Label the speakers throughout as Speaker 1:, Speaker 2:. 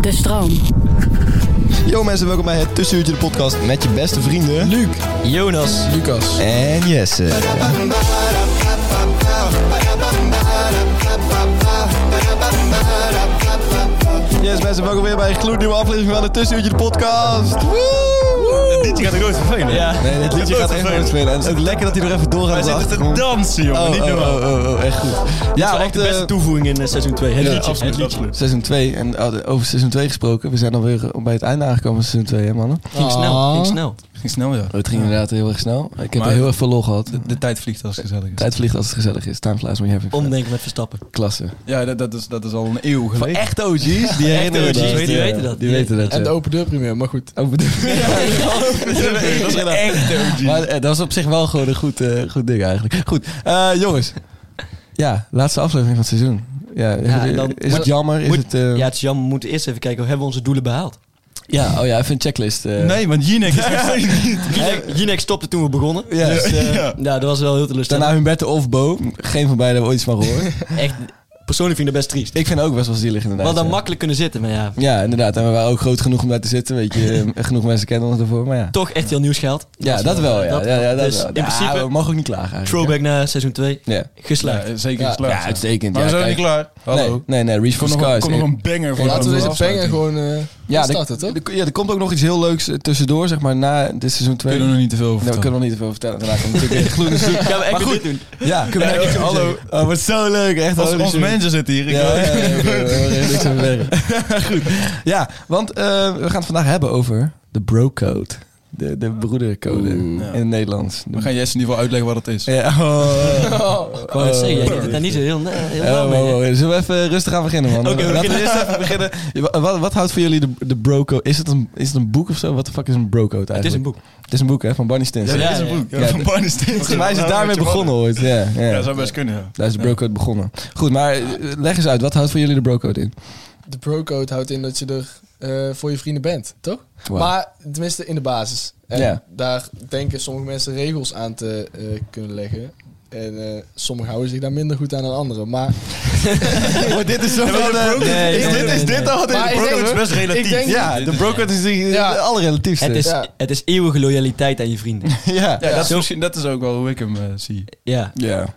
Speaker 1: De stroom.
Speaker 2: Yo mensen, welkom bij het Tussenuurtje de podcast met je beste vrienden... Luc, Jonas
Speaker 3: Lucas.
Speaker 2: en Jesse. Yes mensen, welkom weer bij een gloednieuwe aflevering van het Tussenuurtje de podcast.
Speaker 4: Het liedje gaat ook nooit vervelen.
Speaker 2: Ja. Nee, dit liedje gaat echt nooit spelen. En het is lekker dat hij er even doorgaat.
Speaker 4: Wij zitten te dansen, jongen.
Speaker 2: Oh,
Speaker 4: Niet
Speaker 2: oh,
Speaker 4: normaal.
Speaker 2: oh, oh, oh, echt goed. Ja,
Speaker 5: Dat is
Speaker 2: want
Speaker 5: echt de beste
Speaker 2: eh,
Speaker 5: toevoeging in eh, seizoen 2. Het
Speaker 2: ja,
Speaker 5: liedje.
Speaker 4: absoluut,
Speaker 5: het liedje.
Speaker 4: absoluut.
Speaker 2: seizoen 2 en oh, over seizoen 2 gesproken. We zijn alweer eh, bij het einde aangekomen van seizoen 2, hè mannen?
Speaker 5: Ging snel,
Speaker 2: Ah.
Speaker 5: ging snel.
Speaker 3: Ging snel, ja.
Speaker 2: Oh, Het ging inderdaad heel erg snel. Ik heb
Speaker 3: Maar-
Speaker 2: heel erg veel lol gehad.
Speaker 3: De, de tijd vliegt als het gezellig is.
Speaker 2: Tijd vliegt als het gezellig is. Time flies when you having fun.
Speaker 5: Omdenken met Verstappen.
Speaker 2: Klasse.
Speaker 3: Ja, dat, dat, is, dat is al een eeuw
Speaker 2: Van
Speaker 3: geleden.
Speaker 2: echt OG's, die herinneren
Speaker 5: OG's,
Speaker 2: dat.
Speaker 5: die
Speaker 2: Ja,
Speaker 5: weten dat.
Speaker 2: Die weten dat,
Speaker 6: En de
Speaker 2: ja.
Speaker 6: open deur premier, maar goed.
Speaker 2: Open deur.
Speaker 4: Dat is echt OG.
Speaker 2: Maar eh, dat was op zich wel gewoon een goed, eh, goed ding eigenlijk. Goed, eh, jongens. Ja, laatste aflevering van het seizoen. Ja,
Speaker 5: Ja, en dan-
Speaker 2: is het
Speaker 5: moet-
Speaker 2: jammer? Is
Speaker 5: moet-
Speaker 2: het, eh,
Speaker 5: Ja,
Speaker 2: ja.
Speaker 5: het is jammer. We moeten eerst even kijken. Hebben we onze doelen behaald?
Speaker 2: oh ja, even een checklist. eh.
Speaker 3: Nee, want Jinek is nog steeds niet.
Speaker 5: Jinek- Jinek stopte toen we begonnen.
Speaker 2: Ja, dus, eh,
Speaker 5: Ja, dat was wel heel
Speaker 2: Daarna
Speaker 5: teleurstellend.
Speaker 2: Humberto of Bo. Geen van beiden hebben we ooit iets van gehoord.
Speaker 5: Echt, persoonlijk vind ik dat best triest.
Speaker 2: Ik vind het ook best wel zielig
Speaker 5: We
Speaker 2: inderdaad.
Speaker 5: hadden
Speaker 2: ja.
Speaker 5: makkelijk kunnen zitten, maar ja.
Speaker 2: Ja, inderdaad. En we waren ook groot genoeg om daar te zitten. Weet je, eh, genoeg mensen kennen ons daarvoor. Maar ja,
Speaker 5: Toch echt heel nieuws geld.
Speaker 2: ja dat wel. Ja, ja, ja, dat
Speaker 5: dus
Speaker 2: wel.
Speaker 5: in
Speaker 2: Ja,
Speaker 5: principe,
Speaker 2: we mogen ook niet klagen eigenlijk.
Speaker 5: throwback naar seizoen 2.
Speaker 2: Ja. eh,
Speaker 5: Geslaagd.
Speaker 3: Ja, zeker
Speaker 6: Ja,
Speaker 3: geslaagd.
Speaker 2: Ja, uitstekend.
Speaker 3: Maar we
Speaker 2: ja,
Speaker 3: zijn nog niet
Speaker 2: kijk.
Speaker 3: klaar. Hallo.
Speaker 2: Nee, nee, nee, Reach for
Speaker 3: Kom
Speaker 2: the
Speaker 3: nog, een,
Speaker 2: Skies.
Speaker 3: kom nog een banger voor
Speaker 6: Laten we deze pengen
Speaker 3: gewoon.
Speaker 6: gewoon eh
Speaker 2: Ja, de-
Speaker 6: starten, toch?
Speaker 2: de- ja, er komt ook nog iets heel leuks eh, tussendoor, zeg maar, na dit seizoen 2.
Speaker 3: Kunnen we nog niet te veel over
Speaker 2: Nee, we kunnen nog
Speaker 3: vertellen.
Speaker 2: niet te veel vertellen. Daarna komt natuurlijk weer de gloedende seizoen.
Speaker 5: Gaan we echt weer dit doen?
Speaker 2: Ja, kunnen we echt
Speaker 3: hallo.
Speaker 2: Oh, wat zo leuk. Echt
Speaker 3: Als
Speaker 2: holy
Speaker 3: onze
Speaker 2: shit.
Speaker 3: mensen zitten hier. ik
Speaker 2: Ja,
Speaker 3: wil-
Speaker 2: ja, ja, ja, ja, ja, ja, niks aan verwerken. Goed. Ja, want eh, we gaan het vandaag hebben over de bro-code. De, de broedercode in het Nederlands.
Speaker 3: We gaan Jesse in ieder geval uitleggen wat het is.
Speaker 2: Ja, oh.
Speaker 5: Ik wou net zeggen, jij
Speaker 2: Eh,
Speaker 5: deed het daar niet zo heel, heel nauw
Speaker 2: Oh,
Speaker 5: mee.
Speaker 2: wow, wow. Zullen we even rustig aan beginnen, man?
Speaker 5: Oké, we
Speaker 2: Laten we
Speaker 5: beginnen.
Speaker 2: eerst even beginnen. Ja, Wat, wat houdt voor jullie de, de bro-code? Is, het een- is het een boek of zo? Wat de fuck is een bro-code eigenlijk?
Speaker 5: Het is een boek.
Speaker 2: Het is een boek, hè? Van Barney Stinson.
Speaker 5: Ja,
Speaker 3: dat is
Speaker 5: ja.
Speaker 3: een boek.
Speaker 2: Ja,
Speaker 3: Ja, van Barney Stinson.
Speaker 2: Volgens mij is het
Speaker 3: Nou,
Speaker 2: daarmee
Speaker 3: weet je
Speaker 2: begonnen
Speaker 3: wat.
Speaker 2: ooit. Ja, ja.
Speaker 3: Ja, dat zou best kunnen, ja.
Speaker 2: Daar is de brocode begonnen. Goed, maar eh, leg eens uit. Wat houdt voor jullie de brocode in?
Speaker 6: De pro-code houdt in dat je er eh, voor je vrienden bent, toch?
Speaker 2: Wauw.
Speaker 6: Maar tenminste in de basis. En
Speaker 2: Ja.
Speaker 6: daar denken sommige mensen regels aan te eh, kunnen leggen. En eh, sommigen houden zich daar minder goed aan dan anderen. Maar,
Speaker 2: Oh, dit is zo
Speaker 3: maar de brocode-
Speaker 5: Nee,
Speaker 2: Is
Speaker 5: nee,
Speaker 2: dit,
Speaker 5: nee,
Speaker 2: is
Speaker 5: nee.
Speaker 2: dit al wat in
Speaker 6: Maar
Speaker 2: de
Speaker 6: ik denk-
Speaker 2: brocode?
Speaker 3: Het is best relatief.
Speaker 6: ik denk-
Speaker 2: Ja, de brocode is die-
Speaker 6: Ja.
Speaker 2: de allerrelatiefste.
Speaker 5: Het is,
Speaker 6: Ja.
Speaker 5: het is eeuwige loyaliteit aan je vrienden.
Speaker 2: ja.
Speaker 3: Ja,
Speaker 2: Ja.
Speaker 3: dat is misschien- Dat is ook wel hoe ik hem eh, zie.
Speaker 5: Ja.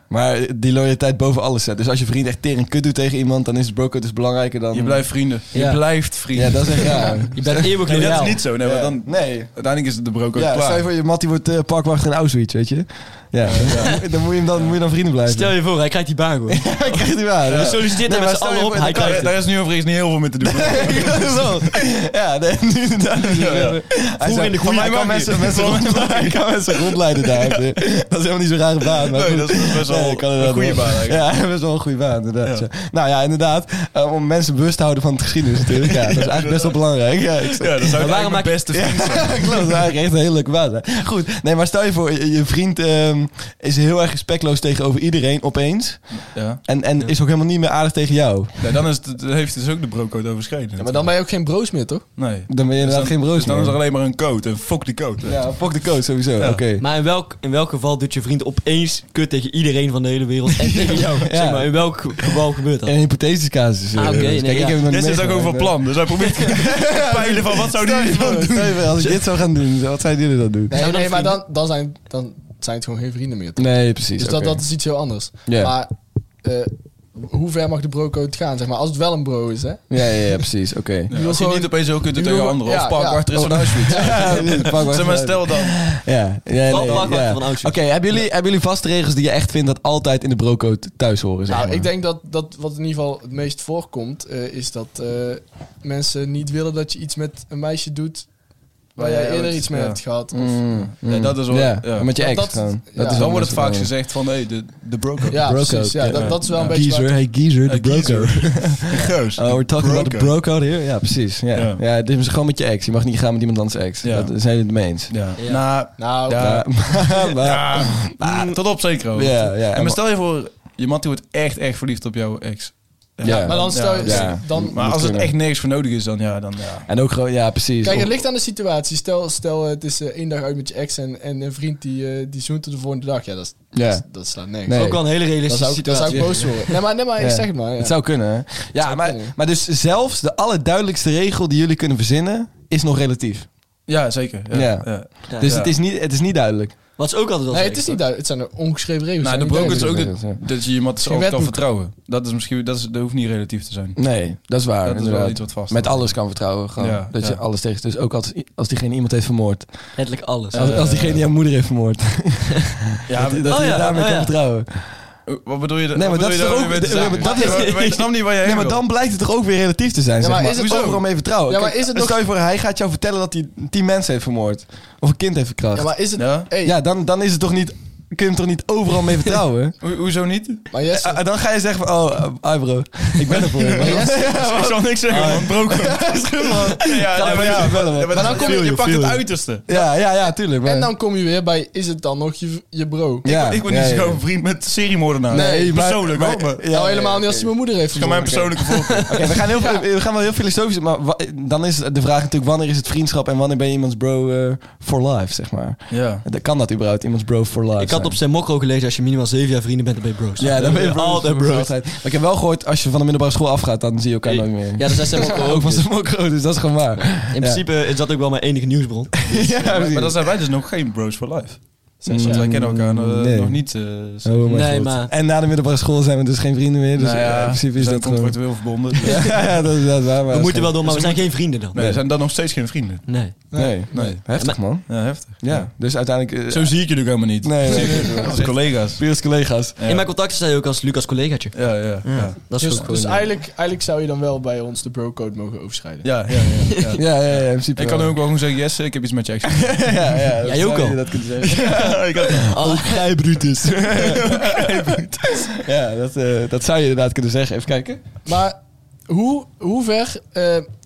Speaker 2: maar die loyaliteit boven alles zet. Dus als je vriend echt tering kut doet tegen iemand, dan is de brocode dus belangrijker dan...
Speaker 3: Je blijft vrienden.
Speaker 5: Ja.
Speaker 3: Je blijft vrienden.
Speaker 2: Ja, dat is echt raar.
Speaker 5: Je bent eeuwig
Speaker 3: Nee, dat
Speaker 5: loyaal.
Speaker 3: is niet zo. Nee, want
Speaker 2: Ja.
Speaker 3: dan,
Speaker 2: nee.
Speaker 3: uiteindelijk is het de broker
Speaker 2: Ja, stel je
Speaker 3: klaar.
Speaker 2: voor, je Mattie wordt eh, parkwachter in Auschwitz, weet je? Ja, dan, moet je hem dan, moet je dan vrienden blijven.
Speaker 5: Stel je voor, hij krijgt die baan gewoon.
Speaker 2: ik krijg die waar.
Speaker 5: We
Speaker 2: ja.
Speaker 5: solliciteren
Speaker 2: Nee, maar
Speaker 5: met z'n
Speaker 2: stel je
Speaker 5: allen op,
Speaker 2: voor-
Speaker 5: hij
Speaker 2: dan-
Speaker 5: krijgt het.
Speaker 3: Daar is nu overigens niet heel veel mee te doen.
Speaker 2: Zo. Ja, nee, nu inderdaad. Hij
Speaker 5: in de goede
Speaker 2: hij kan
Speaker 3: bank
Speaker 2: mensen,
Speaker 3: hier.
Speaker 2: mensen rondleiden, hij kan mensen rondleiden daar. Dat is helemaal niet zo'n rare baan. Maar
Speaker 3: Nee,
Speaker 2: goed.
Speaker 3: dat is best wel
Speaker 2: Nee, kan
Speaker 3: een
Speaker 2: inderdaad
Speaker 3: goede
Speaker 2: wel.
Speaker 3: baan eigenlijk.
Speaker 2: Ja, best wel een goede baan, inderdaad.
Speaker 3: Ja.
Speaker 2: ja. Nou ja, inderdaad. eh, om mensen bewust te houden van het geschiedenis natuurlijk. Ja, dat is eigenlijk best wel belangrijk. Ja, ik
Speaker 3: Ja, dat
Speaker 5: Maar
Speaker 3: zou
Speaker 5: waarom
Speaker 3: mijn
Speaker 5: maak je-
Speaker 3: beste vriend zijn.
Speaker 2: ja, klopt. Dat is eigenlijk echt een hele leuke baan. hè. Goed, nee, maar stel je voor, je, je vriend ehm, is heel erg respectloos tegenover iedereen opeens.
Speaker 3: Ja.
Speaker 2: En, en is ook helemaal niet meer aardig tegen jou.
Speaker 3: Nee, dan is het, heeft hij dus ook de brocode overschreden.
Speaker 6: ja, maar dan ben je ook geen broos meer, toch?
Speaker 3: Nee.
Speaker 2: Dan ben je inderdaad geen broos
Speaker 3: Dus dan
Speaker 2: meer.
Speaker 3: is er alleen maar een code. En fuck die code.
Speaker 2: Ja, fuck de coach sowieso. Oké.
Speaker 5: Maar in welk, in welk geval doet je vriend opeens kut tegen iedereen van de hele wereld en tegen jou? Zeg maar, in welk geval gebeurt dat?
Speaker 2: En hypothetische casus. eh,
Speaker 5: Ah, oké,
Speaker 2: dus
Speaker 5: nee,
Speaker 2: kijk,
Speaker 5: ja.
Speaker 2: ik heb het nog
Speaker 3: Dit is
Speaker 2: niet
Speaker 3: ook
Speaker 2: meegemaakt,
Speaker 3: over
Speaker 2: hè.
Speaker 3: plan. Dus hij probeert te peilen van wat zou
Speaker 2: Stel
Speaker 3: die
Speaker 2: je voor,
Speaker 3: iemand doen.
Speaker 2: stel je voor, als ik dit zou gaan doen, wat zouden jullie dan doen?
Speaker 6: Nee,
Speaker 5: Zou dat
Speaker 6: nee maar dan,
Speaker 5: vrienden-
Speaker 6: dan, zijn, dan zijn het gewoon geen vrienden meer, toch?
Speaker 2: Nee, precies.
Speaker 6: Dus dat, dat is iets heel anders.
Speaker 2: Ja.
Speaker 6: Maar eh, hoe ver mag de bro-code gaan, zeg maar? Als het wel een bro is, hè?
Speaker 2: Ja, ja, ja, precies. Oké.
Speaker 3: Ja, als je
Speaker 6: gewoon-
Speaker 3: niet opeens heel kunt
Speaker 6: je
Speaker 3: doen tegen
Speaker 6: wil-
Speaker 3: anderen.
Speaker 6: ja,
Speaker 3: Of pak
Speaker 6: ja.
Speaker 3: achter is
Speaker 6: Oh.
Speaker 3: een
Speaker 2: nou,
Speaker 3: huisfiets.
Speaker 2: Ja, pak maar
Speaker 3: Zeg maar
Speaker 2: even uit.
Speaker 3: stel dan.
Speaker 2: Ja, ja, nee,
Speaker 5: Pak- pak
Speaker 2: ja.
Speaker 5: maar van Auschwitz.
Speaker 2: Oké, hebben, jullie, hebben jullie vaste regels die je echt vindt dat altijd in de brocode thuis horen? Zeg
Speaker 6: Nou,
Speaker 2: maar?
Speaker 6: ik denk dat, dat wat in ieder geval het meest voorkomt, eh, is dat eh, mensen niet willen dat je iets met een meisje doet waar
Speaker 3: Waar
Speaker 6: jij
Speaker 3: jij
Speaker 6: eerder
Speaker 3: ooit-
Speaker 6: iets mee
Speaker 3: ja.
Speaker 6: hebt gehad. Of,
Speaker 2: Mm, mm.
Speaker 3: Ja, dat is wel-
Speaker 2: Ja,
Speaker 3: ja.
Speaker 2: Met je
Speaker 6: Dat-
Speaker 2: ex.
Speaker 6: dat-
Speaker 2: gewoon.
Speaker 6: ja.
Speaker 2: is
Speaker 6: Dan
Speaker 2: wel
Speaker 3: Dan wordt het vaak
Speaker 2: lastig,
Speaker 3: gezegd van, hé, de, de brocode.
Speaker 6: ja,
Speaker 2: Brocode,
Speaker 6: precies. Ja,
Speaker 2: ja.
Speaker 6: dat, dat is wel een
Speaker 2: man.
Speaker 6: beetje... waar
Speaker 2: Geezer,
Speaker 6: het-
Speaker 2: hey geezer, de
Speaker 3: Hey, geezer.
Speaker 2: brocode.
Speaker 3: Geus.
Speaker 2: Oh, we're talking about the
Speaker 3: Brocode.
Speaker 2: brocode here? Ja, precies. Ja. Ja.
Speaker 3: Ja.
Speaker 2: dit is gewoon met je ex. Je mag niet gaan met iemand anders ex.
Speaker 3: Ja.
Speaker 2: Dat zijn jullie het mee eens.
Speaker 3: Ja.
Speaker 5: Ja.
Speaker 3: Nou,
Speaker 6: Nou,
Speaker 3: Ja.
Speaker 2: Ja, maar-
Speaker 3: Ja, tot op zekere hoogte.
Speaker 2: Mm. Ja, ja.
Speaker 3: En maar stel je voor, je mattie wordt echt, echt verliefd op jouw ex.
Speaker 2: Ja.
Speaker 6: Maar dan stel je...
Speaker 2: Ja.
Speaker 6: Dan,
Speaker 3: Maar als het
Speaker 2: Natuurlijk.
Speaker 3: echt nergens voor nodig is, dan ja, dan ja.
Speaker 2: En ook gewoon, ja, precies.
Speaker 6: Kijk,
Speaker 2: Of-
Speaker 6: het ligt aan de situatie. Stel, stel eh, het is eh, één dag uit met je ex en, en een vriend die, eh, die zoent er de volgende dag. Ja, dat, is-
Speaker 2: Ja.
Speaker 6: dat, is- dat slaat nergens.
Speaker 2: Nee.
Speaker 5: Ook al een hele
Speaker 6: Dat
Speaker 5: realistische
Speaker 6: zou, ik- dat zou
Speaker 5: situatie.
Speaker 6: ik boos worden. Nee, maar, nee, maar ik
Speaker 2: Ja.
Speaker 6: zeg het maar. Ja.
Speaker 2: Het zou kunnen. hè? Ja,
Speaker 6: zou
Speaker 2: maar,
Speaker 6: kunnen.
Speaker 2: maar dus zelfs de allerduidelijkste regel die jullie kunnen verzinnen is nog relatief.
Speaker 3: Ja, zeker. Ja.
Speaker 2: Ja.
Speaker 3: ja.
Speaker 5: Ja.
Speaker 2: dus
Speaker 3: Ja.
Speaker 2: het, is niet, het is niet duidelijk.
Speaker 5: Wat is ook altijd wel
Speaker 6: nee, het
Speaker 5: zeker,
Speaker 6: is niet duidelijk. Het zijn er ongeschreven regels.
Speaker 3: Nou, de
Speaker 6: Dus Het
Speaker 3: broker
Speaker 6: zijn niet
Speaker 3: is ook
Speaker 6: duidelijk.
Speaker 2: regels, ja.
Speaker 3: dat, dat je iemand
Speaker 6: Geen
Speaker 3: zo kan
Speaker 6: wetboek.
Speaker 3: vertrouwen. Dat is misschien, dat, is, dat hoeft niet relatief te zijn.
Speaker 2: Nee, dat is waar.
Speaker 3: dat is wel
Speaker 2: inderdaad.
Speaker 3: iets wat vast.
Speaker 2: Met alles kan vertrouwen. Gewoon.
Speaker 3: Ja,
Speaker 2: dat je
Speaker 3: ja.
Speaker 2: alles tegen. Dus ook als, als diegene iemand heeft vermoord.
Speaker 5: Letterlijk alles.
Speaker 2: Als, als diegene jouw moeder heeft vermoord.
Speaker 3: Ja,
Speaker 2: dat dat
Speaker 5: Oh
Speaker 2: je
Speaker 5: ja,
Speaker 2: daarmee
Speaker 5: oh
Speaker 2: kan
Speaker 5: ja.
Speaker 2: vertrouwen.
Speaker 3: maar- Eh, wat bedoel je?
Speaker 2: Nee, maar dat is toch ook- de- ja, maar dat is-
Speaker 3: Maar ik snap niet waar je heen
Speaker 2: Nee, maar
Speaker 3: wil.
Speaker 2: dan blijkt het toch ook weer relatief te zijn.
Speaker 6: Ja,
Speaker 2: zeg
Speaker 6: maar
Speaker 2: maar
Speaker 6: is het
Speaker 2: Hoezo?
Speaker 6: ook-
Speaker 2: overal mee vertrouwen?
Speaker 6: Ja, maar
Speaker 2: Kijk, dus
Speaker 6: is het nog-
Speaker 2: Stel je voor, hij gaat jou vertellen dat hij tien mensen heeft vermoord. Of een kind heeft verkracht.
Speaker 6: Ja,
Speaker 2: Ja,
Speaker 6: maar is het...
Speaker 3: Ja?
Speaker 6: Hey,
Speaker 2: dan, dan is het toch niet. Kun je hem toch niet overal mee vertrouwen?
Speaker 3: Ho- hoezo niet?
Speaker 6: Maar Jesse,
Speaker 2: Eh, eh, dan ga je zeggen van, oh, eh, ah, bro, ik ben er voor je.
Speaker 6: maar
Speaker 2: man.
Speaker 6: Jesse-
Speaker 3: Ik zal niks zeggen, man. Broker. Ja,
Speaker 2: Ga
Speaker 3: nee,
Speaker 2: maar
Speaker 3: maar ja,
Speaker 2: even bellen, man.
Speaker 3: maar- ja, maar
Speaker 6: Maar dan
Speaker 3: dat-
Speaker 6: kom je-
Speaker 3: je,
Speaker 2: feel
Speaker 3: pakt
Speaker 2: you.
Speaker 3: het uiterste.
Speaker 2: Ja, ja, ja, tuurlijk. Maar,
Speaker 6: en dan kom je weer bij, is het dan nog je, je bro?
Speaker 2: ja,
Speaker 3: ik word
Speaker 2: ja,
Speaker 3: niet
Speaker 2: ja.
Speaker 3: zo'n vriend met seriemoordenaar.
Speaker 2: maar-
Speaker 6: Nee,
Speaker 3: persoonlijk
Speaker 2: maar-
Speaker 3: ook. maar-
Speaker 2: ja,
Speaker 6: nou,
Speaker 2: ja,
Speaker 6: helemaal
Speaker 2: ja.
Speaker 6: niet als je mijn moeder heeft
Speaker 3: Het kan mijn
Speaker 6: vermoord.
Speaker 3: persoonlijke voorkeur.
Speaker 2: Oké, we, gaan heel veel, we gaan wel heel filosofisch, maar wa- dan is de vraag natuurlijk wanneer is het vriendschap en wanneer ben je iemands bro eh, for life, zeg maar.
Speaker 3: Ja.
Speaker 2: Dat- Kan dat überhaupt, iemands bro for life
Speaker 5: Ik had
Speaker 2: zijn?
Speaker 5: op zijn mokro gelezen, als je minimaal 7 jaar vrienden bent, dan ben je bros.
Speaker 2: Ja, dan ben je bro
Speaker 5: altijd
Speaker 2: voor
Speaker 5: bros.
Speaker 2: altijd. Maar ik heb wel gehoord, als je van de middelbare school afgaat, dan zie je elkaar
Speaker 5: Hey.
Speaker 2: nooit meer.
Speaker 5: Ja, dat zijn zijn mokro
Speaker 2: ook
Speaker 5: ook.
Speaker 2: van
Speaker 5: dus.
Speaker 2: zijn mokro, dus dat is gewoon waar.
Speaker 5: In principe is dat ook wel mijn enige nieuwsbron.
Speaker 2: ja,
Speaker 3: Maar,
Speaker 2: precies.
Speaker 3: maar dan zijn wij dus nog geen bros for life.
Speaker 2: Mm,
Speaker 3: Want wij kennen elkaar eh,
Speaker 2: nee.
Speaker 3: nog niet. eh,
Speaker 2: Oh mijn
Speaker 5: Nee,
Speaker 2: god.
Speaker 5: maar-
Speaker 2: En na de middelbare school zijn we dus geen vrienden meer, dus
Speaker 3: nou
Speaker 2: eh, in principe
Speaker 3: we
Speaker 2: is
Speaker 3: zijn
Speaker 2: dat gewoon...
Speaker 3: contractueel verbonden. dus-
Speaker 2: ja, ja, dat is dat is waar. maar
Speaker 5: We
Speaker 2: dat
Speaker 5: moeten
Speaker 2: is
Speaker 5: wel door, maar we
Speaker 3: dus
Speaker 5: zijn geen vrienden dan.
Speaker 3: Nee, we zijn dan nog steeds geen vrienden.
Speaker 5: Nee.
Speaker 2: geen- Nee, nee.
Speaker 3: Nee.
Speaker 2: Heftig, man.
Speaker 3: Ja, heftig.
Speaker 2: Ja, dus uiteindelijk... eh,
Speaker 3: Zo zie ik jullie ook helemaal niet.
Speaker 2: Nee, nee, nee.
Speaker 3: Als collega's.
Speaker 2: Puur als collega's.
Speaker 3: Ja.
Speaker 5: In mijn contacten sta je ook als Lucas collegaatje.
Speaker 3: Ja, ja, ja.
Speaker 5: Dat is
Speaker 6: Dus,
Speaker 5: goed.
Speaker 6: dus
Speaker 5: gewoon, eh,
Speaker 6: eigenlijk, eigenlijk zou je dan wel bij ons de bro-code mogen overschrijden.
Speaker 3: Ja, ja, ja, ja.
Speaker 2: Ja, ja, ja, in principe
Speaker 3: Ik kan
Speaker 2: wel.
Speaker 3: ook wel gewoon zeggen, yes, ik heb iets met je ex.
Speaker 2: ja, ja, dat
Speaker 5: Jij ook
Speaker 2: zou je
Speaker 5: al.
Speaker 2: Dat kunnen zeggen.
Speaker 3: Ja, ik had-
Speaker 5: Ook gij, Brutus.
Speaker 2: Ja, dat, eh, dat zou je inderdaad kunnen zeggen. Even kijken.
Speaker 6: Maar hoe, hoe ver, eh,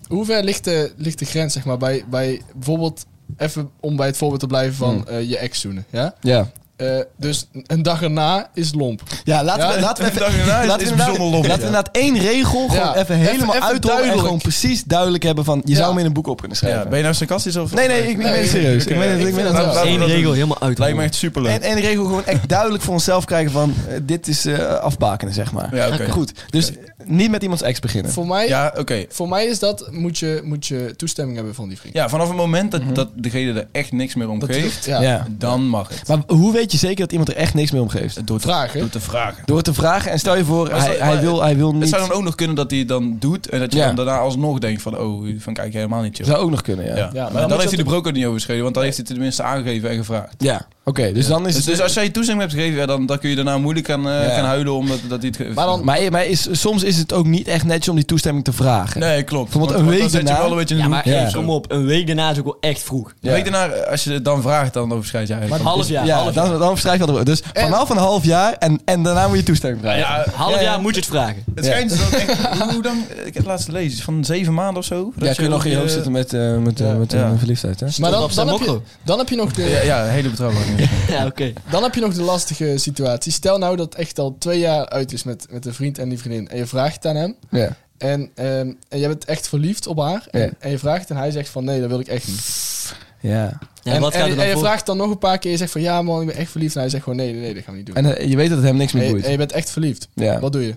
Speaker 6: hoe ver ligt, de, ligt de grens, zeg maar, bij, bij bijvoorbeeld... Even om bij het voorbeeld te blijven van
Speaker 2: Hmm.
Speaker 6: eh, je ex zoenen, ja?
Speaker 2: Ja.
Speaker 6: Eh, dus een dag erna is lomp.
Speaker 2: Ja, laten we,
Speaker 6: Ja,
Speaker 2: laten we even...
Speaker 3: dag erna
Speaker 2: laten
Speaker 3: is-
Speaker 2: we
Speaker 3: is
Speaker 2: inderdaad-
Speaker 3: bijzonder lomp,
Speaker 2: Laten we
Speaker 3: ja.
Speaker 2: inderdaad één regel gewoon
Speaker 6: Ja,
Speaker 2: even
Speaker 6: even-
Speaker 2: helemaal
Speaker 6: even
Speaker 2: uitrollen en
Speaker 6: duidelijk.
Speaker 2: gewoon precies duidelijk hebben van... Je zou
Speaker 6: Ja.
Speaker 2: hem in een boek op kunnen
Speaker 3: Ja,
Speaker 2: schrijven.
Speaker 3: ben je nou sarcastisch of...
Speaker 2: Nee, nee, ik, ik ben
Speaker 6: Nee,
Speaker 2: het serieus.
Speaker 3: oké,
Speaker 2: ik ben het,
Speaker 3: ik
Speaker 2: ik ben het
Speaker 6: vind dat
Speaker 2: wel.
Speaker 6: wel.
Speaker 5: Eén regel helemaal uit.
Speaker 3: Lijkt me echt superleuk.
Speaker 2: En, en de regel gewoon echt duidelijk voor onszelf krijgen van... eh, dit is eh, afbakenen, zeg maar.
Speaker 3: Ja, oké.
Speaker 2: Goed, dus niet met iemands ex beginnen.
Speaker 6: Voor mij,
Speaker 3: Ja, oké.
Speaker 6: voor mij is dat, moet je, moet je toestemming hebben van die vriend.
Speaker 3: Ja, vanaf het moment
Speaker 2: Mhm.
Speaker 3: dat, dat degene er echt niks meer om
Speaker 6: Dat
Speaker 3: geeft,
Speaker 6: hoeft- ja.
Speaker 2: Ja.
Speaker 3: dan mag het.
Speaker 2: Maar hoe weet je zeker dat iemand er echt niks mee omgeeft?
Speaker 3: Door te,
Speaker 6: Vragen.
Speaker 3: Door te vragen.
Speaker 2: Door te vragen en stel je voor,
Speaker 3: Maar
Speaker 2: hij,
Speaker 3: zou-
Speaker 2: hij,
Speaker 3: maar-
Speaker 2: wil, hij wil niet.
Speaker 3: Het zou dan ook nog kunnen dat hij het dan doet en dat je
Speaker 2: Ja.
Speaker 3: dan daarna alsnog denkt van, oh, van kijk, helemaal niet chill.
Speaker 2: Zou ook nog kunnen, ja.
Speaker 3: Ja.
Speaker 2: Ja,
Speaker 3: Maar,
Speaker 6: maar dan
Speaker 3: dan,
Speaker 6: moet je
Speaker 3: heeft hij
Speaker 6: dat-
Speaker 3: de broker niet overschreden, want dan heeft hij het tenminste aangegeven en gevraagd.
Speaker 2: oké. dus dan is
Speaker 3: Dus,
Speaker 2: het...
Speaker 3: dus als jij je toestemming hebt gegeven, ja, dan, dan kun je daarna moeilijk gaan, eh,
Speaker 2: Ja.
Speaker 3: gaan huilen omdat dat hij het ge-
Speaker 6: Maar dan-
Speaker 2: maar maar is, soms is het ook niet echt netjes om die toestemming te vragen.
Speaker 3: Nee, klopt.
Speaker 2: Bijvoorbeeld
Speaker 3: Want-
Speaker 2: een
Speaker 3: want
Speaker 2: week
Speaker 3: dan zet je
Speaker 2: daarna-
Speaker 3: wel een beetje in
Speaker 5: Ja,
Speaker 3: een
Speaker 5: maar
Speaker 3: hoekje
Speaker 2: Ja.
Speaker 5: hey,
Speaker 3: of zo.
Speaker 5: kom op. Een week daarna is ook wel echt vroeg.
Speaker 2: Ja.
Speaker 3: Een week daarna, als je het dan vraagt, dan overschrijd je
Speaker 5: Een
Speaker 3: eigenlijk.
Speaker 5: half jaar.
Speaker 2: Ja,
Speaker 5: half jaar.
Speaker 2: dan, dan schrijf je dat. Dus vanaf een half jaar en, en daarna moet je toestemming vragen.
Speaker 3: Ja,
Speaker 5: Half
Speaker 2: Ja, ja.
Speaker 5: jaar moet je het vragen.
Speaker 3: Het schijnt dus dat echt, hoe dan, ik heb het laatst gelezen, van zeven maanden of zo.
Speaker 2: Ja, kun je nog in je hoofd zitten met, eh, met, eh,
Speaker 6: Ja.
Speaker 2: met eh,
Speaker 3: Ja.
Speaker 2: verliefdheid, hè?
Speaker 6: Maar dan,
Speaker 5: Stond
Speaker 6: dan,
Speaker 5: op
Speaker 6: heb
Speaker 5: zijn
Speaker 6: je, dan heb je nog de...
Speaker 3: Ja, ja, hele betrouwbaar.
Speaker 5: Ja, oké.
Speaker 6: Dan heb je nog de lastige situatie. Stel nou dat echt al twee jaar uit is met, met een vriend en die vriendin. En je vraagt het aan hem.
Speaker 2: Ja.
Speaker 6: En, ehm, en je bent echt verliefd op haar. En,
Speaker 2: Ja.
Speaker 6: en je vraagt en hij zegt van nee, dat wil ik echt niet.
Speaker 2: ja.
Speaker 5: Ja,
Speaker 6: en
Speaker 5: wat
Speaker 6: en-
Speaker 5: gaat er
Speaker 6: en
Speaker 5: dan
Speaker 6: je
Speaker 5: voor?
Speaker 6: vraagt dan nog een paar keer. Je zegt van ja man, ik ben echt verliefd. En hij zegt gewoon nee, nee, nee dat gaan we niet doen.
Speaker 2: En eh, je weet dat het hem niks
Speaker 6: En
Speaker 2: meer
Speaker 6: je-
Speaker 2: boeit.
Speaker 6: en je bent echt verliefd.
Speaker 2: Ja,
Speaker 6: Wat doe je?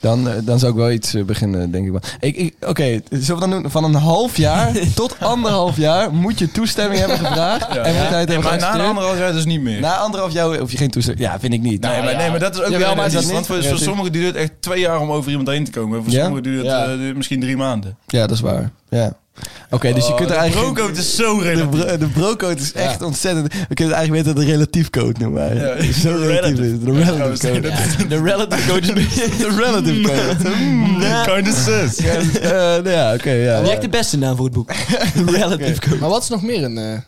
Speaker 2: dan, eh, dan zou ik wel iets eh, beginnen, denk ik wel. Ik, ik, Oké, zullen we dan doen? Van een half jaar tot anderhalf jaar moet je toestemming hebben gevraagd. En moet hij het hebben
Speaker 3: Maar na een
Speaker 2: geaccepteerd.
Speaker 3: anderhalf jaar dus niet meer.
Speaker 2: Na anderhalf jaar hoef je geen toestemming. Ja, vind ik niet.
Speaker 3: Nee, maar, nee, maar dat is ook
Speaker 6: Jawel,
Speaker 3: wel Nou
Speaker 6: maar
Speaker 3: maar
Speaker 6: is
Speaker 2: dat
Speaker 3: Want
Speaker 2: niet?
Speaker 3: voor, voor
Speaker 2: Ja,
Speaker 3: sommigen duurt het echt twee jaar om over iemand heen te komen. Voor
Speaker 2: Ja?
Speaker 3: sommigen duurt het
Speaker 6: Ja.
Speaker 3: eh, misschien drie maanden.
Speaker 2: Ja, dat is waar. Ja. Oké, dus je kunt er
Speaker 3: De
Speaker 2: eigenlijk...
Speaker 3: broodcode is zo
Speaker 2: de,
Speaker 3: relevant.
Speaker 2: bro- de brocode is echt ontzettend... We kunnen het eigenlijk beter de relatief code noemen. eigenlijk.
Speaker 3: Ja,
Speaker 2: Zo
Speaker 3: de
Speaker 2: relatief is het. De relative
Speaker 3: trouwens,
Speaker 2: code.
Speaker 5: De relative coach
Speaker 2: De relative code.
Speaker 3: Hmm, Kind of sus.
Speaker 2: Ja, dus, eh, nou ja, oké. ja,
Speaker 5: Die
Speaker 2: ja.
Speaker 5: heeft de beste naam voor het boek. Relative coach.
Speaker 6: Maar wat is nog meer een eh,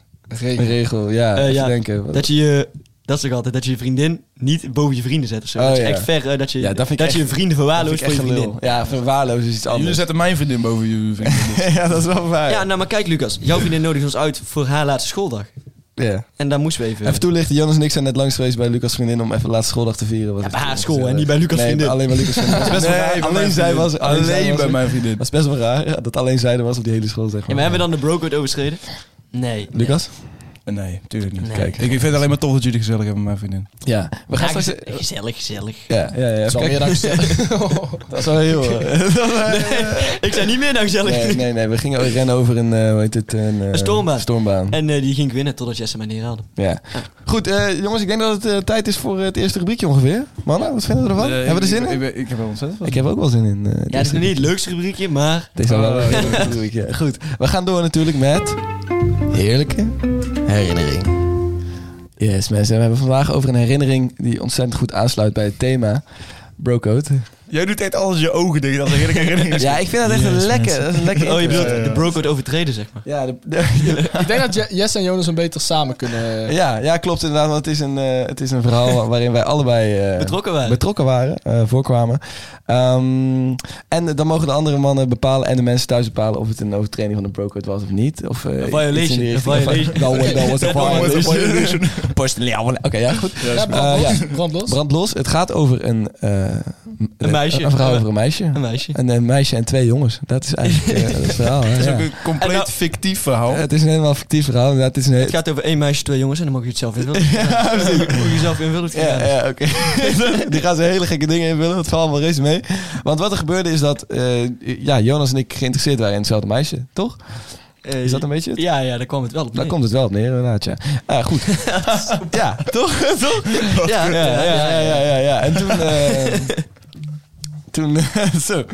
Speaker 6: regel?
Speaker 2: Een regel, ja.
Speaker 5: Eh,
Speaker 2: even
Speaker 5: ja,
Speaker 2: denken.
Speaker 5: Dat je je... Dat is ook altijd, dat je je vriendin niet boven je vrienden zet of zo.
Speaker 2: Oh,
Speaker 5: dat is
Speaker 2: ja.
Speaker 5: echt ver, eh, dat je,
Speaker 2: Ja, dat
Speaker 5: dat
Speaker 2: vind ik
Speaker 5: je je
Speaker 2: echt-
Speaker 5: vrienden
Speaker 2: Vind
Speaker 5: verwaarloost
Speaker 2: ik
Speaker 5: voor je
Speaker 2: echt gelul.
Speaker 5: vriendin.
Speaker 2: Ja, verwaarloos is iets
Speaker 3: Jullie
Speaker 2: anders.
Speaker 3: zetten mijn vriendin boven jullie vriendin.
Speaker 2: ja, dat is wel waar.
Speaker 5: Ah, Ja, nou maar kijk Lucas, jouw vriendin nodigt ons uit voor haar laatste schooldag.
Speaker 2: Ja.
Speaker 5: En daar moesten we even...
Speaker 2: Even toelichten, Jonas en ik zijn net langs geweest bij Lucas' vriendin om even laatste schooldag te vieren. Wat
Speaker 5: Ja,
Speaker 2: ik-
Speaker 5: bij haar school, hè, niet bij Lucas'
Speaker 2: nee,
Speaker 5: vriendin.
Speaker 2: alleen bij Lucas' vriendin. Dat was best wel raar. Alleen zij was...
Speaker 7: Alleen,
Speaker 2: zij was
Speaker 7: bij
Speaker 2: er.
Speaker 7: mijn vriendin.
Speaker 2: Dat is best wel raar, ja, dat alleen zij er was op die hele school, zeg
Speaker 5: Ja,
Speaker 2: maar.
Speaker 5: maar hebben we dan de brocode overschreden? Nee.
Speaker 2: Lucas?
Speaker 7: Nee, tuurlijk niet.
Speaker 5: Nee.
Speaker 7: Kijk, ik vind het alleen maar tof dat jullie gezellig hebben met mijn vriendin.
Speaker 2: Ja. We gaan
Speaker 5: Ja,
Speaker 2: straks...
Speaker 5: gez- gezellig, gezellig.
Speaker 2: Ja, ja, ja.
Speaker 6: Dat is al meer
Speaker 2: Kijk, Oh.
Speaker 6: dan gezellig.
Speaker 2: dat is wel heel... eh,
Speaker 5: Ik zei niet meer dan gezellig.
Speaker 2: Nee, nee, nee. We gingen rennen over een... eh, hoe heet het? Een, eh,
Speaker 5: Een stormbaan.
Speaker 2: stormbaan.
Speaker 5: En eh, die ging ik winnen totdat Jesse mij neerhaalde.
Speaker 2: Ja. Goed, eh, jongens, ik denk dat het eh, tijd is voor het eerste rubriekje ongeveer. Mannen, wat vinden we ervan?
Speaker 7: Eh,
Speaker 2: hebben we er
Speaker 7: ik-
Speaker 2: zin
Speaker 7: ik,
Speaker 2: in?
Speaker 7: Ik, ik heb er ontzettend
Speaker 2: Ik heb ook wel zin in. eh,
Speaker 5: Ja, dat is nog niet het leukste rubriekje, maar...
Speaker 2: Deze
Speaker 7: Oh,
Speaker 2: wel
Speaker 7: ja.
Speaker 2: een leuk rubriekje. Goed, we gaan door natuurlijk met... Heerlijke herinnering. Yes, mensen. We hebben vandaag over een herinnering die ontzettend goed aansluit bij het thema. Brocode.
Speaker 3: Jij doet echt alles je ogen dicht als een heerlijke herinnering. is.
Speaker 2: Ja, ik vind dat echt een lekker... Dat is een lekker
Speaker 5: Oh, je bedoelt
Speaker 3: Ja, ja, ja.
Speaker 5: de brocode overtreden, zeg maar.
Speaker 2: ja, de- de-
Speaker 6: ik denk dat Je- Jess en Jonas hem beter samen kunnen... eh,
Speaker 2: ja, ja, klopt inderdaad. Want het is een, eh, het is een verhaal waarin wij allebei... eh,
Speaker 5: Betrokken waren.
Speaker 2: betrokken waren, eh, voorkwamen. Ehm, en dan mogen de andere mannen bepalen en de mensen thuis bepalen of het een overtreding van de brocode was of niet. Of, eh,
Speaker 5: Een violation,
Speaker 2: iets in die
Speaker 5: een
Speaker 2: richting.
Speaker 5: violation.
Speaker 2: Of- eh, Dat was- dat was een violation. Personally, I wanna- Oké, ja, goed.
Speaker 6: Ja, brand,
Speaker 2: Eh,
Speaker 6: los,
Speaker 2: ja.
Speaker 6: brand los.
Speaker 2: Brand los. Het gaat over een... eh,
Speaker 5: Een meisje.
Speaker 2: Een vrouw over een meisje.
Speaker 5: Een meisje.
Speaker 2: Een, een meisje en twee jongens. Dat is eigenlijk eh, het verhaal. hè,
Speaker 3: Dat is
Speaker 2: ja.
Speaker 3: ook een compleet
Speaker 5: En nou-
Speaker 3: fictief verhaal.
Speaker 2: Het is een helemaal fictief verhaal. inderdaad. Het is een heel-
Speaker 5: Het gaat over één meisje, twee jongens en dan mag je het zelf invullen. Ja, Moet je zelf invullen.
Speaker 2: Ja,
Speaker 5: Ja,
Speaker 2: ja, oké. die gaan ze hele gekke dingen invullen. Het valt wel race mee. Want wat er gebeurde is dat eh, ja, Jonas en ik geïnteresseerd waren in hetzelfde meisje, toch? Is dat een beetje het?
Speaker 5: Eh, Ja, ja, daar kwam het wel op
Speaker 2: Daar
Speaker 5: neer.
Speaker 2: komt het wel op neer, inderdaad, ja. Ah, goed. ja, toch? toch?
Speaker 5: Ja,
Speaker 2: Ja, ja, ja, ja, ja, ja. En toen... eh, toen... eh, zo.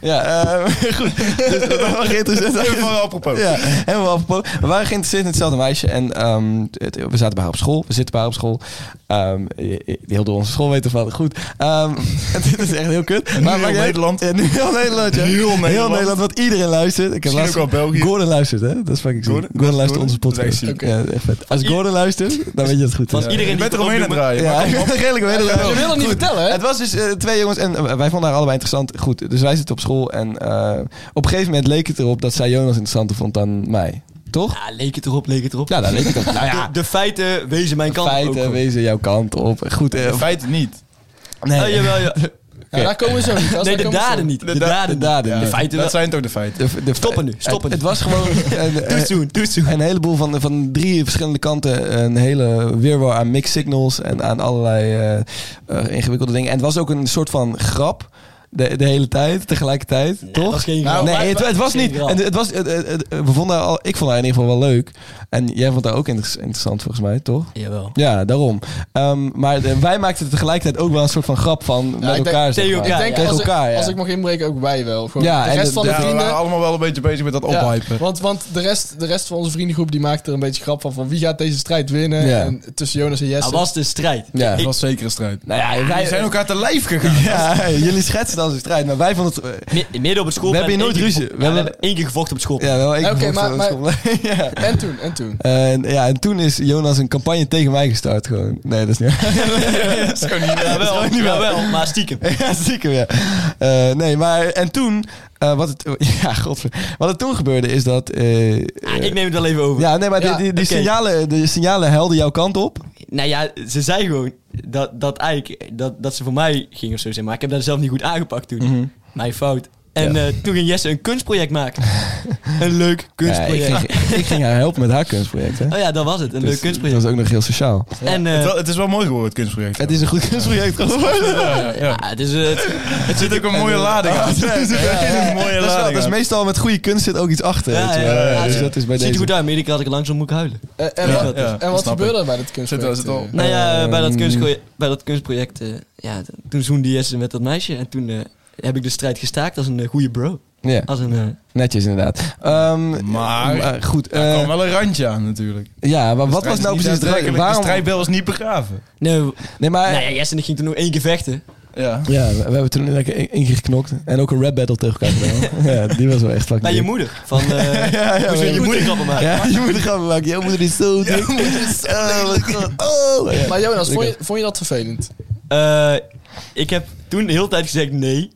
Speaker 2: Ja, eh, goed. Dus we waren geïnteresseerd.
Speaker 3: Helemaal apropos.
Speaker 2: Ja, helemaal apropos. We waren geïnteresseerd in hetzelfde meisje. En ehm, het- we zaten bij haar op school. We zitten bij haar op school. Ehm, eh, eh, heel door onze school weten we van. Goed. Ehm, dit is echt heel kut.
Speaker 3: nu heel
Speaker 2: maakt niet uit.
Speaker 3: Nederland.
Speaker 2: Ja, nu heel Nederland. Ja.
Speaker 3: Heel Nederland.
Speaker 2: Heel Nederland, want iedereen luistert. Ik heb
Speaker 3: Misschien ook
Speaker 2: laatst-
Speaker 3: wel België.
Speaker 2: Gordon luistert, hè? Dat is fucking ziek. Gordon,
Speaker 3: Gordon? Dat is
Speaker 2: luistert
Speaker 3: Gordon?
Speaker 2: onze
Speaker 3: Dat is
Speaker 2: podcast.
Speaker 3: echt
Speaker 2: Oké. Ja, echt vet. Als Gordon luistert, dan weet je dat het goed
Speaker 5: Van
Speaker 2: is.
Speaker 5: iedereen
Speaker 3: Je
Speaker 5: die
Speaker 3: bent er omheen aan het
Speaker 5: opnoemt-
Speaker 3: draaien.
Speaker 2: Ja, redelijk wel.
Speaker 6: Je wil het niet vertellen, hè?
Speaker 2: Het was dus eh, twee jongens en eh, wij vonden haar allebei interessant. Goed, dus wij zitten op school en eh, op een gegeven moment leek het erop dat zij Jonas interessanter vond dan mij. Toch?
Speaker 5: Ja, leek het erop, leek het erop.
Speaker 2: Ja, daar leek het op. Nou ja,
Speaker 5: De, de feiten wezen mijn kant
Speaker 2: feiten
Speaker 5: ook. op.
Speaker 2: wezen jouw kant op. Goed, eh,
Speaker 3: In feite niet.
Speaker 2: nee,
Speaker 5: Oh, jawel, ja.
Speaker 6: Ja, daar komen we zo niet. Als
Speaker 5: Nee,
Speaker 6: daar
Speaker 5: de
Speaker 6: komen we zo
Speaker 5: daden niet. De daden. niet.
Speaker 2: daden.
Speaker 5: De
Speaker 2: niet.
Speaker 5: feiten wel.
Speaker 3: Dat zijn toch de feiten.
Speaker 2: De- de-
Speaker 5: Stoppen nu,
Speaker 2: het-
Speaker 5: stoppen.
Speaker 2: Het was gewoon een,
Speaker 5: Doe het
Speaker 2: eh,
Speaker 5: zoen, doe het zoen.
Speaker 2: een heleboel van, van drie verschillende kanten. Een hele wirwar aan mixed signals en aan allerlei eh, eh, ingewikkelde dingen. En het was ook een soort van grap. De, de hele tijd, tegelijkertijd, toch?
Speaker 5: was geen grap.
Speaker 2: Nou,
Speaker 5: Maar-
Speaker 2: nee, het, het was
Speaker 5: geen
Speaker 2: niet.
Speaker 5: grap.
Speaker 2: En het was, het- het- het- we vonden haar al, ik vond haar in ieder geval wel leuk. En jij vond haar ook inter- interessant, volgens mij, toch?
Speaker 5: Jawel.
Speaker 2: Ja, daarom. Ehm, maar de- wij maakten er tegelijkertijd ook wel een soort van grap van met
Speaker 6: ik denk-
Speaker 2: elkaar. zeg
Speaker 5: tegen
Speaker 2: maar.
Speaker 5: elkaar, ja.
Speaker 6: Ik denk,
Speaker 2: Tegen
Speaker 6: als,
Speaker 2: elkaar,
Speaker 6: ik,
Speaker 2: ja.
Speaker 6: als ik mag inbreken, ook wij wel. Gewoon
Speaker 2: Ja,
Speaker 6: de
Speaker 2: en
Speaker 6: rest
Speaker 2: de-
Speaker 6: van de,
Speaker 3: Ja, we
Speaker 6: vrienden...
Speaker 3: waren allemaal wel een beetje bezig met dat
Speaker 6: Ja,
Speaker 3: ophypen.
Speaker 6: want want de, rest, de rest van onze vriendengroep die maakt er een beetje grap van. van wie gaat deze strijd winnen
Speaker 2: Ja.
Speaker 6: en, tussen Jonas en
Speaker 5: Dat
Speaker 3: Ah,
Speaker 6: Jesse.
Speaker 5: was de strijd.
Speaker 2: Ja.
Speaker 5: Ik-
Speaker 3: Het was zeker een strijd.
Speaker 2: Nou ja, wij
Speaker 3: We zijn elkaar te lijf gegaan.
Speaker 2: Ja, jullie schetsen dan zo'n strijd, maar wij vonden het... eh,
Speaker 5: mi- midden op het school.
Speaker 2: We hebben hier nooit ruzie.
Speaker 5: We,
Speaker 2: We hebben-
Speaker 5: hebben één keer gevochten op school.
Speaker 2: Ja, wel één
Speaker 6: Oké,
Speaker 2: keer
Speaker 6: maar-
Speaker 2: voor- ja.
Speaker 6: En toen, en toen.
Speaker 2: En, ja, en toen is Jonas een campagne tegen mij gestart gewoon. Nee, dat is niet waar.
Speaker 3: Dat is gewoon niet waar.
Speaker 5: Jawel,
Speaker 2: niet waar.
Speaker 5: jawel, maar stiekem.
Speaker 2: ja, stiekem, ja. Eh, nee, maar... En toen... eh, wat, het, ja, godver, wat er toen gebeurde is dat... eh,
Speaker 5: Ah, ik neem het wel even over.
Speaker 2: ja, nee, maar die,
Speaker 6: Ja,
Speaker 2: die, die
Speaker 5: oké.
Speaker 2: signalen, de signalen helden jouw kant op.
Speaker 5: Nou ja, ze zei gewoon dat, dat eigenlijk dat, dat ze voor mij ging of zo zeg maar. Ik heb dat zelf niet goed aangepakt toen.
Speaker 2: Mhm.
Speaker 5: Mijn fout. En eh, toen ging Jesse een kunstproject maken. een leuk
Speaker 2: ik,
Speaker 5: kunstproject.
Speaker 2: ging, ik ging haar helpen met haar kunstproject, hè.
Speaker 5: Oh ja, dat was het. Een
Speaker 2: Dus
Speaker 5: leuk kunstproject.
Speaker 2: Dat was ook nog heel sociaal.
Speaker 5: En eh,
Speaker 3: Het is wel- Het is wel mooi geworden, het kunstproject.
Speaker 2: Het is een goed kunstproject geworden.
Speaker 5: ah, het is eh, het.
Speaker 3: Het zit ook een mooie lading aan. Een mooie
Speaker 2: Dat is, wel-
Speaker 3: lading
Speaker 2: dat is
Speaker 3: aan.
Speaker 2: meestal met goede kunst zit ook iets achter.
Speaker 5: Ja,
Speaker 2: weet je
Speaker 5: ja,
Speaker 2: wel.
Speaker 5: ja,
Speaker 3: ja,
Speaker 2: dus
Speaker 3: ja.
Speaker 2: dat is bij
Speaker 5: ziet er
Speaker 2: deze.
Speaker 5: goed uit, maar iedereen had ik langzaam moet huilen.
Speaker 6: Eh, en
Speaker 3: Ja,
Speaker 6: wat,
Speaker 3: ja,
Speaker 6: en wat
Speaker 3: snap ik.
Speaker 6: gebeurde er bij dat
Speaker 3: Zit er-
Speaker 6: kunstproject?
Speaker 3: zit al-
Speaker 6: eh?
Speaker 5: Nou ja, bij dat
Speaker 2: Ehm.
Speaker 5: kunstproject, bij dat kunstproject eh, ja, d- toen zoende Jesse met dat meisje. En toen eh, heb ik de strijd gestaakt als een eh, goede bro.
Speaker 2: Ja,
Speaker 5: Als een, eh,
Speaker 2: netjes inderdaad. Ehm,
Speaker 3: Maar-
Speaker 2: eh, goed.
Speaker 3: Er
Speaker 2: eh,
Speaker 3: kwam wel een randje aan natuurlijk.
Speaker 2: ja, maar wat was nou precies het
Speaker 3: de
Speaker 2: randje? Waarom?
Speaker 3: De strijdbel is niet begraven.
Speaker 5: nee, we-
Speaker 2: Nee, maar
Speaker 5: nou ja, Jesse en ik gingen toen nog één keer vechten.
Speaker 3: Ja.
Speaker 2: ja, we, we hebben toen lekker één één keer geknokt en ook een rap battle tegen elkaar gedaan. ja, die was wel echt fucking.
Speaker 5: Bij Nou, je
Speaker 2: leuk.
Speaker 5: moeder. Van, eh
Speaker 2: Ja, ja,
Speaker 5: moest
Speaker 2: maar-
Speaker 5: je je moeder grappen maken.
Speaker 2: Ja, je moeder gaan maken. Jouw moeder is zo dik. Oh, wat goed. Oh, ja.
Speaker 6: Eh, Maar Jonas, vond je, vond je dat vervelend?
Speaker 5: Eh, ik heb toen de hele tijd gezegd nee.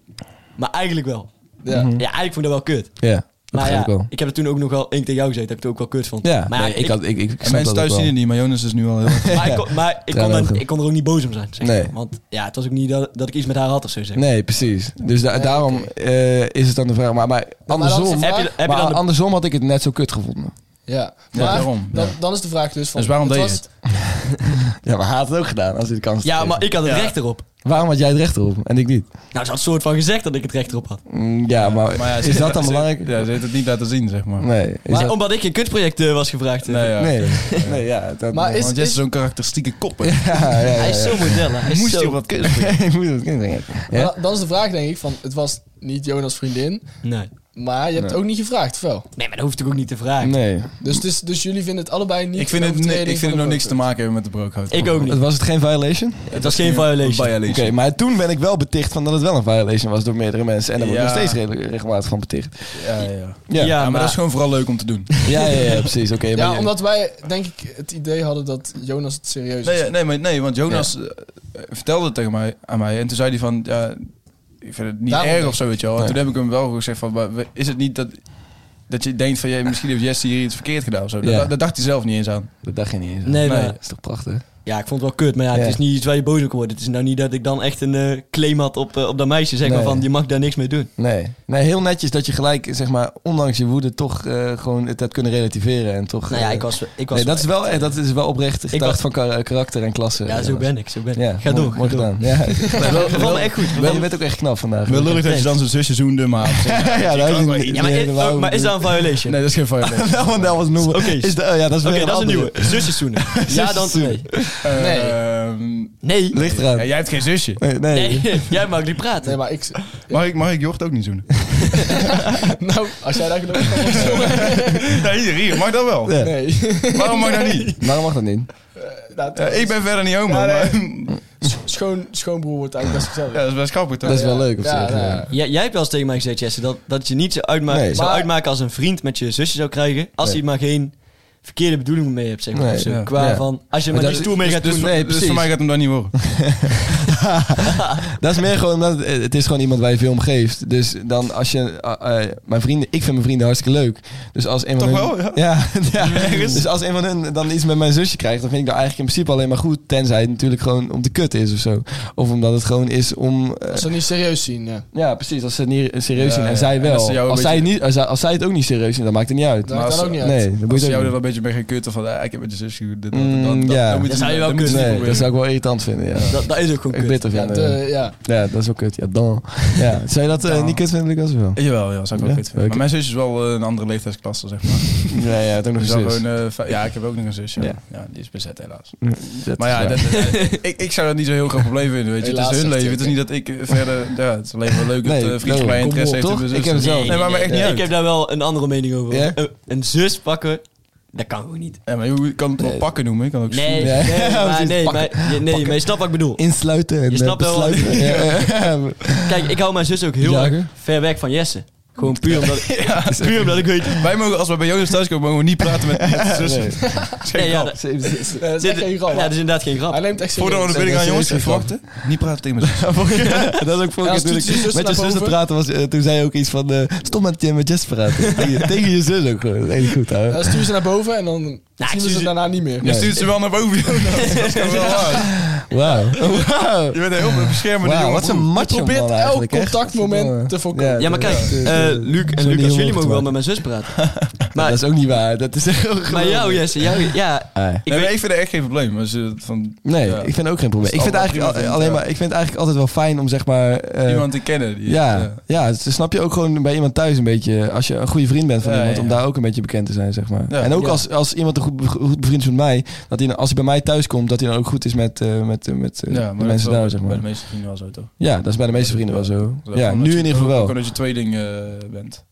Speaker 5: Maar eigenlijk wel.
Speaker 6: Ja.
Speaker 5: Ja, eigenlijk vond ik dat wel kut.
Speaker 2: Ja.
Speaker 5: Maar
Speaker 2: begrijp ik
Speaker 5: ja,
Speaker 2: wel.
Speaker 5: ik heb het toen ook nog wel één tegen jou gezegd, dat ik het ook wel kut vond.
Speaker 2: Ja,
Speaker 5: maar
Speaker 2: nee, ik, had, ik, ik, ik
Speaker 3: En
Speaker 2: snap
Speaker 3: mensen
Speaker 2: dat
Speaker 3: thuis
Speaker 2: ook
Speaker 3: zien
Speaker 2: wel.
Speaker 3: het niet, maar Jonas is nu al heel...
Speaker 5: Maar, ik, kon, maar ik, kon
Speaker 2: Ja,
Speaker 5: dan,
Speaker 2: wel.
Speaker 5: ik kon er ook niet boos om zijn, zeg
Speaker 2: Nee.
Speaker 5: maar. Want ja, het was ook niet dat, dat ik iets met haar had of zo, zeg maar.
Speaker 2: Nee, precies. Dus da-
Speaker 6: Nee,
Speaker 2: daarom eh, is het dan de vraag. Maar, maar
Speaker 6: maar dat is
Speaker 2: andersom,
Speaker 6: de
Speaker 5: Heb je, heb je
Speaker 2: maar
Speaker 5: dan de-
Speaker 2: andersom had ik het net zo kut gevonden.
Speaker 6: Ja,
Speaker 3: Ja,
Speaker 6: maar
Speaker 3: daarom,
Speaker 6: Dan, dan is de vraag dus van...
Speaker 3: Dus waarom
Speaker 6: het
Speaker 3: deed je
Speaker 6: was-
Speaker 2: Ja, maar hij had het ook gedaan als hij de kans
Speaker 5: ja,
Speaker 2: had
Speaker 5: maar
Speaker 2: gekregen.
Speaker 5: ik had het
Speaker 3: Ja.
Speaker 5: recht erop.
Speaker 2: Waarom had jij het recht erop en ik niet?
Speaker 5: Nou, ze had soort van gezegd dat ik het recht erop had.
Speaker 2: Mm, ja, maar,
Speaker 3: Maar ja, ze-
Speaker 2: is dat dan
Speaker 3: ze-
Speaker 2: belangrijk?
Speaker 3: Ja, ze heeft het niet laten zien, zeg maar.
Speaker 2: Nee. Is
Speaker 5: Maar
Speaker 2: dat-
Speaker 5: omdat ik een kunstproject eh, was gevraagd. eh,
Speaker 3: Nee, ja.
Speaker 2: nee. nee, ja. Dat,
Speaker 6: Maar is-
Speaker 3: Want Jesse is zo'n karakteristieke kop. hè.
Speaker 2: ja, ja, ja,
Speaker 5: Hij is
Speaker 2: ja.
Speaker 5: zo model, hè. Hij is
Speaker 3: Moest
Speaker 5: zo...
Speaker 3: je op dat kunstproject?
Speaker 2: Ik moet het kind denken.
Speaker 6: maar
Speaker 2: Ja?
Speaker 6: dan- dan is de vraag denk ik van... Het was niet Jonas' vriendin,
Speaker 5: Nee.
Speaker 6: maar je hebt het ook niet gevraagd, of wel?
Speaker 5: nee, maar dat hoeft ik ook niet te vragen.
Speaker 2: Nee.
Speaker 6: Dus, het is- dus jullie vinden het allebei niet...
Speaker 3: Ik vind
Speaker 6: een
Speaker 3: het, nee,
Speaker 6: overtreding
Speaker 3: ik vind
Speaker 6: van
Speaker 3: het nog
Speaker 6: de
Speaker 3: niks te
Speaker 6: broodwet?
Speaker 3: maken hebben met de brookhout.
Speaker 5: Ik ook niet.
Speaker 2: Het Was het geen violation?
Speaker 5: Het was geen violation.
Speaker 2: Oké, maar toen ben ik wel beticht van dat het wel een violation was door meerdere mensen. En daar word ik
Speaker 3: Ja.
Speaker 2: nog steeds redelijk- regelmatig van beticht.
Speaker 3: Ja, ja.
Speaker 2: Ja,
Speaker 5: Ja,
Speaker 2: ja,
Speaker 3: Ja, maar
Speaker 5: maar-
Speaker 3: dat is gewoon vooral leuk om te doen.
Speaker 2: ja, ja, precies. Oké, maar
Speaker 6: Ja,
Speaker 2: je-
Speaker 6: omdat wij denk ik het idee hadden dat Jonas het serieus is.
Speaker 3: eh, Nee, nee, maar, nee want Jonas eh, vertelde het tegen mij, aan mij. En toen zei hij van, ja, ik vind het niet
Speaker 6: Daarom
Speaker 3: erg
Speaker 6: denk
Speaker 3: of zo, weet je wel. En
Speaker 2: Nee.
Speaker 3: toen heb ik hem wel gezegd van, maar we- is het niet dat, dat je denkt van, ja, misschien heeft Jesse hier iets verkeerd gedaan of zo.
Speaker 2: Ja.
Speaker 3: Dat, dat dacht hij zelf niet eens aan.
Speaker 2: Dat dacht je niet eens. aan.
Speaker 5: Nee, maar...
Speaker 3: Nee.
Speaker 2: Dat is toch prachtig?
Speaker 5: Ja, ik vond het wel kut, maar ja, het
Speaker 2: Ja.
Speaker 5: is niet iets waar je boos op kan worden. Het is nou niet dat ik dan echt een eh, claim had op, eh, op dat meisje. Zeg maar
Speaker 2: Nee.
Speaker 5: van, je mag daar niks mee doen.
Speaker 2: Nee. nee, heel netjes dat je gelijk, zeg maar, ondanks je woede toch eh, gewoon het hebt kunnen relativeren. En toch,
Speaker 5: Nou ja,
Speaker 2: eh,
Speaker 5: ik was... Ik was
Speaker 2: nee, dat, is wel, eh, dat is wel oprecht gedacht
Speaker 5: was-
Speaker 2: van kar- karakter en klasse.
Speaker 5: ja, zo ben ik, zo ben ik.
Speaker 2: Ja,
Speaker 5: ga
Speaker 2: mooi-
Speaker 5: door, ga
Speaker 2: mooi
Speaker 5: door.
Speaker 2: gedaan. Ja.
Speaker 5: We vallen echt goed. we
Speaker 2: Wel, je
Speaker 5: vallen-
Speaker 2: bent ook echt knap vandaag.
Speaker 3: Wel lullig dat je dan zijn zusje zoende, maar...
Speaker 2: ja, ja, dat is niet-
Speaker 5: Ja, maar,
Speaker 2: nee,
Speaker 5: is,
Speaker 2: wou-
Speaker 5: oh, maar is dat een violation?
Speaker 3: Nee, dat is geen violation.
Speaker 2: Wel, want dat was noemen.
Speaker 5: Oké.
Speaker 2: Is dat, oh ja, dat is
Speaker 5: Oké,
Speaker 2: weer
Speaker 5: dat is een
Speaker 2: andere.
Speaker 5: nieuwe. Zusjes zoenen. ja, dan nee.
Speaker 6: Nee.
Speaker 3: Ehm,
Speaker 5: Nee.
Speaker 2: Ligt eraan.
Speaker 3: ja, jij hebt geen zusje.
Speaker 2: Nee, nee.
Speaker 5: Nee, jij mag niet praten.
Speaker 6: Nee, maar ik...
Speaker 3: Mag ik, mag ik Jort ook niet zoenen?
Speaker 6: Nou, als jij daar gelukkig van wordt,
Speaker 3: nee, hier, hier, mag dat wel.
Speaker 2: Ja.
Speaker 6: Nee.
Speaker 3: Waarom mag dat niet?
Speaker 2: Waarom mag dat niet?
Speaker 6: Nou,
Speaker 3: Ja, ik ben verder niet homo,
Speaker 6: Ja, nee.
Speaker 3: maar...
Speaker 6: Schoon, schoonbroer wordt eigenlijk best gezellig.
Speaker 3: Ja, dat is best grappig, toch?
Speaker 2: Dat is wel leuk op
Speaker 6: Ja,
Speaker 2: zich.
Speaker 6: ja,
Speaker 2: ja.
Speaker 6: ja.
Speaker 5: Ja, jij hebt wel eens tegen mij gezegd, Jesse, dat, dat je niet zou, uitmaken,
Speaker 2: Nee.
Speaker 5: zou
Speaker 6: Maar-
Speaker 5: uitmaken als een vriend met je zusje zou krijgen. Als
Speaker 2: Nee.
Speaker 5: hij maar geen verkeerde bedoelingen mee hebt, zeg maar.
Speaker 2: Nee,
Speaker 5: of zo.
Speaker 3: ja.
Speaker 5: Qua
Speaker 2: Ja.
Speaker 5: van, als je maar,
Speaker 2: Maar
Speaker 5: die
Speaker 2: dat-
Speaker 5: stoel mee gaat
Speaker 3: Dus,
Speaker 5: doen.
Speaker 2: Nee,
Speaker 3: dus
Speaker 2: precies.
Speaker 3: voor mij gaat hem dat niet worden.
Speaker 2: Dat is meer gewoon, omdat het- het is gewoon iemand waar je veel om geeft. Dus dan als je, eh, eh, mijn vrienden, ik vind mijn vrienden hartstikke leuk. Dus als een van
Speaker 3: Toch
Speaker 2: hun,
Speaker 3: wel, ja?
Speaker 2: ja, Dus als een van hun dan iets met mijn zusje krijgt, dan vind ik dat eigenlijk in principe alleen maar goed. Tenzij het natuurlijk gewoon om de kut is of zo. Of omdat het gewoon is om, eh,
Speaker 6: Als ze dat niet serieus zien, ja.
Speaker 2: ja precies, als ze het niet serieus
Speaker 3: Ja,
Speaker 2: zien en
Speaker 3: ja.
Speaker 2: zij
Speaker 3: En
Speaker 2: wel.
Speaker 3: als ze jou een
Speaker 2: als, zij
Speaker 3: beetje-
Speaker 2: niet, als, zij- als zij het ook niet serieus zien, dan maakt het niet uit.
Speaker 6: Dat maakt
Speaker 3: als-
Speaker 6: dan ook niet uit.
Speaker 2: Nee, dat
Speaker 3: Als
Speaker 2: moet
Speaker 3: ze
Speaker 2: je
Speaker 3: jou
Speaker 2: ook
Speaker 3: er
Speaker 2: niet.
Speaker 3: wel een beetje mee gaan kutten van, eh, ik heb met je zus gehuurd, dit, dat,
Speaker 2: Mm,
Speaker 3: dat, dan, dan,
Speaker 2: ja.
Speaker 3: dan moet
Speaker 5: Dat zou je wel
Speaker 3: dan moet
Speaker 5: kunnen.
Speaker 3: niet
Speaker 2: Nee,
Speaker 3: proberen.
Speaker 2: dat zou ik wel irritant vinden, ja.
Speaker 5: Dat, dat is ook
Speaker 2: Ik
Speaker 5: gewoon kut.
Speaker 2: bitter
Speaker 6: Ja,
Speaker 2: vinden.
Speaker 6: de, ja.
Speaker 2: Ja, dat is wel kut. Ja, dan. Ja, zou je dat eh,
Speaker 3: Dan.
Speaker 2: niet kut vinden, Lucas? Of wel?
Speaker 3: Jawel, ja, dat zou ik wel
Speaker 2: Ja?
Speaker 3: kut vinden.
Speaker 2: Oké.
Speaker 3: Maar mijn zus is wel eh, een andere leeftijdsklasse, zeg maar.
Speaker 2: Ja, ja, het ook nog
Speaker 3: Dus wel
Speaker 2: eens.
Speaker 3: gewoon, eh, fi- ja, ik heb ook nog een zus, ja.
Speaker 2: Ja.
Speaker 3: Ja, die is bezet helaas. Maar ja, dat- eh, ik, ik zou dat niet zo'n heel groot probleem vinden, weet je.
Speaker 6: Helaas,
Speaker 3: het is hun
Speaker 6: zegt
Speaker 3: leven,
Speaker 6: hij.
Speaker 3: het is niet dat ik verder... Ja, het is alleen maar leuk
Speaker 2: Nee,
Speaker 3: dat eh vriend van
Speaker 2: daarom.
Speaker 3: mij interesse heeft
Speaker 2: Kom
Speaker 3: in
Speaker 2: op, toch?
Speaker 3: mijn zus.
Speaker 2: Ik heb het zelf.
Speaker 3: Nee, maar maar echt niet
Speaker 5: nee,
Speaker 3: uit.
Speaker 5: Ik heb daar wel een andere mening over.
Speaker 2: Ja?
Speaker 5: Een, een zus pakken, dat kan gewoon niet.
Speaker 3: Ja, maar je kan het wel
Speaker 2: Nee.
Speaker 3: pakken noemen, ik kan ook
Speaker 5: Nee,
Speaker 2: Ja.
Speaker 5: nee,
Speaker 2: Ja,
Speaker 5: maar,
Speaker 2: precies,
Speaker 5: nee,
Speaker 2: pakken.
Speaker 5: maar, je- nee,
Speaker 2: Pakken.
Speaker 5: maar je snapt wat ik bedoel.
Speaker 2: Insluiten en
Speaker 5: Je
Speaker 2: eh,
Speaker 5: snapt wel-
Speaker 2: besluiten. Ja, ja, ja.
Speaker 5: Kijk, ik hou mijn zus ook heel
Speaker 2: Jager.
Speaker 5: erg ver weg van Jesse. Gewoon puur omdat, puur omdat ik weet...
Speaker 3: Wij mogen, als we bij Jonas thuis komen, mogen we niet praten met, met de zussen.
Speaker 2: Nee.
Speaker 3: Dat is geen
Speaker 5: Nee, ja,
Speaker 3: grap.
Speaker 5: dat-
Speaker 2: Ze- ze- ze-
Speaker 6: Eh, dat is
Speaker 5: dit-
Speaker 6: echt geen grap.
Speaker 5: ja, dat is inderdaad geen grap.
Speaker 6: Hij neemt echt
Speaker 3: Voordat we
Speaker 6: serieus.
Speaker 3: de binnen gaan,
Speaker 2: dat is
Speaker 3: jongens,
Speaker 2: serieus
Speaker 3: even
Speaker 2: geen
Speaker 3: wachten. Niet praten tegen mijn zus.
Speaker 2: dat is ook voor
Speaker 6: Ja,
Speaker 2: natuurlijk.
Speaker 6: als toetsen je zus
Speaker 2: met je
Speaker 6: naar
Speaker 2: zus te
Speaker 6: boven.
Speaker 2: praten was, eh, toen zei je ook iets van, eh stop met, je- met Jess praten. tegen, tegen je zus ook gewoon. Dat is echt goed, hè.
Speaker 6: Dan stuur ze naar boven en dan
Speaker 5: ik
Speaker 6: zien we
Speaker 5: stuur
Speaker 6: ze
Speaker 5: ze-
Speaker 6: daarna niet meer.
Speaker 3: Je stuurt ze wel naar boven, Jonas. Dat kan wel waar.
Speaker 2: Wauw. Wauw.
Speaker 3: Je bent een heel beschermende
Speaker 2: Wauw,
Speaker 3: jongen.
Speaker 2: wat een macho man
Speaker 6: probeert elk
Speaker 2: eigenlijk, hè.
Speaker 6: contactmoment
Speaker 2: Godverdomme.
Speaker 6: te voorkomen.
Speaker 5: Ja, maar kijk,
Speaker 2: dat-
Speaker 5: eh,
Speaker 2: dat-
Speaker 5: Luc en
Speaker 2: zo niet
Speaker 5: Lucas, jullie
Speaker 2: heel
Speaker 5: mogen wel
Speaker 2: hard
Speaker 5: met mijn zus praten. Maar,
Speaker 2: Dat is ook niet waar. Dat is heel
Speaker 5: maar
Speaker 2: geweldig.
Speaker 5: jou, Jesse, jou, ja,
Speaker 2: Ah.
Speaker 5: ik
Speaker 3: nee,
Speaker 5: weet-
Speaker 3: maar ik vind het echt geen probleem. Als je het van
Speaker 2: Nee,
Speaker 3: Ja.
Speaker 2: ik vind ook geen probleem.
Speaker 3: Als
Speaker 2: Ik vind,
Speaker 3: allemaal
Speaker 2: eigenlijk al-
Speaker 3: prima vindt,
Speaker 2: alleen
Speaker 3: ja.
Speaker 2: maar, ik vind het eigenlijk altijd wel fijn om zeg maar... eh,
Speaker 3: iemand te kennen. die-
Speaker 2: ja, ja. dus snap je ook gewoon bij iemand thuis een beetje... Als je een goede vriend bent van
Speaker 3: Ja,
Speaker 2: iemand,
Speaker 3: ja.
Speaker 2: om daar ook een beetje bekend te zijn, zeg maar.
Speaker 3: Ja.
Speaker 2: en ook
Speaker 5: Ja.
Speaker 2: als, als iemand een goed, be- goed bevriend is met mij, dat hij, dan- als hij bij mij thuis komt, dat hij dan ook goed is met, eh, met, eh, met eh,
Speaker 3: Ja,
Speaker 2: de
Speaker 3: dat is
Speaker 2: mensen
Speaker 3: wel-
Speaker 2: daar, zeg
Speaker 3: Bij
Speaker 2: maar.
Speaker 3: de meeste vrienden wel zo, toch?
Speaker 2: Ja, dat is bij de meeste vrienden wel zo.
Speaker 3: Dat is
Speaker 2: Ja,
Speaker 3: gewoon
Speaker 2: nu
Speaker 3: dat
Speaker 2: in
Speaker 3: je-
Speaker 2: ieder geval
Speaker 3: Ook
Speaker 2: wel.
Speaker 3: omdat je tweeling eh, bent.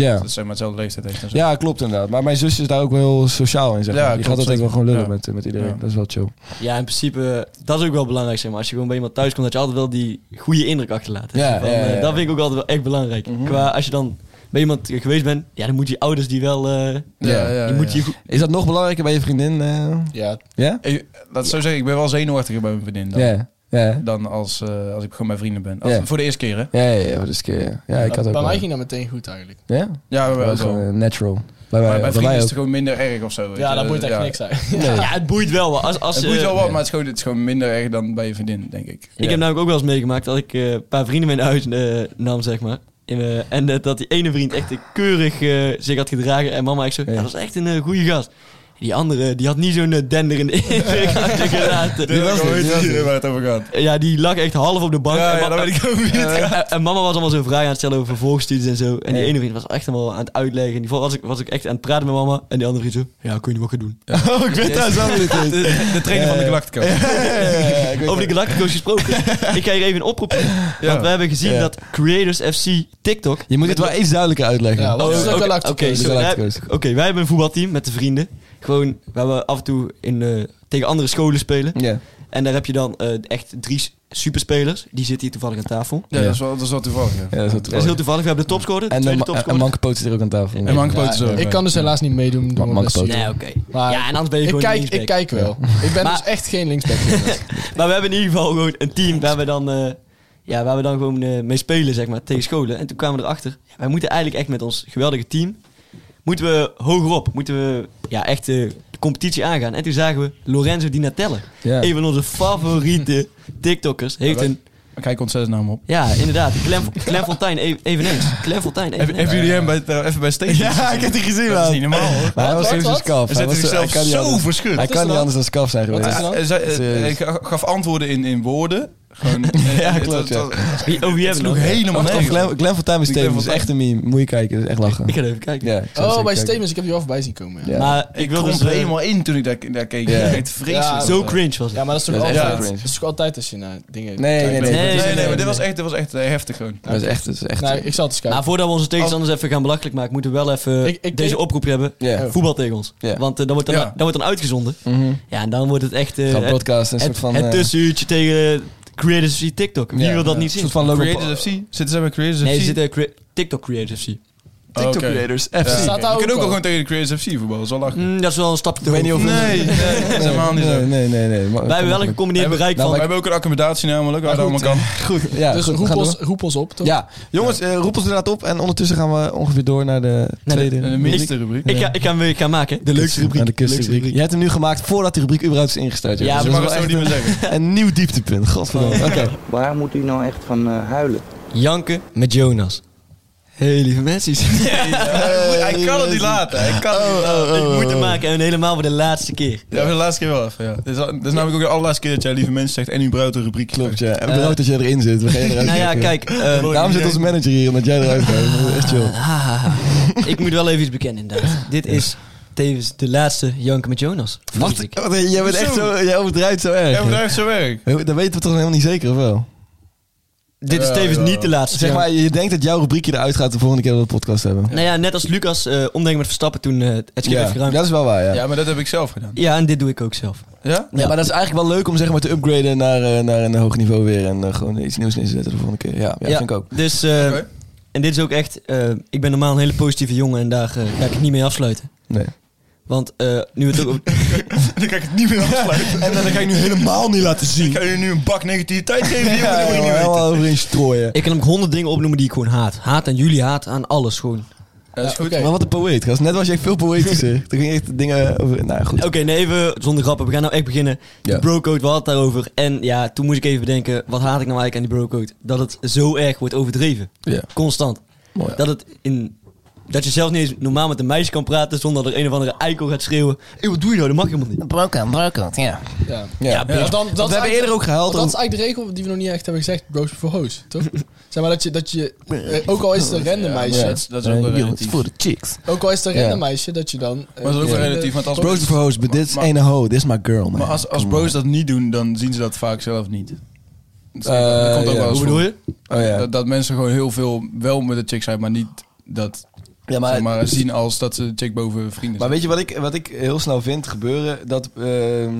Speaker 2: Ja.
Speaker 3: Dat zijn maar hetzelfde leeftijd heeft en zo.
Speaker 2: ja, klopt inderdaad. Maar mijn zus is daar ook wel heel sociaal in, zeg
Speaker 3: Ja,
Speaker 2: maar. Die
Speaker 3: klopt,
Speaker 2: gaat altijd wel
Speaker 3: zeker.
Speaker 2: gewoon lullen
Speaker 3: Ja.
Speaker 2: met, eh, met iedereen.
Speaker 3: Ja.
Speaker 2: Dat is wel chill.
Speaker 5: ja, in principe, dat is ook wel belangrijk, zeg maar. Als je gewoon bij iemand thuis komt, dat je altijd wel die goede indruk achterlaat. hè.
Speaker 2: Ja,
Speaker 5: Van,
Speaker 2: ja, ja,
Speaker 5: eh,
Speaker 2: ja.
Speaker 5: Dat vind ik ook altijd wel echt belangrijk. Qua, als je dan bij iemand geweest bent, ja, dan moet je ouders die wel... eh,
Speaker 2: Ja.
Speaker 5: die moet je goed-
Speaker 2: Is dat nog belangrijker bij je vriendin? eh?
Speaker 6: Ja,
Speaker 2: Ja?
Speaker 3: Ik- laat het zo zeggen, ik ben wel zenuwachtiger bij mijn vriendin. dan.
Speaker 2: Ja. Ja,
Speaker 3: dan als, eh, als ik gewoon bij vrienden ben. Als-
Speaker 2: Ja.
Speaker 3: Voor de eerste keer, hè?
Speaker 2: ja, ja, ja, dus, eh, ja. ja ik had ook
Speaker 6: Bij
Speaker 2: wel-
Speaker 6: mij ging dat meteen goed eigenlijk.
Speaker 2: Ja,
Speaker 3: Ja,
Speaker 2: dat
Speaker 3: wel
Speaker 2: was
Speaker 3: zo.
Speaker 2: gewoon natural. eh, Bij, mij-
Speaker 3: Maar bij
Speaker 2: bij
Speaker 3: vrienden
Speaker 2: mij
Speaker 3: is
Speaker 2: ook.
Speaker 3: het gewoon minder erg of zo. weet
Speaker 6: Ja,
Speaker 3: je.
Speaker 6: dat boeit echt
Speaker 3: Ja.
Speaker 6: niks eigenlijk.
Speaker 2: Nee.
Speaker 5: Ja, het boeit wel. Als, als,
Speaker 3: Het boeit
Speaker 5: eh,
Speaker 3: wel wat,
Speaker 2: Ja.
Speaker 3: maar het is, gewoon, het is gewoon minder erg dan bij je vriendin, denk ik.
Speaker 5: Ik heb namelijk ook wel eens meegemaakt dat ik eh, een paar vrienden mee naar huis eh, nam, zeg maar. In, eh, en eh, dat die ene vriend echt eh, keurig eh, zich had gedragen. En mama echt zo,
Speaker 2: Ja.
Speaker 5: "Ja, dat was echt een eh, goede gast. Die andere, die had niet zo'n eh, dender in de in de gaten gelaten.
Speaker 3: Die was
Speaker 2: het, die was het.
Speaker 3: waar het over gaat.
Speaker 5: Ja, die lag echt half op de bank.
Speaker 3: Ja,
Speaker 5: en,
Speaker 3: ja,
Speaker 5: ma-
Speaker 3: dat weet ik ook niet.
Speaker 5: en- en mama was allemaal zo'n vragen aan het stellen over vervolgstudies en zo. En die
Speaker 2: Ja.
Speaker 5: ene vriend was echt allemaal aan het uitleggen. En die was ik, was ik echt aan het praten met mama. En die andere vriend zo, ja, kun je niet wat gaan doen.
Speaker 2: Oh, ik weet daar zo niet eens.
Speaker 3: De, de trainer van de Galactica.
Speaker 5: Over de Galactico's gesproken. ik ga hier even een oproep doen. Want we hebben gezien
Speaker 2: Ja.
Speaker 5: dat Creators FC TikTok
Speaker 2: Je moet het wel iets duidelijker uitleggen.
Speaker 6: Ja, wat is
Speaker 5: Oh,
Speaker 6: de
Speaker 5: oké,
Speaker 6: Galactico's?
Speaker 5: Oké,
Speaker 2: De
Speaker 5: zo, wij-
Speaker 2: Galactico's.
Speaker 5: oké, wij hebben een voetbalteam met de vrienden. Gewoon, waar we af en toe in, eh, tegen andere scholen spelen.
Speaker 2: Ja.
Speaker 5: En daar heb je dan eh, echt drie s- superspelers. Die zitten hier toevallig aan tafel.
Speaker 3: Ja, dat is wel, dat is wel toevallig. Ja.
Speaker 2: Ja, dat is wel
Speaker 5: Dat is heel toevallig. We hebben de topscorer, de
Speaker 2: En,
Speaker 5: tweede
Speaker 2: en, eh, en
Speaker 5: topscorer.
Speaker 2: Mankepoot zit er ook aan tafel.
Speaker 3: En Mankpoot is
Speaker 6: Ja,
Speaker 3: ook.
Speaker 6: ik kan dus helaas niet meedoen. door mijn
Speaker 2: Mank poot.
Speaker 5: Nee,
Speaker 6: blessure.
Speaker 5: oké.
Speaker 6: Maar
Speaker 5: Ja, en anders ben je
Speaker 6: ik,
Speaker 5: gewoon
Speaker 6: kijk,
Speaker 5: linksback.
Speaker 6: ik kijk wel. Ik ben
Speaker 5: Maar-
Speaker 6: dus echt geen linksback. jongens.
Speaker 5: Maar we hebben in ieder geval gewoon een team waar we dan, eh, ja, waar we dan gewoon eh, mee spelen, zeg maar, tegen scholen. En toen kwamen we erachter, ja, wij moeten eigenlijk echt met ons geweldige team, moeten we hogerop, moeten we ja, echt eh, de competitie aangaan. En toen zagen we Lorenzo Di Natelle,
Speaker 2: Ja.
Speaker 5: een van onze favoriete TikTokkers, heeft een,
Speaker 3: Ik kijk ontzettend naar hem op.
Speaker 5: ja, inderdaad, Clem, Clem Fontijn e- eveneens. Clem Fontijn
Speaker 3: Hebben
Speaker 5: eveneens.
Speaker 3: hebben jullie hem bij, daar even bij Steve?
Speaker 2: Ja, ik heb die gezien,
Speaker 3: Dat is niet
Speaker 2: man.
Speaker 3: normaal, hoor.
Speaker 2: Maar hij was
Speaker 6: Wat, wat,
Speaker 2: sowieso
Speaker 6: wat?
Speaker 2: skaf.
Speaker 3: Hij zet zichzelf zo verschut.
Speaker 2: Hij kan niet anders dan skaf zijn geweest.
Speaker 3: Hij- hij zei-
Speaker 2: Dus, eh,
Speaker 3: Hij ga- gaf antwoorden in, in woorden. Gewoon, ja,
Speaker 2: klopt, ja.
Speaker 5: Wie, oh, wie hebben we
Speaker 3: sloeg
Speaker 5: nog?
Speaker 3: helemaal
Speaker 2: Wacht, of
Speaker 3: nergens.
Speaker 2: Glenn, Glenn Fortuyn is
Speaker 3: Die
Speaker 2: tegen,
Speaker 3: Glenn
Speaker 2: is echt een meme. Moet je kijken, dat is echt lachen.
Speaker 5: Ik ga even kijken.
Speaker 2: Ja, ik zal
Speaker 6: Oh,
Speaker 2: zeker
Speaker 6: bij
Speaker 2: kijken.
Speaker 6: Stevens, ik heb die wel voorbij zien komen. Ja, ja.
Speaker 5: Maar ik,
Speaker 3: Ik
Speaker 5: wil
Speaker 3: kwam
Speaker 5: dus
Speaker 3: er
Speaker 5: eh,
Speaker 3: helemaal in toen ik daar, daar keek.
Speaker 2: Ja.
Speaker 3: Ja. Het vreselijk.
Speaker 6: Ja,
Speaker 5: zo cringe was het.
Speaker 6: maar dat is toch
Speaker 2: Dat is echt
Speaker 6: altijd,
Speaker 2: cringe.
Speaker 6: dat is toch altijd als je naar dingen...
Speaker 2: Nee, nee, nee.
Speaker 5: Nee,
Speaker 3: Nee, nee,
Speaker 5: nee,
Speaker 3: maar dit was echt, dit was echt eh, heftig gewoon.
Speaker 2: Dat is echt... Dat is echt
Speaker 6: Nou, ik zal het eens kijken.
Speaker 5: Maar voordat we onze tegenstanders even gaan belachelijk maken, moeten we wel even
Speaker 6: Ik- ik-
Speaker 5: deze oproep hebben.
Speaker 2: Ja.
Speaker 5: Eh, Voetbal tegen ons.
Speaker 2: Eh, Ja.
Speaker 5: Want eh, dan, wordt dan,
Speaker 3: Ja.
Speaker 5: dan wordt dan uitgezonden.
Speaker 6: Oh.
Speaker 2: Mhm.
Speaker 5: Ja, en dan wordt het echt eh,
Speaker 2: Zo'n
Speaker 5: het,
Speaker 2: podcast, een soort
Speaker 5: het,
Speaker 2: van...
Speaker 5: het dus-
Speaker 2: eh,
Speaker 5: tussenuurtje tegen Creators FC TikTok. Wie
Speaker 2: Ja,
Speaker 5: wil dat
Speaker 2: ja.
Speaker 5: niet
Speaker 2: Een
Speaker 5: zien?
Speaker 2: soort van Logan
Speaker 3: Creators FC? Zitten ze bij Creators FC?
Speaker 5: Nee, er zitten crea- TikTok Creators FC.
Speaker 3: Oh, oké.
Speaker 2: TikTok-creators.
Speaker 3: Ja.
Speaker 2: FC.
Speaker 6: Staat daar
Speaker 3: We
Speaker 6: ook
Speaker 3: kunnen ook
Speaker 6: al.
Speaker 3: al gewoon tegen de Creators FC voetballen. Dat is wel lachen.
Speaker 5: Mm, dat is wel een stapje te
Speaker 2: Ik weet niet
Speaker 5: hoog.
Speaker 2: of-
Speaker 3: Nee, nee, dat is helemaal niet zo.
Speaker 2: Nee, nee, nee. nee. Maar-
Speaker 5: Wij hebben wel een gecombineerd
Speaker 3: Hebben-
Speaker 5: bereik
Speaker 2: Nou,
Speaker 3: We
Speaker 5: van...
Speaker 3: hebben ook een accommodatie namelijk, waar dat
Speaker 6: goed,
Speaker 3: allemaal kan.
Speaker 2: Goed, ja.
Speaker 6: dus
Speaker 2: goed,
Speaker 6: roep,
Speaker 2: ga
Speaker 6: ons,
Speaker 2: door.
Speaker 6: roep ons op, toch?
Speaker 2: Ja, jongens, eh, roep ons inderdaad op. En ondertussen gaan we ongeveer door naar de tweede...
Speaker 3: De minste rubriek.
Speaker 5: Ik ga, ik, ga, hem weer gaan maken. De leukste rubriek.
Speaker 2: Naar de
Speaker 5: Leukste
Speaker 2: kusrubriek.
Speaker 5: rubriek.
Speaker 2: Jij hebt hem nu gemaakt voordat die rubriek überhaupt is ingestart. joh.
Speaker 5: Ja,
Speaker 2: Dus
Speaker 3: Je
Speaker 5: maar
Speaker 2: dat
Speaker 3: mag
Speaker 2: is
Speaker 3: het
Speaker 2: wel
Speaker 3: zo niet meer zeggen.
Speaker 2: echt een nieuw dieptepunt. Godverdomme. Oké.
Speaker 8: Waar moet u nou echt van eh, huilen?
Speaker 5: Janken met Jonas. Hey, lieve mensen.
Speaker 3: Hij kan het niet laten. Hij kan
Speaker 5: Oh,
Speaker 3: het niet laten.
Speaker 5: Ik moet hem maken en helemaal voor de laatste keer.
Speaker 3: Ja, voor de laatste keer wel even, ja. Dit is, al- dit is namelijk ook de allerlaatste keer dat jij lieve mensen zegt en uw bruid een rubriek
Speaker 2: Klopt, ja. Eh, En bedankt dat jij erin zit. We gaan je eruit
Speaker 5: Nou ja,
Speaker 2: knippen.
Speaker 5: kijk. ehm,
Speaker 2: Daarom zit onze manager hier, omdat jij eruit gaat. Dat is Echt chill.
Speaker 5: Ha, ha, ha. Ah, ik moet wel even iets bekennen inderdaad. Dit is tevens de laatste Janken met Jonas.
Speaker 2: Wacht,
Speaker 5: Verlies ik.
Speaker 2: wacht, jij bent echt zo... Jij overdrijft zo erg.
Speaker 3: Hij bedrijft zijn werk.
Speaker 2: Dat weten we toch helemaal niet zeker, of wel?
Speaker 5: Dit is
Speaker 3: Ja,
Speaker 5: tevens
Speaker 3: ja.
Speaker 5: niet de laatste.
Speaker 2: Zeg maar, je denkt dat jouw rubriekje eruit gaat de volgende keer dat we de podcast hebben.
Speaker 5: Nou ja, net als Lucas eh omdenken met Verstappen toen eh, het schip heeft
Speaker 2: Ja,
Speaker 5: geruimd.
Speaker 2: dat is wel waar, ja.
Speaker 3: Ja, maar dat heb ik zelf gedaan.
Speaker 5: Ja, en dit doe ik ook zelf.
Speaker 3: Ja?
Speaker 2: Ja, maar dat is eigenlijk wel leuk om zeg maar, te upgraden naar, eh, naar een hoog niveau weer. En eh, gewoon iets nieuws neer te zetten de volgende keer. Ja, ja,
Speaker 5: Ja.
Speaker 2: vind ik ook.
Speaker 5: Dus, eh,
Speaker 3: Oké.
Speaker 5: en dit is ook echt... eh, ik ben normaal een hele positieve jongen en daar eh, ga ik het niet mee afsluiten.
Speaker 2: Nee.
Speaker 5: Want eh, nu het ook... over-
Speaker 3: Dan kan ik het niet meer afsluiten.
Speaker 2: En dan ga ik nu helemaal niet laten zien.
Speaker 3: Ik ga je nu een bak negativiteit geven. Die
Speaker 2: Ja,
Speaker 3: wil je niet
Speaker 2: joh,
Speaker 3: weten.
Speaker 2: helemaal overheen strooien.
Speaker 5: ik kan ook honderd dingen opnoemen die ik gewoon haat. Haat aan jullie, haat aan alles gewoon.
Speaker 3: Dat is goed.
Speaker 6: oké.
Speaker 2: Maar wat een poëet, gast. Net was je echt veel poëtischer. Toen ging je echt dingen over... Nou, ja, goed.
Speaker 5: Oké, nee, even zonder grappen. We gaan nou echt beginnen.
Speaker 2: Ja.
Speaker 5: De brocode, we hadden het daarover. En ja, toen moest ik even bedenken, wat haat ik nou eigenlijk aan die brocode? Dat het zo erg wordt overdreven.
Speaker 2: Ja.
Speaker 5: Constant.
Speaker 2: Mooi, ja.
Speaker 5: Dat het in... Dat je zelf niet eens normaal met een meisje kan praten zonder dat er een of andere eikel gaat schreeuwen. Hé, wat doe je nou? Dat mag helemaal niet.
Speaker 2: Broken, broken, ja.
Speaker 6: Ja.
Speaker 2: Ja,
Speaker 6: Want dan, dat
Speaker 2: we hebben eerder ook gehuild.
Speaker 6: Dat is eigenlijk de regel die we nog niet echt hebben gezegd. Bros voor hoes, toch? zeg maar dat je, dat je eh, ook al is het een random meisje,
Speaker 2: Ja.
Speaker 3: Dat is- dat is ook wel
Speaker 2: Eh, yo,
Speaker 3: relatief.
Speaker 2: it's for the chicks.
Speaker 6: ook al is het een
Speaker 2: Ja.
Speaker 6: random meisje, dat je dan... eh,
Speaker 3: Maar dat is ook wel
Speaker 6: eh,
Speaker 3: relatief, want als
Speaker 2: Bros for hoes, but this
Speaker 3: Maar-
Speaker 2: ain't a hoe. This is my girl, man.
Speaker 3: Maar als, als
Speaker 2: Come on.
Speaker 3: bros dat niet doen, dan zien ze dat vaak zelf niet. Dus
Speaker 2: Eh,
Speaker 3: dat komt ook
Speaker 2: ja.
Speaker 3: wel eens
Speaker 5: Hoe
Speaker 3: voor.
Speaker 5: bedoel je?
Speaker 2: Oh, ja.
Speaker 3: dat, dat mensen gewoon heel veel wel met de chick zijn, maar niet dat
Speaker 2: Ja,
Speaker 3: maar,
Speaker 2: maar,
Speaker 3: zeg maar, zien als dat ze de chick boven vrienden
Speaker 2: maar
Speaker 3: zijn.
Speaker 2: weet je wat ik, wat ik heel snel vind gebeuren? Dat ehm,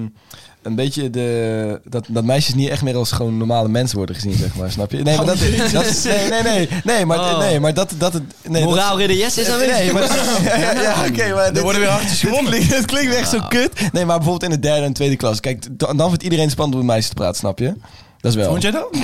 Speaker 2: een beetje de... Dat, dat meisjes niet echt meer als gewoon normale mensen worden gezien, zeg maar. Snap je? Nee,
Speaker 3: Oh,
Speaker 2: maar dat... dat is- nee, nee, nee. Nee, maar,
Speaker 5: Oh.
Speaker 2: nee, maar dat... dat het, nee, dat-
Speaker 5: Moraal ridder yes is aanwezig.
Speaker 2: Nee, maar... Ja, ja, ja, oké, maar...
Speaker 3: Er Ah.
Speaker 2: dit-
Speaker 3: worden weer hartjes
Speaker 2: Dit
Speaker 3: gewonnen.
Speaker 2: klinkt, dit klinkt echt zo kut. Nee, maar bijvoorbeeld in de derde en tweede klas. Kijk, d- dan vindt iedereen het spannend om met meisjes te praten, snap je? Dat is wel.
Speaker 3: Vond jij dat?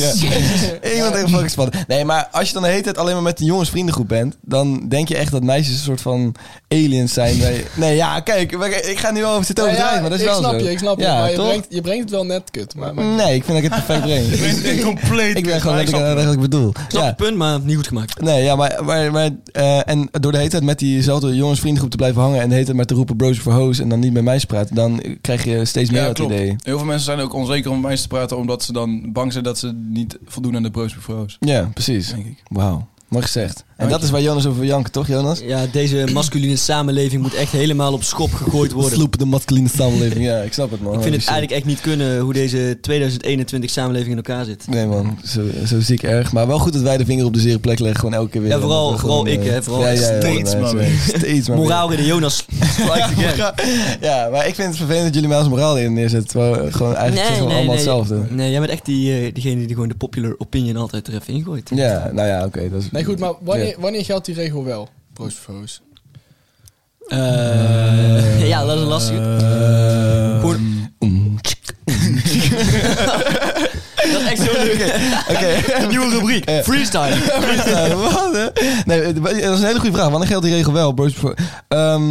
Speaker 2: ja. Ik ben echt fucking spannend. Nee, maar als je dan de hele tijd alleen maar met een jongensvriendengroep bent, dan denk je echt dat meisjes een soort van aliens zijn. bij- Nee, ja, kijk, maar ik ik ga nu wel over zitten
Speaker 6: Nou ja,
Speaker 2: overdrijven, maar dat is
Speaker 6: ik
Speaker 2: wel
Speaker 6: snap
Speaker 2: zo.
Speaker 6: je, ik snap je.
Speaker 2: Ja,
Speaker 6: maar je
Speaker 2: toch?
Speaker 6: brengt, je brengt het wel net kut. Maar, maar-
Speaker 2: Nee, ik vind dat ik het perfect breng.
Speaker 3: compleet.
Speaker 2: ik ben gewoon
Speaker 3: Maar ik
Speaker 2: letterlijk
Speaker 3: snap-
Speaker 2: aan wat ik bedoel.
Speaker 5: Ik snap
Speaker 2: Ja.
Speaker 5: het punt, maar niet goed gemaakt.
Speaker 2: Nee, ja, maar, maar, maar eh, en door de hele tijd met diezelfde jongensvriendengroep te blijven hangen en de hele tijd maar te roepen bros voor hoes en dan niet met mij te praten, dan krijg je steeds meer
Speaker 3: Ja,
Speaker 2: dat
Speaker 3: klopt.
Speaker 2: idee.
Speaker 3: Heel veel mensen zijn ook onzeker om meisjes te praten, omdat ze dan bang zijn dat ze niet voldoen aan de bros vrouwen.
Speaker 2: Ja, precies.
Speaker 3: Denk ik.
Speaker 2: Wauw. Mooi gezegd. En
Speaker 3: Dank
Speaker 2: dat
Speaker 3: je.
Speaker 2: is waar Jonas over wil janken, toch Jonas?
Speaker 5: Ja, deze masculine samenleving moet echt helemaal op schop gegooid worden.
Speaker 2: Sloep de masculine samenleving. Ja, ik snap het man.
Speaker 5: Ik vind het
Speaker 2: Holy shit.
Speaker 5: eigenlijk echt niet kunnen hoe deze 2021 samenleving in elkaar zit.
Speaker 2: Nee man, zo, zo ziek erg. Maar wel goed dat wij de vinger op de zere plek leggen. Gewoon elke keer weer.
Speaker 5: Ja, vooral-
Speaker 2: Dat we
Speaker 5: vooral
Speaker 2: gewoon,
Speaker 5: ik,
Speaker 2: eh,
Speaker 5: hè, vooral
Speaker 3: steeds
Speaker 2: wij
Speaker 3: maar
Speaker 2: zijn- Steeds maar weer.
Speaker 5: Moraalridder Jonas strikes again.
Speaker 2: Ja, maar ik vind het vervelend dat jullie mij als moraal in neerzetten. Terwijl eh, gewoon eigenlijk zeggen we allemaal hetzelfde.
Speaker 5: Nee, jij bent echt die, eh, diegene die gewoon de popular opinion altijd er even ingooit.
Speaker 2: Ja, nou ja, oké. dat is-
Speaker 6: nee, goed, maar
Speaker 2: Ja.
Speaker 6: wanneer, wanneer geldt die regel wel? Proost voor hoes.
Speaker 5: Eh, ja, dat is lastig. Gewoon- dat is echt zo leuk.
Speaker 2: Oké.
Speaker 5: Nieuwe rubriek.
Speaker 2: Eh.
Speaker 5: Freestyle.
Speaker 2: Eh, wat, hè? Nee, eh, dat is een hele goede vraag. Wanneer geldt die regel wel? Bros before... Ehm,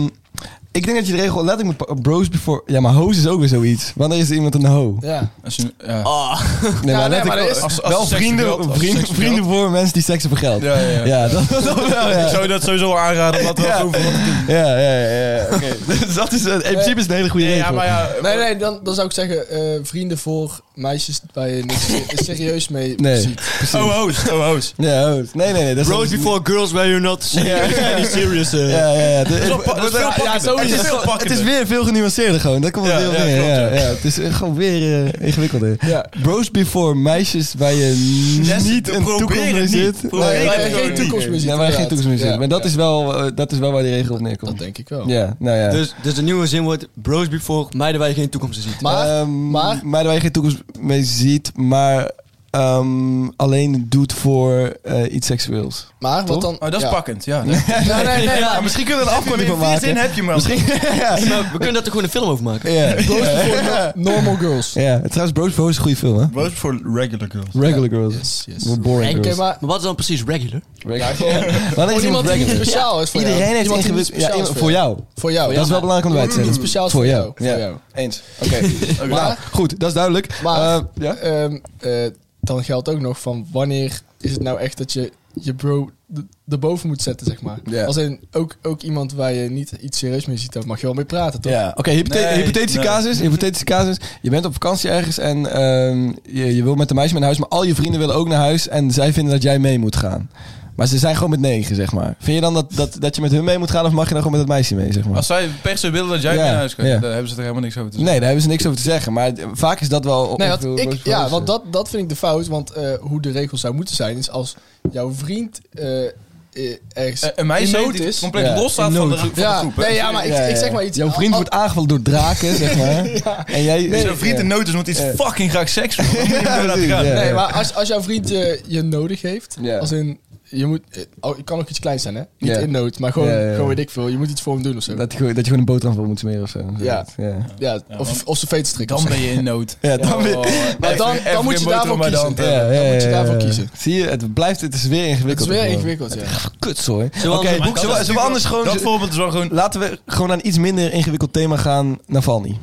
Speaker 2: ik denk dat je de regel letterlijk moet... pa- Bros before... Ja, maar hoes is ook weer zoiets. Wanneer is er iemand een ho?
Speaker 6: Ja.
Speaker 3: Als je, ja.
Speaker 2: Oh.
Speaker 5: Ah,
Speaker 2: Nee,
Speaker 6: maar
Speaker 2: letterlijk wel-
Speaker 6: dat is-
Speaker 3: als- als
Speaker 2: wel
Speaker 3: seks
Speaker 2: vrienden,
Speaker 3: vergeldt, als
Speaker 2: vrienden,
Speaker 3: seks
Speaker 2: vrienden voor mensen die seksen vergelden.
Speaker 3: Ja, ja, ja.
Speaker 2: dat, dat wel,
Speaker 3: Ik
Speaker 2: ja.
Speaker 3: zou je dat sowieso aanraden, omdat we
Speaker 2: Ja.
Speaker 3: over wat
Speaker 2: Ja, ja, ja. ja. Oké. dus dat is, eh, in principe is het een hele goede regel.
Speaker 3: Ja, maar ja.
Speaker 6: Nee, nee, dan, dan zou ik zeggen, eh, vrienden voor meisjes waar je niks se- serieus mee
Speaker 2: Nee.
Speaker 6: ziet.
Speaker 3: Oh, host, oh, host.
Speaker 2: Ja, hoes. Nee, nee, nee. Dat is
Speaker 5: bros before girls where you're not serious. Any serious. eh.
Speaker 2: Ja, ja, ja. De-
Speaker 3: wel pa- dat is veel pakkender.
Speaker 2: zo
Speaker 3: Het is veel
Speaker 2: het is
Speaker 3: pakkender.
Speaker 2: weer veel genuanceerder gewoon. Dat komt het
Speaker 3: Ja,
Speaker 2: heel
Speaker 3: ja,
Speaker 2: neer.
Speaker 3: klopt,
Speaker 2: Ja,
Speaker 3: ja.
Speaker 2: ja. Het is eh, gewoon weer eh, ingewikkelder.
Speaker 6: Ja.
Speaker 2: Bros before meisjes waar je
Speaker 3: Yes,
Speaker 2: niet
Speaker 3: we
Speaker 2: een
Speaker 3: proberen
Speaker 2: toekomst mee
Speaker 3: het niet.
Speaker 2: zit.
Speaker 3: Probeer
Speaker 6: Nee,
Speaker 3: het
Speaker 6: waar je
Speaker 3: gewoon
Speaker 6: geen
Speaker 3: niet.
Speaker 6: toekomst meer ziet.
Speaker 2: Ja, waar je geen
Speaker 6: inderdaad.
Speaker 2: toekomst mee zit.
Speaker 6: Ja,
Speaker 2: Maar dat
Speaker 6: ja.
Speaker 2: is wel, eh, dat is wel waar die regel op
Speaker 6: Dat
Speaker 2: neerkomt.
Speaker 6: denk ik wel.
Speaker 2: Ja, nou ja.
Speaker 5: Dus, dus de nieuwe zin wordt bros before meiden waar je geen toekomst in ziet.
Speaker 6: Maar,
Speaker 2: Ehm,
Speaker 6: maar-
Speaker 2: waar je geen toekomst mee ziet, maar ehm, alleen doet voor eh, iets seksueels.
Speaker 6: maar wat
Speaker 2: Toch?
Speaker 6: dan...
Speaker 3: Oh, dat is
Speaker 6: ja.
Speaker 3: pakkend, ja. Nee.
Speaker 6: Nee, nee, nee.
Speaker 5: Ja,
Speaker 2: Maar misschien kunnen we een afkorting van maken.
Speaker 3: zin heb je, man.
Speaker 2: Misschien. ja.
Speaker 5: Hey, maar we kunnen daar toch gewoon een film over maken?
Speaker 2: Ja.
Speaker 6: Proost voor no- normal girls.
Speaker 2: ja. Trouwens, Bros Bros is een goede film, hè?
Speaker 3: Boos voor regular girls.
Speaker 2: Regular Girls.
Speaker 6: Yes, yes.
Speaker 2: We're boring
Speaker 6: Oké,
Speaker 2: girls.
Speaker 6: maar...
Speaker 5: Maar wat is dan precies regular?
Speaker 2: Regular. Wanneer is
Speaker 6: Voor iemand
Speaker 2: iemand
Speaker 6: die niet
Speaker 2: regular?
Speaker 6: speciaal is voor jou.
Speaker 2: Iedereen heeft
Speaker 6: Iemand die niet
Speaker 2: ingewikkeld... Ja,
Speaker 6: speciaal is
Speaker 2: iemand- voor jou.
Speaker 6: Voor jou,
Speaker 2: Dat is wel
Speaker 6: ja.
Speaker 2: belangrijk om erbij te zeggen.
Speaker 6: Iemand die speciaal is
Speaker 2: Voor
Speaker 6: voor
Speaker 2: jou.
Speaker 6: jou.
Speaker 2: Ja.
Speaker 6: Voor jou.
Speaker 2: Eens. Oké. Oké. Nou, goed. Dat is duidelijk.
Speaker 6: Maar-
Speaker 2: Eh, ja?
Speaker 6: Ehm, eh, dan geldt ook nog van wanneer is het nou echt dat je je bro d- erboven moet zetten, zeg maar.
Speaker 2: Ja.
Speaker 6: Als in ook, ook iemand waar je niet iets serieus mee ziet, daar mag je wel mee praten, toch?
Speaker 2: Ja, oké, hypothe-
Speaker 3: Nee,
Speaker 2: hypothetische
Speaker 3: nee.
Speaker 2: casus. Hypothetische casus. Je bent op vakantie ergens en ehm, je, je wil met een meisje mee naar huis, maar al je vrienden willen ook naar huis en zij vinden dat jij mee moet gaan. Maar ze zijn gewoon met negen, zeg maar. Vind je dan dat, dat, dat je met hun mee moet gaan of mag je dan gewoon met het meisje mee, zeg maar?
Speaker 3: Als zij per se willen dat jij
Speaker 2: Ja,
Speaker 3: mee naar huis gaat,
Speaker 2: ja.
Speaker 3: dan hebben ze er helemaal niks over te
Speaker 2: Nee,
Speaker 3: zeggen.
Speaker 2: daar hebben ze niks over te zeggen. Maar d- vaak is dat wel...
Speaker 6: Nee,
Speaker 2: wat
Speaker 6: want ik, ja, want dat, dat vind ik de fout. Want eh, hoe de regels zou moeten zijn, is als jouw vriend eh, eh, ergens
Speaker 3: Eh, Een meisje
Speaker 6: in nood
Speaker 3: die
Speaker 6: is.
Speaker 3: compleet
Speaker 2: Ja,
Speaker 3: los staat
Speaker 2: in
Speaker 3: van de,
Speaker 2: nood.
Speaker 3: van de
Speaker 6: Ja,
Speaker 3: groep. hè.
Speaker 6: nee, ja, maar ik, ik zeg maar iets.
Speaker 2: Jouw vriend wordt aangevallen door draken, zeg maar. En jij...
Speaker 3: Als een vriend in
Speaker 2: ja.
Speaker 3: nood is, want die is fucking graag seks. man. Dan moet je hem
Speaker 2: Ja,
Speaker 3: laten
Speaker 2: precies,
Speaker 3: gaan.
Speaker 2: ja.
Speaker 6: Nee, maar als, als jouw vriend eh, je nodig heeft,
Speaker 2: Ja.
Speaker 6: als in je moet, eh, oh, het kan ook iets kleins zijn, hè? Niet
Speaker 2: Ja.
Speaker 6: in nood, maar gewoon,
Speaker 2: Ja, ja, ja.
Speaker 6: gewoon weet ik veel. Je moet iets voor hem doen of zo.
Speaker 2: Dat, je, gewoon- dat je gewoon een boterham voor moet smeren of zo.
Speaker 6: Ja.
Speaker 2: ja.
Speaker 6: ja, of, of zijn veet
Speaker 3: Dan ben je in nood. Oh,
Speaker 2: Ja, dan ben je-
Speaker 6: Maar dan, dan moet je daarvoor kiezen.
Speaker 2: Ja, ja,
Speaker 6: Dan moet je
Speaker 2: ja,
Speaker 6: daarvoor
Speaker 2: ja.
Speaker 6: kiezen.
Speaker 2: Zie je, het blijft, het is weer
Speaker 6: Het is
Speaker 2: ingewikkeld.
Speaker 6: weer
Speaker 2: gewoon.
Speaker 6: ingewikkeld, ja.
Speaker 2: Kutzooi. Oké,
Speaker 5: we anders-
Speaker 2: boek- zullen we- zullen we anders gewoon...
Speaker 3: Dat voorbeeld is wel gewoon...
Speaker 2: Laten we gewoon aan iets minder ingewikkeld thema gaan. Navalny.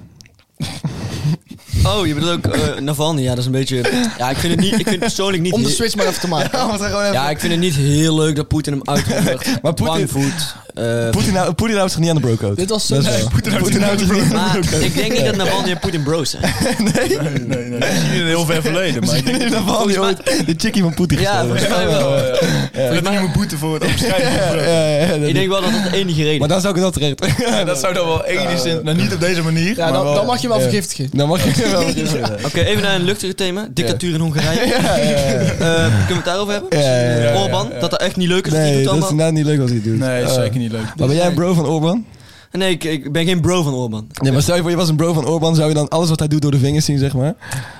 Speaker 5: Oh, je bedoelt ook eh Navalny. Ja, dat is een beetje... Ja, ik vind het, niet, ik vind het persoonlijk niet...
Speaker 6: Om de
Speaker 5: heel-
Speaker 6: switch maar even te maken.
Speaker 2: Ja, we gaan gewoon even-
Speaker 5: Ja, ik vind het niet heel leuk dat Poetin hem uitvoert.
Speaker 2: Maar Poetin-
Speaker 5: Bangvoet, eh,
Speaker 2: Poetin houdt Poetin houdt zich niet aan de brocode.
Speaker 6: Dit was
Speaker 2: Dat is
Speaker 6: Nee,
Speaker 2: wel.
Speaker 3: Poetin houdt zich
Speaker 2: houdt zich niet aan
Speaker 5: maar
Speaker 2: de brocode.
Speaker 5: ik denk niet dat Navalny en Poetin bros zijn.
Speaker 3: Nee, nee, nee. Dat is in een heel ver verleden, maar ik
Speaker 2: Misschien
Speaker 3: denk
Speaker 2: heeft Navalny
Speaker 5: Volgens mij-
Speaker 2: ooit de chickie van Poetin
Speaker 5: Ja,
Speaker 2: gestolen.
Speaker 5: volgens mij wel.
Speaker 3: dat hij moet boeten voor het omschrijven. van vrouw.
Speaker 2: Ja, ja, ja, dat-
Speaker 5: Ik denk wel dat dat de enige reden
Speaker 2: Maar dan
Speaker 5: is.
Speaker 2: zou ik het wel terecht.
Speaker 3: Ja, dat zou dan wel enigszins... Nou, niet op deze manier,
Speaker 6: Ja,
Speaker 3: maar
Speaker 6: dan,
Speaker 3: wel-
Speaker 6: dan mag je wel
Speaker 2: Ja.
Speaker 6: vergiftigen.
Speaker 2: Dan mag je wel.
Speaker 5: Dus
Speaker 2: Ja,
Speaker 5: Oké, even naar een luchtiger thema. Dictatuur in Hongarije.
Speaker 2: ja, ja.
Speaker 5: Eh, kunnen we het daarover hebben?
Speaker 2: Ja, ja, ja, ja.
Speaker 5: Orban, dat dat echt niet leuk is wat hij
Speaker 2: Nee,
Speaker 5: doet
Speaker 2: dat is
Speaker 5: allemaal.
Speaker 2: inderdaad niet leuk als hij het doet.
Speaker 3: Nee, dat is
Speaker 2: Eh,
Speaker 3: zeker niet leuk.
Speaker 2: Maar ben jij een bro van Orban?
Speaker 5: Nee, ik, ik ben geen bro van Orban.
Speaker 2: Ja, maar stel je voor, je was een bro van Orban, zou je dan alles wat hij doet door de vingers zien, zeg maar?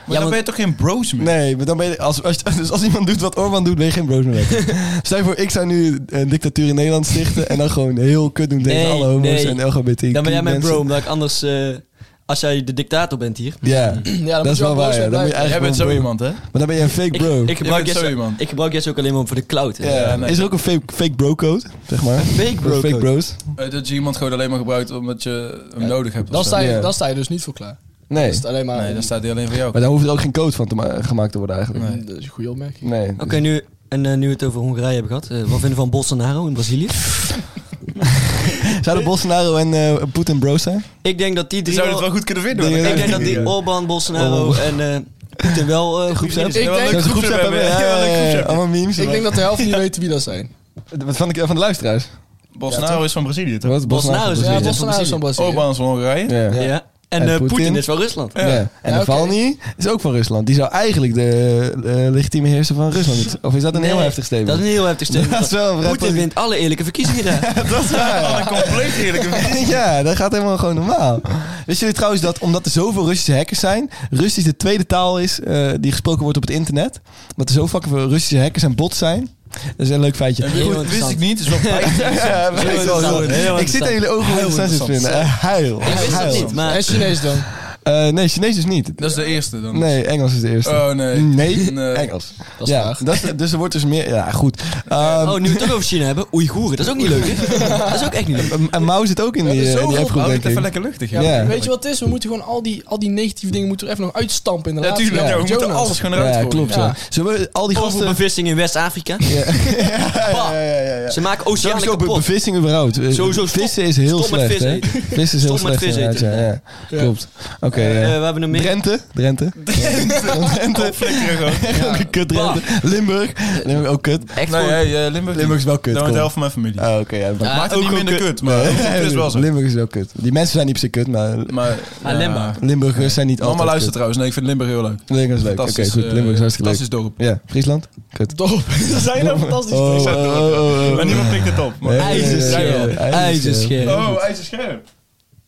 Speaker 3: Maar dan ben je toch geen bros meer?
Speaker 2: Nee, maar dan ben je, als, als, dus als iemand doet wat Orban doet, ben je geen broos meer. weg. stel je voor, ik zou nu een dictatuur in Nederland stichten en dan gewoon heel kut doen tegen
Speaker 5: Nee,
Speaker 2: alle homo's
Speaker 5: nee.
Speaker 2: en LGBT.
Speaker 5: Dan ben jij mijn bro, omdat ik anders... eh, als jij de dictator bent hier.
Speaker 2: Ja, dat is wel waar. ja. Dan moet je
Speaker 6: blijven.
Speaker 3: Jij
Speaker 2: eigenlijk
Speaker 3: bent zo
Speaker 2: gewoon boeien.
Speaker 3: iemand, hè?
Speaker 2: Maar dan ben je een fake
Speaker 5: Ik,
Speaker 2: bro.
Speaker 5: ik,
Speaker 3: Jij
Speaker 5: gebruik
Speaker 3: bent zo
Speaker 5: yes,
Speaker 3: iemand.
Speaker 5: ik gebruik yes ook alleen maar voor de cloud. hè.
Speaker 2: Ja,
Speaker 3: Ja, nee.
Speaker 2: Is er ook een fake, fake bro code, zeg maar?
Speaker 5: Fake bro.
Speaker 2: Fake bros?
Speaker 3: Eh, Dat je iemand gewoon alleen maar gebruikt omdat je hem
Speaker 6: Ja,
Speaker 3: nodig hebt. of
Speaker 6: Dan
Speaker 3: zo.
Speaker 6: sta,
Speaker 2: Ja.
Speaker 6: je, dan sta je dus niet voor klaar.
Speaker 2: Nee.
Speaker 6: Dat is het alleen maar...
Speaker 3: Nee, dan
Speaker 6: dat
Speaker 3: staat hij alleen voor jou.
Speaker 2: Maar daar hoeft er ook geen code van te ma- gemaakt te worden eigenlijk.
Speaker 3: Nee.
Speaker 6: is een goede opmerking.
Speaker 2: Nee.
Speaker 5: Oké, nu, en eh, nu we het over Hongarije hebben gehad. eh, wat vinden we van Bolsonaro in Brazilië?
Speaker 2: Dus Zouden Bolsonaro en eh, Poetin bros zijn?
Speaker 5: Ik denk dat die
Speaker 3: Je
Speaker 5: drie...
Speaker 3: zou
Speaker 5: wel-
Speaker 3: het wel goed kunnen vinden.
Speaker 2: Nee,
Speaker 3: maar dan
Speaker 5: ik denk
Speaker 3: krijg
Speaker 5: dat
Speaker 3: je
Speaker 5: die
Speaker 3: niet.
Speaker 5: Orbán, Bolsonaro
Speaker 2: Oh.
Speaker 5: en eh Poetin wel eh, goed zijn.
Speaker 6: Ik denk-
Speaker 2: Zo'n
Speaker 3: groepsapp
Speaker 2: groepsapp
Speaker 3: hebben,
Speaker 2: hebben,
Speaker 3: ja,
Speaker 2: ja,
Speaker 3: wel een
Speaker 2: ja, ja,
Speaker 3: groepsapp.
Speaker 2: Allemaal memes.
Speaker 6: Ik denk dat de helft niet weet wie dat zijn.
Speaker 2: Wat van de, van de luisteraars?
Speaker 3: Bolsonaro is van Brazilië, toch?
Speaker 2: Wat?
Speaker 5: Bolsonaro is-
Speaker 2: van
Speaker 6: Ja,
Speaker 5: Brazilië.
Speaker 6: Bolsonaro is van Brazilië.
Speaker 3: Orbán is van Hongarije.
Speaker 2: Ja.
Speaker 5: Ja.
Speaker 2: Ja.
Speaker 5: En,
Speaker 2: En
Speaker 5: eh,
Speaker 2: Poetin?
Speaker 5: Poetin is van Rusland.
Speaker 2: En
Speaker 6: Ja, oké.
Speaker 2: Navalny is ook van Rusland. Die zou eigenlijk de eh, legitieme heerser van Rusland moeten zijn. Of is dat een heel
Speaker 5: Nee,
Speaker 2: heftig statement?
Speaker 5: Dat is een heel heftig statement.
Speaker 2: Dat is wel een vrij
Speaker 5: Poetin
Speaker 2: positief-
Speaker 5: wint alle eerlijke verkiezingen daar.
Speaker 3: Compleet eerlijk.
Speaker 2: ja, dat gaat helemaal gewoon normaal. Wisten jullie trouwens dat omdat er zoveel Russische hackers zijn, Russisch de tweede taal is eh, die gesproken wordt op het internet? Dat er zo fucking veel Russische hackers en bots zijn. Dat is een leuk feitje.
Speaker 5: Heel
Speaker 3: Goed, wist
Speaker 5: interessant.
Speaker 3: ik niet. Is wel
Speaker 2: Ja,
Speaker 3: pijnlijk.
Speaker 2: maar
Speaker 5: Heel
Speaker 2: ik zal het
Speaker 5: interessant,
Speaker 2: doen.
Speaker 5: heel
Speaker 2: ik zit
Speaker 5: interessant.
Speaker 2: aan jullie ogen hoe
Speaker 3: Heel
Speaker 2: interessant
Speaker 3: interessant.
Speaker 2: vinden. Eh, huil.
Speaker 5: Ik wist dat
Speaker 2: Huil.
Speaker 5: niet, maar...
Speaker 6: En Chinees dan.
Speaker 2: Eh, nee, Chinees dus niet.
Speaker 3: Dat is de eerste dan.
Speaker 2: Nee, Engels is de eerste.
Speaker 3: Oh nee.
Speaker 2: nee,
Speaker 3: Nee.
Speaker 2: Engels.
Speaker 6: Dat is
Speaker 2: ja,
Speaker 6: laag.
Speaker 2: dat is, dus er wordt dus meer. Ja, goed. Ehm,
Speaker 5: Oh, nu we het ook over China hebben. Oeigoeren, dat is ook niet leuk, hè? Dat is ook echt niet leuk.
Speaker 2: en Mao zit ook in die, eh, in die appgroep,
Speaker 3: Hou
Speaker 2: denk
Speaker 3: het
Speaker 2: ik.
Speaker 3: even lekker luchtig.
Speaker 2: Ja.
Speaker 3: Ja,
Speaker 6: Weet je wat het is? We moeten gewoon al die, al die negatieve dingen moeten we even nog uitstampen in de laatste
Speaker 3: natuurlijk.
Speaker 6: Ja,
Speaker 3: We moeten
Speaker 6: Jonas.
Speaker 3: alles gewoon
Speaker 2: Ja,
Speaker 3: eruit gooien.
Speaker 2: klopt.
Speaker 6: Ja.
Speaker 2: Ja. Zullen we al die gasten.
Speaker 5: Overbevissing in West-Afrika.
Speaker 2: Ja. ja, ja, ja, ja.
Speaker 5: Ze maken
Speaker 2: Sowieso
Speaker 5: oceanen
Speaker 2: be-
Speaker 5: kapot.
Speaker 2: bevissing überhaupt. Eh,
Speaker 5: Sowieso stop-
Speaker 2: vissen is heel
Speaker 5: stop met
Speaker 2: slecht.
Speaker 5: vis
Speaker 2: hè?
Speaker 5: eten.
Speaker 2: Vissen is heel
Speaker 5: Stop met
Speaker 2: slecht.
Speaker 5: vis
Speaker 2: inderdaad,
Speaker 5: eten.
Speaker 2: Ja, ja.
Speaker 6: Ja.
Speaker 2: Klopt. Oké.
Speaker 5: Eh, Oh.
Speaker 2: ja.
Speaker 5: we hebben een meer.
Speaker 2: Drenthe. Drenthe. Drenthe. Drenthe. Ook een kut Drenthe. Limburg. Limburg ook kut.
Speaker 5: Echt
Speaker 3: Nee,
Speaker 5: gewoon-
Speaker 3: hey, eh, Limburg.
Speaker 2: Limburg is wel kut.
Speaker 3: Dan wordt
Speaker 2: kom.
Speaker 3: de helft van mijn familie.
Speaker 2: Oh, oké. ja, dat-
Speaker 5: Ja,
Speaker 3: Maakt het
Speaker 5: ook
Speaker 3: niet
Speaker 5: wel
Speaker 3: minder
Speaker 5: kut.
Speaker 3: kut, maar het is wel zo.
Speaker 2: Limburg is wel kut. Die mensen zijn niet per se kut, maar
Speaker 3: Maar, ja.
Speaker 5: Lemba.
Speaker 2: Limburgers zijn niet
Speaker 3: Mama
Speaker 2: altijd kut.
Speaker 3: luistert trouwens. Nee, ik vind Limburg heel leuk.
Speaker 2: Limburg is leuk. Oké,
Speaker 3: Fantastisch.
Speaker 2: goed.
Speaker 3: eh,
Speaker 2: Limburg is hartstikke leuk.
Speaker 3: Fantastisch dorp.
Speaker 2: Ja, Friesland? Kut.
Speaker 6: Dorp. Dat zijn nou fantastisch.
Speaker 2: Oh, oh, oh, oh, oh.
Speaker 3: Maar niemand pikt het op.
Speaker 2: Nee,
Speaker 3: maar-
Speaker 2: nee, nee, nee,
Speaker 5: IJzerscherm.
Speaker 2: nee.
Speaker 5: IJzerscherm.
Speaker 3: Oh, ijzerscherp.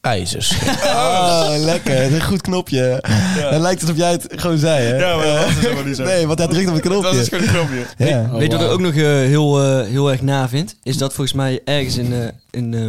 Speaker 7: IJzers.
Speaker 2: Oh, lekker. Dat is een goed knopje. Dan lijkt het of jij het gewoon zei, hè?
Speaker 3: Ja, maar dat is helemaal niet zo.
Speaker 2: Nee, want hij drukt op het
Speaker 3: Dat is
Speaker 2: knopje.
Speaker 3: gewoon een knopje.
Speaker 2: Ja.
Speaker 5: Weet je wat ik ook nog eh, heel, eh, heel erg na vind? Is dat volgens mij ergens in, eh, in eh,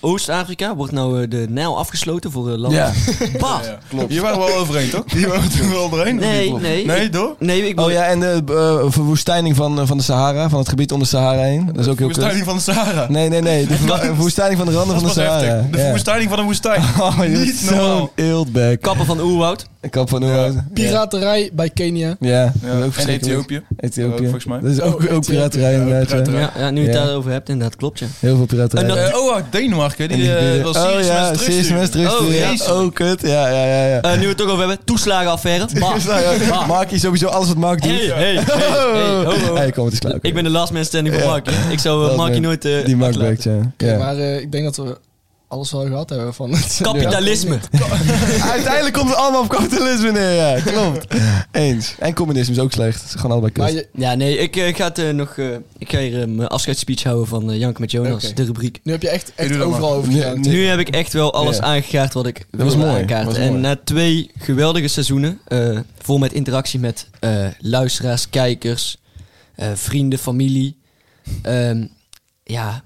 Speaker 5: Oost-Afrika wordt nou eh, de Nijl afgesloten voor eh, landen.
Speaker 2: Ja.
Speaker 5: Bah!
Speaker 3: Ja, klopt. Hier waren we wel overheen, toch? Hier waren we toen wel overheen. of
Speaker 5: Nee,
Speaker 3: niet, klopt?
Speaker 5: nee.
Speaker 3: Nee, door?
Speaker 5: Nee, ik
Speaker 2: Oh
Speaker 5: bedoel-
Speaker 2: ja, en de eh, verwoestijning van, eh, van de Sahara, van het gebied om de Sahara heen. Dat is ook heel kut.
Speaker 3: Verwoestijning van de Sahara.
Speaker 2: Nee, nee, nee. De verwa- verwoestijning van de randen
Speaker 3: Dat
Speaker 2: van
Speaker 3: is
Speaker 2: de
Speaker 3: pas
Speaker 2: Sahara.
Speaker 3: heftig. De
Speaker 2: Ja.
Speaker 3: verwoestijning van de woestijn.
Speaker 2: Oh, je bent
Speaker 3: Niet normaal.
Speaker 2: zo'n eeltback.
Speaker 5: Kappen van oerwoud.
Speaker 2: Kap van Oerwoud. Ja.
Speaker 6: Piraterij bij Kenia.
Speaker 2: Ja,
Speaker 3: Ja,
Speaker 2: dat is ook
Speaker 3: en
Speaker 2: verschrikkelijk.
Speaker 3: Ethiopië.
Speaker 2: Ethiopië.
Speaker 3: Ook volgens mij.
Speaker 2: Dat is ook,
Speaker 6: Oh,
Speaker 2: ook piraterij
Speaker 3: Ja,
Speaker 2: inderdaad. ja.
Speaker 3: piraterij.
Speaker 5: Ja, ja, nu je het
Speaker 2: Ja.
Speaker 5: daarover hebt, inderdaad, klopt ja.
Speaker 2: Heel veel piraterij.
Speaker 5: En dat-
Speaker 3: Eh, oh, uit Denemarken.
Speaker 2: En die
Speaker 3: Die eh,
Speaker 2: bieden-
Speaker 3: wil
Speaker 2: oh
Speaker 3: Syriërs
Speaker 2: ja,
Speaker 3: mensen
Speaker 2: Sirius
Speaker 3: terugsturen.
Speaker 2: mensen terugsturen.
Speaker 5: Oh,
Speaker 2: ja.
Speaker 3: jezus.
Speaker 2: oh, kut. Ja, ja, ja. ja.
Speaker 5: Eh, nu we het toch over hebben, toeslagenaffaire. Bah.
Speaker 2: Mark
Speaker 5: Bah.
Speaker 2: Nou Mark is sowieso alles wat Mark doet.
Speaker 5: Hey, hey, hey, hey, ho, ho.
Speaker 2: Hey, kom, het is klaar.
Speaker 5: Ik ben de last man standing voor
Speaker 2: Ja.
Speaker 5: Mark. hè. Ik zou
Speaker 2: Last
Speaker 5: eh, Markie
Speaker 2: man.
Speaker 5: nooit... eh,
Speaker 2: Die Mark
Speaker 5: achterlaten.
Speaker 2: werkt, ja.
Speaker 6: Kijk,
Speaker 2: ja.
Speaker 6: Maar eh, ik denk dat we alles wel gehad hebben van het...
Speaker 5: Kapitalisme.
Speaker 2: Uiteindelijk komt het allemaal op kapitalisme neer, ja. Klopt. Eens. En communisme is ook slecht. Het is gewoon allebei kut.
Speaker 6: Maar je,
Speaker 5: Ja, nee, ik eh, ga het eh, nog... eh, ik ga hier eh, mijn afscheidsspeech houden van eh, Jank met Jonas,
Speaker 6: Oké.
Speaker 5: de rubriek.
Speaker 6: nu heb je echt, echt
Speaker 3: doe dat
Speaker 6: overal over
Speaker 2: Ja,
Speaker 6: gejankt.
Speaker 2: nee.
Speaker 5: Nu heb ik echt wel alles
Speaker 2: Ja.
Speaker 5: aangegaard wat ik
Speaker 2: was
Speaker 5: wilde
Speaker 2: mooi,
Speaker 5: aankaarten.
Speaker 2: was
Speaker 5: en
Speaker 2: mooi.
Speaker 5: na twee geweldige seizoenen, eh, vol met interactie met eh, luisteraars, kijkers, eh, vrienden, familie. ehm, ja,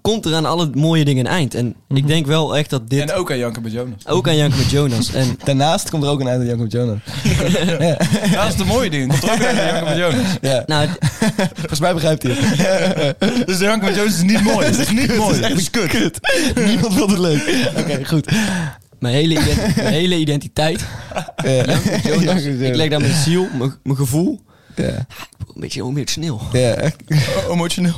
Speaker 5: komt er aan alle mooie dingen een eind. En
Speaker 2: Mhm.
Speaker 5: ik denk wel echt dat dit
Speaker 3: En ook aan Janke met Jonas.
Speaker 5: ook aan Jank met Jonas. En
Speaker 2: Daarnaast komt er ook een einde Jacob Jonah. ja.
Speaker 3: Ja, dat is de mooie ding. Dat is ook aan Janke met Jonas.
Speaker 2: ja.
Speaker 5: nou, het-
Speaker 2: Volgens mij begrijpt hij het.
Speaker 3: Dus de Janke met Jonas is niet mooi. Dat is niet mooi. Dat is kut.
Speaker 2: Niemand vond het leuk. Oké, goed.
Speaker 5: mijn, hele ident- mijn hele identiteit,
Speaker 2: Ja.
Speaker 5: Jonas,
Speaker 2: Jacob
Speaker 5: ik leg daar mijn ziel, mijn, mijn gevoel,
Speaker 2: Ja.
Speaker 5: een beetje emotioneel.
Speaker 2: Ja.
Speaker 3: Emotioneel.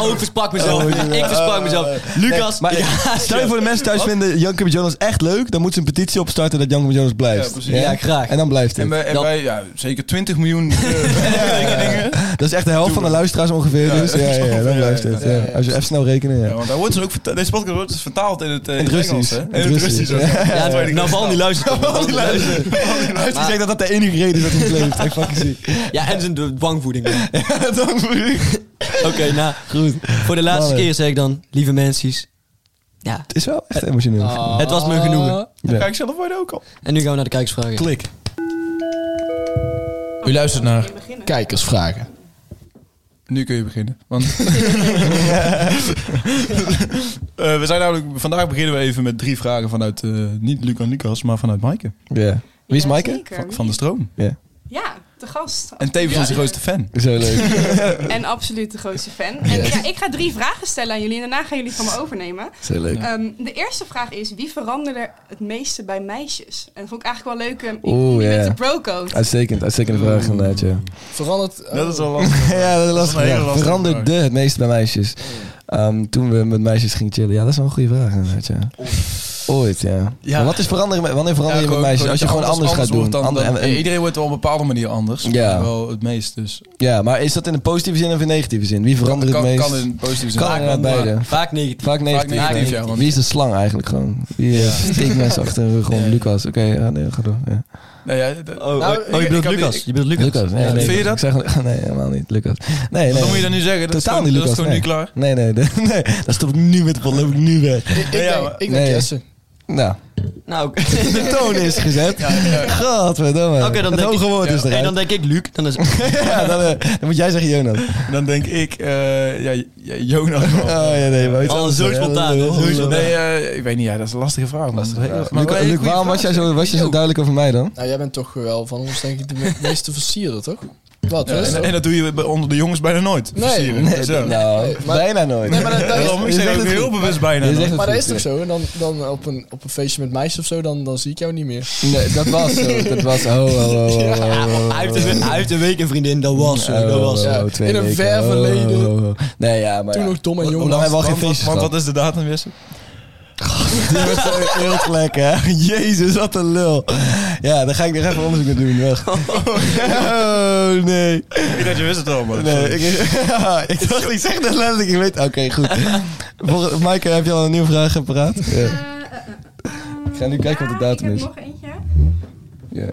Speaker 5: Oh, ik versprak mezelf. ik versprak mezelf. Lucas,
Speaker 2: oh, Maar
Speaker 5: ja,
Speaker 2: stel je voor de mensen thuis vinden Jankum Jonas echt leuk, dan moeten ze een petitie opstarten dat Jankum Jonas blijft.
Speaker 3: Ja, precies.
Speaker 5: Ja, graag.
Speaker 2: En dan blijft
Speaker 3: En
Speaker 2: het.
Speaker 3: wij, en
Speaker 5: Dat-
Speaker 3: wij ja, zeker 20 miljoen eh, tekeningen.
Speaker 2: Dat is echt de helft van de luisteraars ongeveer.
Speaker 3: Ja,
Speaker 2: dus ja, ja, ja, dan
Speaker 3: ja,
Speaker 2: blijft
Speaker 3: ja,
Speaker 2: het.
Speaker 3: ja,
Speaker 2: ja. Als je even snel rekenen, ja.
Speaker 3: Ja, want daar wordt dus ook verta- deze podcast wordt dus vertaald in het, eh,
Speaker 2: In het
Speaker 3: Engels.
Speaker 2: Russisch.
Speaker 3: hè?
Speaker 2: In
Speaker 3: En in
Speaker 2: het
Speaker 3: het
Speaker 2: Russisch,
Speaker 3: Russisch.
Speaker 2: ja. Nou,
Speaker 3: ook.
Speaker 5: Ja,
Speaker 3: Dat weet ik
Speaker 5: Naval die luistert. Navalny luistert.
Speaker 2: Hij heeft gezegd dat dat de enige reden is dat hij niet leeft. Echt fucking ziek.
Speaker 5: Ja, en zijn d- dwangvoeding. Oké,
Speaker 2: Dank voor u.
Speaker 5: nou,
Speaker 2: Goed.
Speaker 5: voor de laatste
Speaker 2: Mannen.
Speaker 5: keer zeg ik dan, lieve mensen. Ja,
Speaker 2: Het is wel echt emotioneel.
Speaker 6: Ah.
Speaker 5: Het was me genoegen.
Speaker 3: niet.
Speaker 2: Ja.
Speaker 3: Kijk zelf voor je ook al.
Speaker 5: en nu gaan we naar de kijkersvragen.
Speaker 2: Klik.
Speaker 7: U luistert naar
Speaker 6: Kijkersvragen.
Speaker 3: Nu kun je beginnen. Want Eh, we zijn namelijk, vandaag beginnen we even met drie vragen vanuit, eh, niet Luc en Lucas, maar vanuit Maaike.
Speaker 2: Ja. Wie is Maaike?
Speaker 3: Van, van de stroom.
Speaker 9: Ja, de gast.
Speaker 3: En tevens onze grootste fan.
Speaker 2: Zo leuk.
Speaker 9: En absoluut de grootste fan. En ja, ik ga drie vragen stellen aan jullie en daarna gaan jullie van me overnemen.
Speaker 2: Zo leuk.
Speaker 9: Ehm, de eerste vraag is, wie veranderde het meeste bij meisjes? En dat vond ik eigenlijk wel leuk, ehm, in
Speaker 2: Oeh,
Speaker 9: combi
Speaker 2: ja.
Speaker 9: met de brocode.
Speaker 2: Uitstekend, uitstekende vraag inderdaad, ja.
Speaker 6: Verandert...
Speaker 3: Dat is wel lastig.
Speaker 2: ja, dat is lastig.
Speaker 3: een hele
Speaker 2: ja.
Speaker 3: lastige
Speaker 2: Veranderde het meeste bij meisjes? Ehm, toen we met meisjes gingen chillen. Ja, dat is wel een goede vraag inderdaad, ja. Ooit, ja.
Speaker 6: Ja.
Speaker 2: Maar wat is veranderen, met- wanneer verander je met meisjes? Als je gewoon anders, gaat doen.
Speaker 3: wordt Dan,
Speaker 2: Ander-
Speaker 3: dan-
Speaker 2: en- en-
Speaker 3: iedereen wordt wel op een bepaalde manier anders.
Speaker 2: Ja.
Speaker 3: Wel het meest. Dus
Speaker 2: ja, maar is dat in een positieve zin of in een negatieve zin? Wie
Speaker 3: kan,
Speaker 2: verandert
Speaker 3: kan,
Speaker 2: het meest?
Speaker 3: kan in positieve zin.
Speaker 2: Kan inderdaad beide.
Speaker 5: Vaak negatief.
Speaker 2: Vaak negatief.
Speaker 3: Vaak negatief,
Speaker 2: ja.
Speaker 3: ja, want-
Speaker 2: Wie is de slang eigenlijk gewoon? Wie eh, steekt mensen achter hun rug om?
Speaker 3: Ja.
Speaker 2: Lucas. Oké, ja, nee, ga door. Ja.
Speaker 3: Nou ja, d-
Speaker 5: Oh,
Speaker 6: Nou,
Speaker 5: oh, je
Speaker 3: ik-
Speaker 5: bedoelt
Speaker 3: ik had-
Speaker 5: Lucas.
Speaker 3: ik-
Speaker 5: je bedoelt Lucas.
Speaker 2: Lucas. Nee,
Speaker 3: Ja,
Speaker 2: nee,
Speaker 3: vind je dat?
Speaker 2: Ik zeg gewoon- nee, helemaal niet. Lucas. Nee,
Speaker 3: wat
Speaker 2: nee.
Speaker 3: moet je dan nu zeggen? Dat
Speaker 2: Totaal
Speaker 3: is gewoon,
Speaker 2: niet
Speaker 3: dat is
Speaker 2: Lucas,
Speaker 3: gewoon
Speaker 2: nee. Nee,
Speaker 3: nu klaar.
Speaker 2: nee, nee, nee. Dat stop ik nu met de pot. loop ik nu weg.
Speaker 6: Ik, ik
Speaker 3: Ja,
Speaker 6: denk,
Speaker 3: maar-
Speaker 6: ik denk
Speaker 2: Nee.
Speaker 6: Jesse.
Speaker 2: Nou,
Speaker 5: Nou, oké.
Speaker 2: de toon is gezet. Godverdomme.
Speaker 5: Oké, dan
Speaker 2: het
Speaker 5: denk
Speaker 2: hoge
Speaker 5: ik-
Speaker 2: woord is
Speaker 5: Ja,
Speaker 2: eruit.
Speaker 5: en dan denk ik Luc. Dan is, oh,
Speaker 2: ja, dan, eh, dan moet jij zeggen Jonas.
Speaker 3: Dan denk ik, eh, ja, ja, Jonas. wel.
Speaker 2: Oh, ja, nee, maar iets
Speaker 5: Oh,
Speaker 2: anders
Speaker 5: zo
Speaker 2: zeggen.
Speaker 5: spontaan,
Speaker 2: Ja, dat is
Speaker 5: hè? Zo
Speaker 2: wel-
Speaker 5: spontaan.
Speaker 3: Nee, eh, ik weet niet. Ja, dat is een lastige vraag. man. Dat is een hele- maar
Speaker 2: Luc,
Speaker 3: wel een
Speaker 2: Luc,
Speaker 3: goede
Speaker 2: waarom
Speaker 3: vraag,
Speaker 2: was jij
Speaker 3: zeg.
Speaker 2: zo, was je zo duidelijk over mij dan?
Speaker 6: Nou, jij bent toch wel van ons denk ik de me- meeste versierder, toch? Wat,
Speaker 3: Ja, en, en dat doe je bij- onder de jongens bijna nooit.
Speaker 6: Nee.
Speaker 3: versieren.
Speaker 2: Nee,
Speaker 3: Zo.
Speaker 2: nou,
Speaker 6: Nee, maar-
Speaker 2: bijna nooit.
Speaker 6: Nee, maar dat- dat is-
Speaker 3: Daarom, ik
Speaker 2: Je
Speaker 3: zeg
Speaker 2: zegt
Speaker 3: ook
Speaker 2: het
Speaker 3: heel
Speaker 2: goed.
Speaker 3: bewust bijna.
Speaker 2: Je
Speaker 3: nooit.
Speaker 2: zegt het
Speaker 6: Maar dat
Speaker 2: goed,
Speaker 6: is toch
Speaker 2: ja.
Speaker 6: zo? En dan, dan op, een, op een feestje met meisjes of zo, dan, dan zie ik jou niet meer.
Speaker 2: Nee, dat was zo. Dat was. Oh, oh, oh, oh, oh, oh,
Speaker 5: hij, heeft een, hij heeft een week een vriendin. Dat was zo. Dat was zo.
Speaker 6: ja.
Speaker 2: twee
Speaker 6: In een
Speaker 2: weken.
Speaker 6: ver verleden.
Speaker 2: Oh, oh, oh. Nee, ja, maar.
Speaker 6: Toen
Speaker 2: ja.
Speaker 6: nog dom en jong
Speaker 2: Hoe lang
Speaker 6: was.
Speaker 2: hebben we al
Speaker 3: Want-
Speaker 2: geen feestjes
Speaker 3: Want
Speaker 2: gehad?
Speaker 3: wat is de datum, Jesse?
Speaker 2: Dit wordt zo heel gelijk, hè? Jezus, wat een lul. Ja, dan ga ik nog even onderzoek naar doen. Wacht. Oh, nee.
Speaker 3: Ik dacht, je wist het al, man.
Speaker 2: nee ik, ik dacht, ik zeg dat letterlijk. Ik weet... Oké, goed. Volgens, Maaike, heb je al een nieuwe vraag paraat? Ja. Ik ga nu kijken wat de datum
Speaker 9: ik
Speaker 2: is.
Speaker 9: heb nog eentje.
Speaker 2: Ja.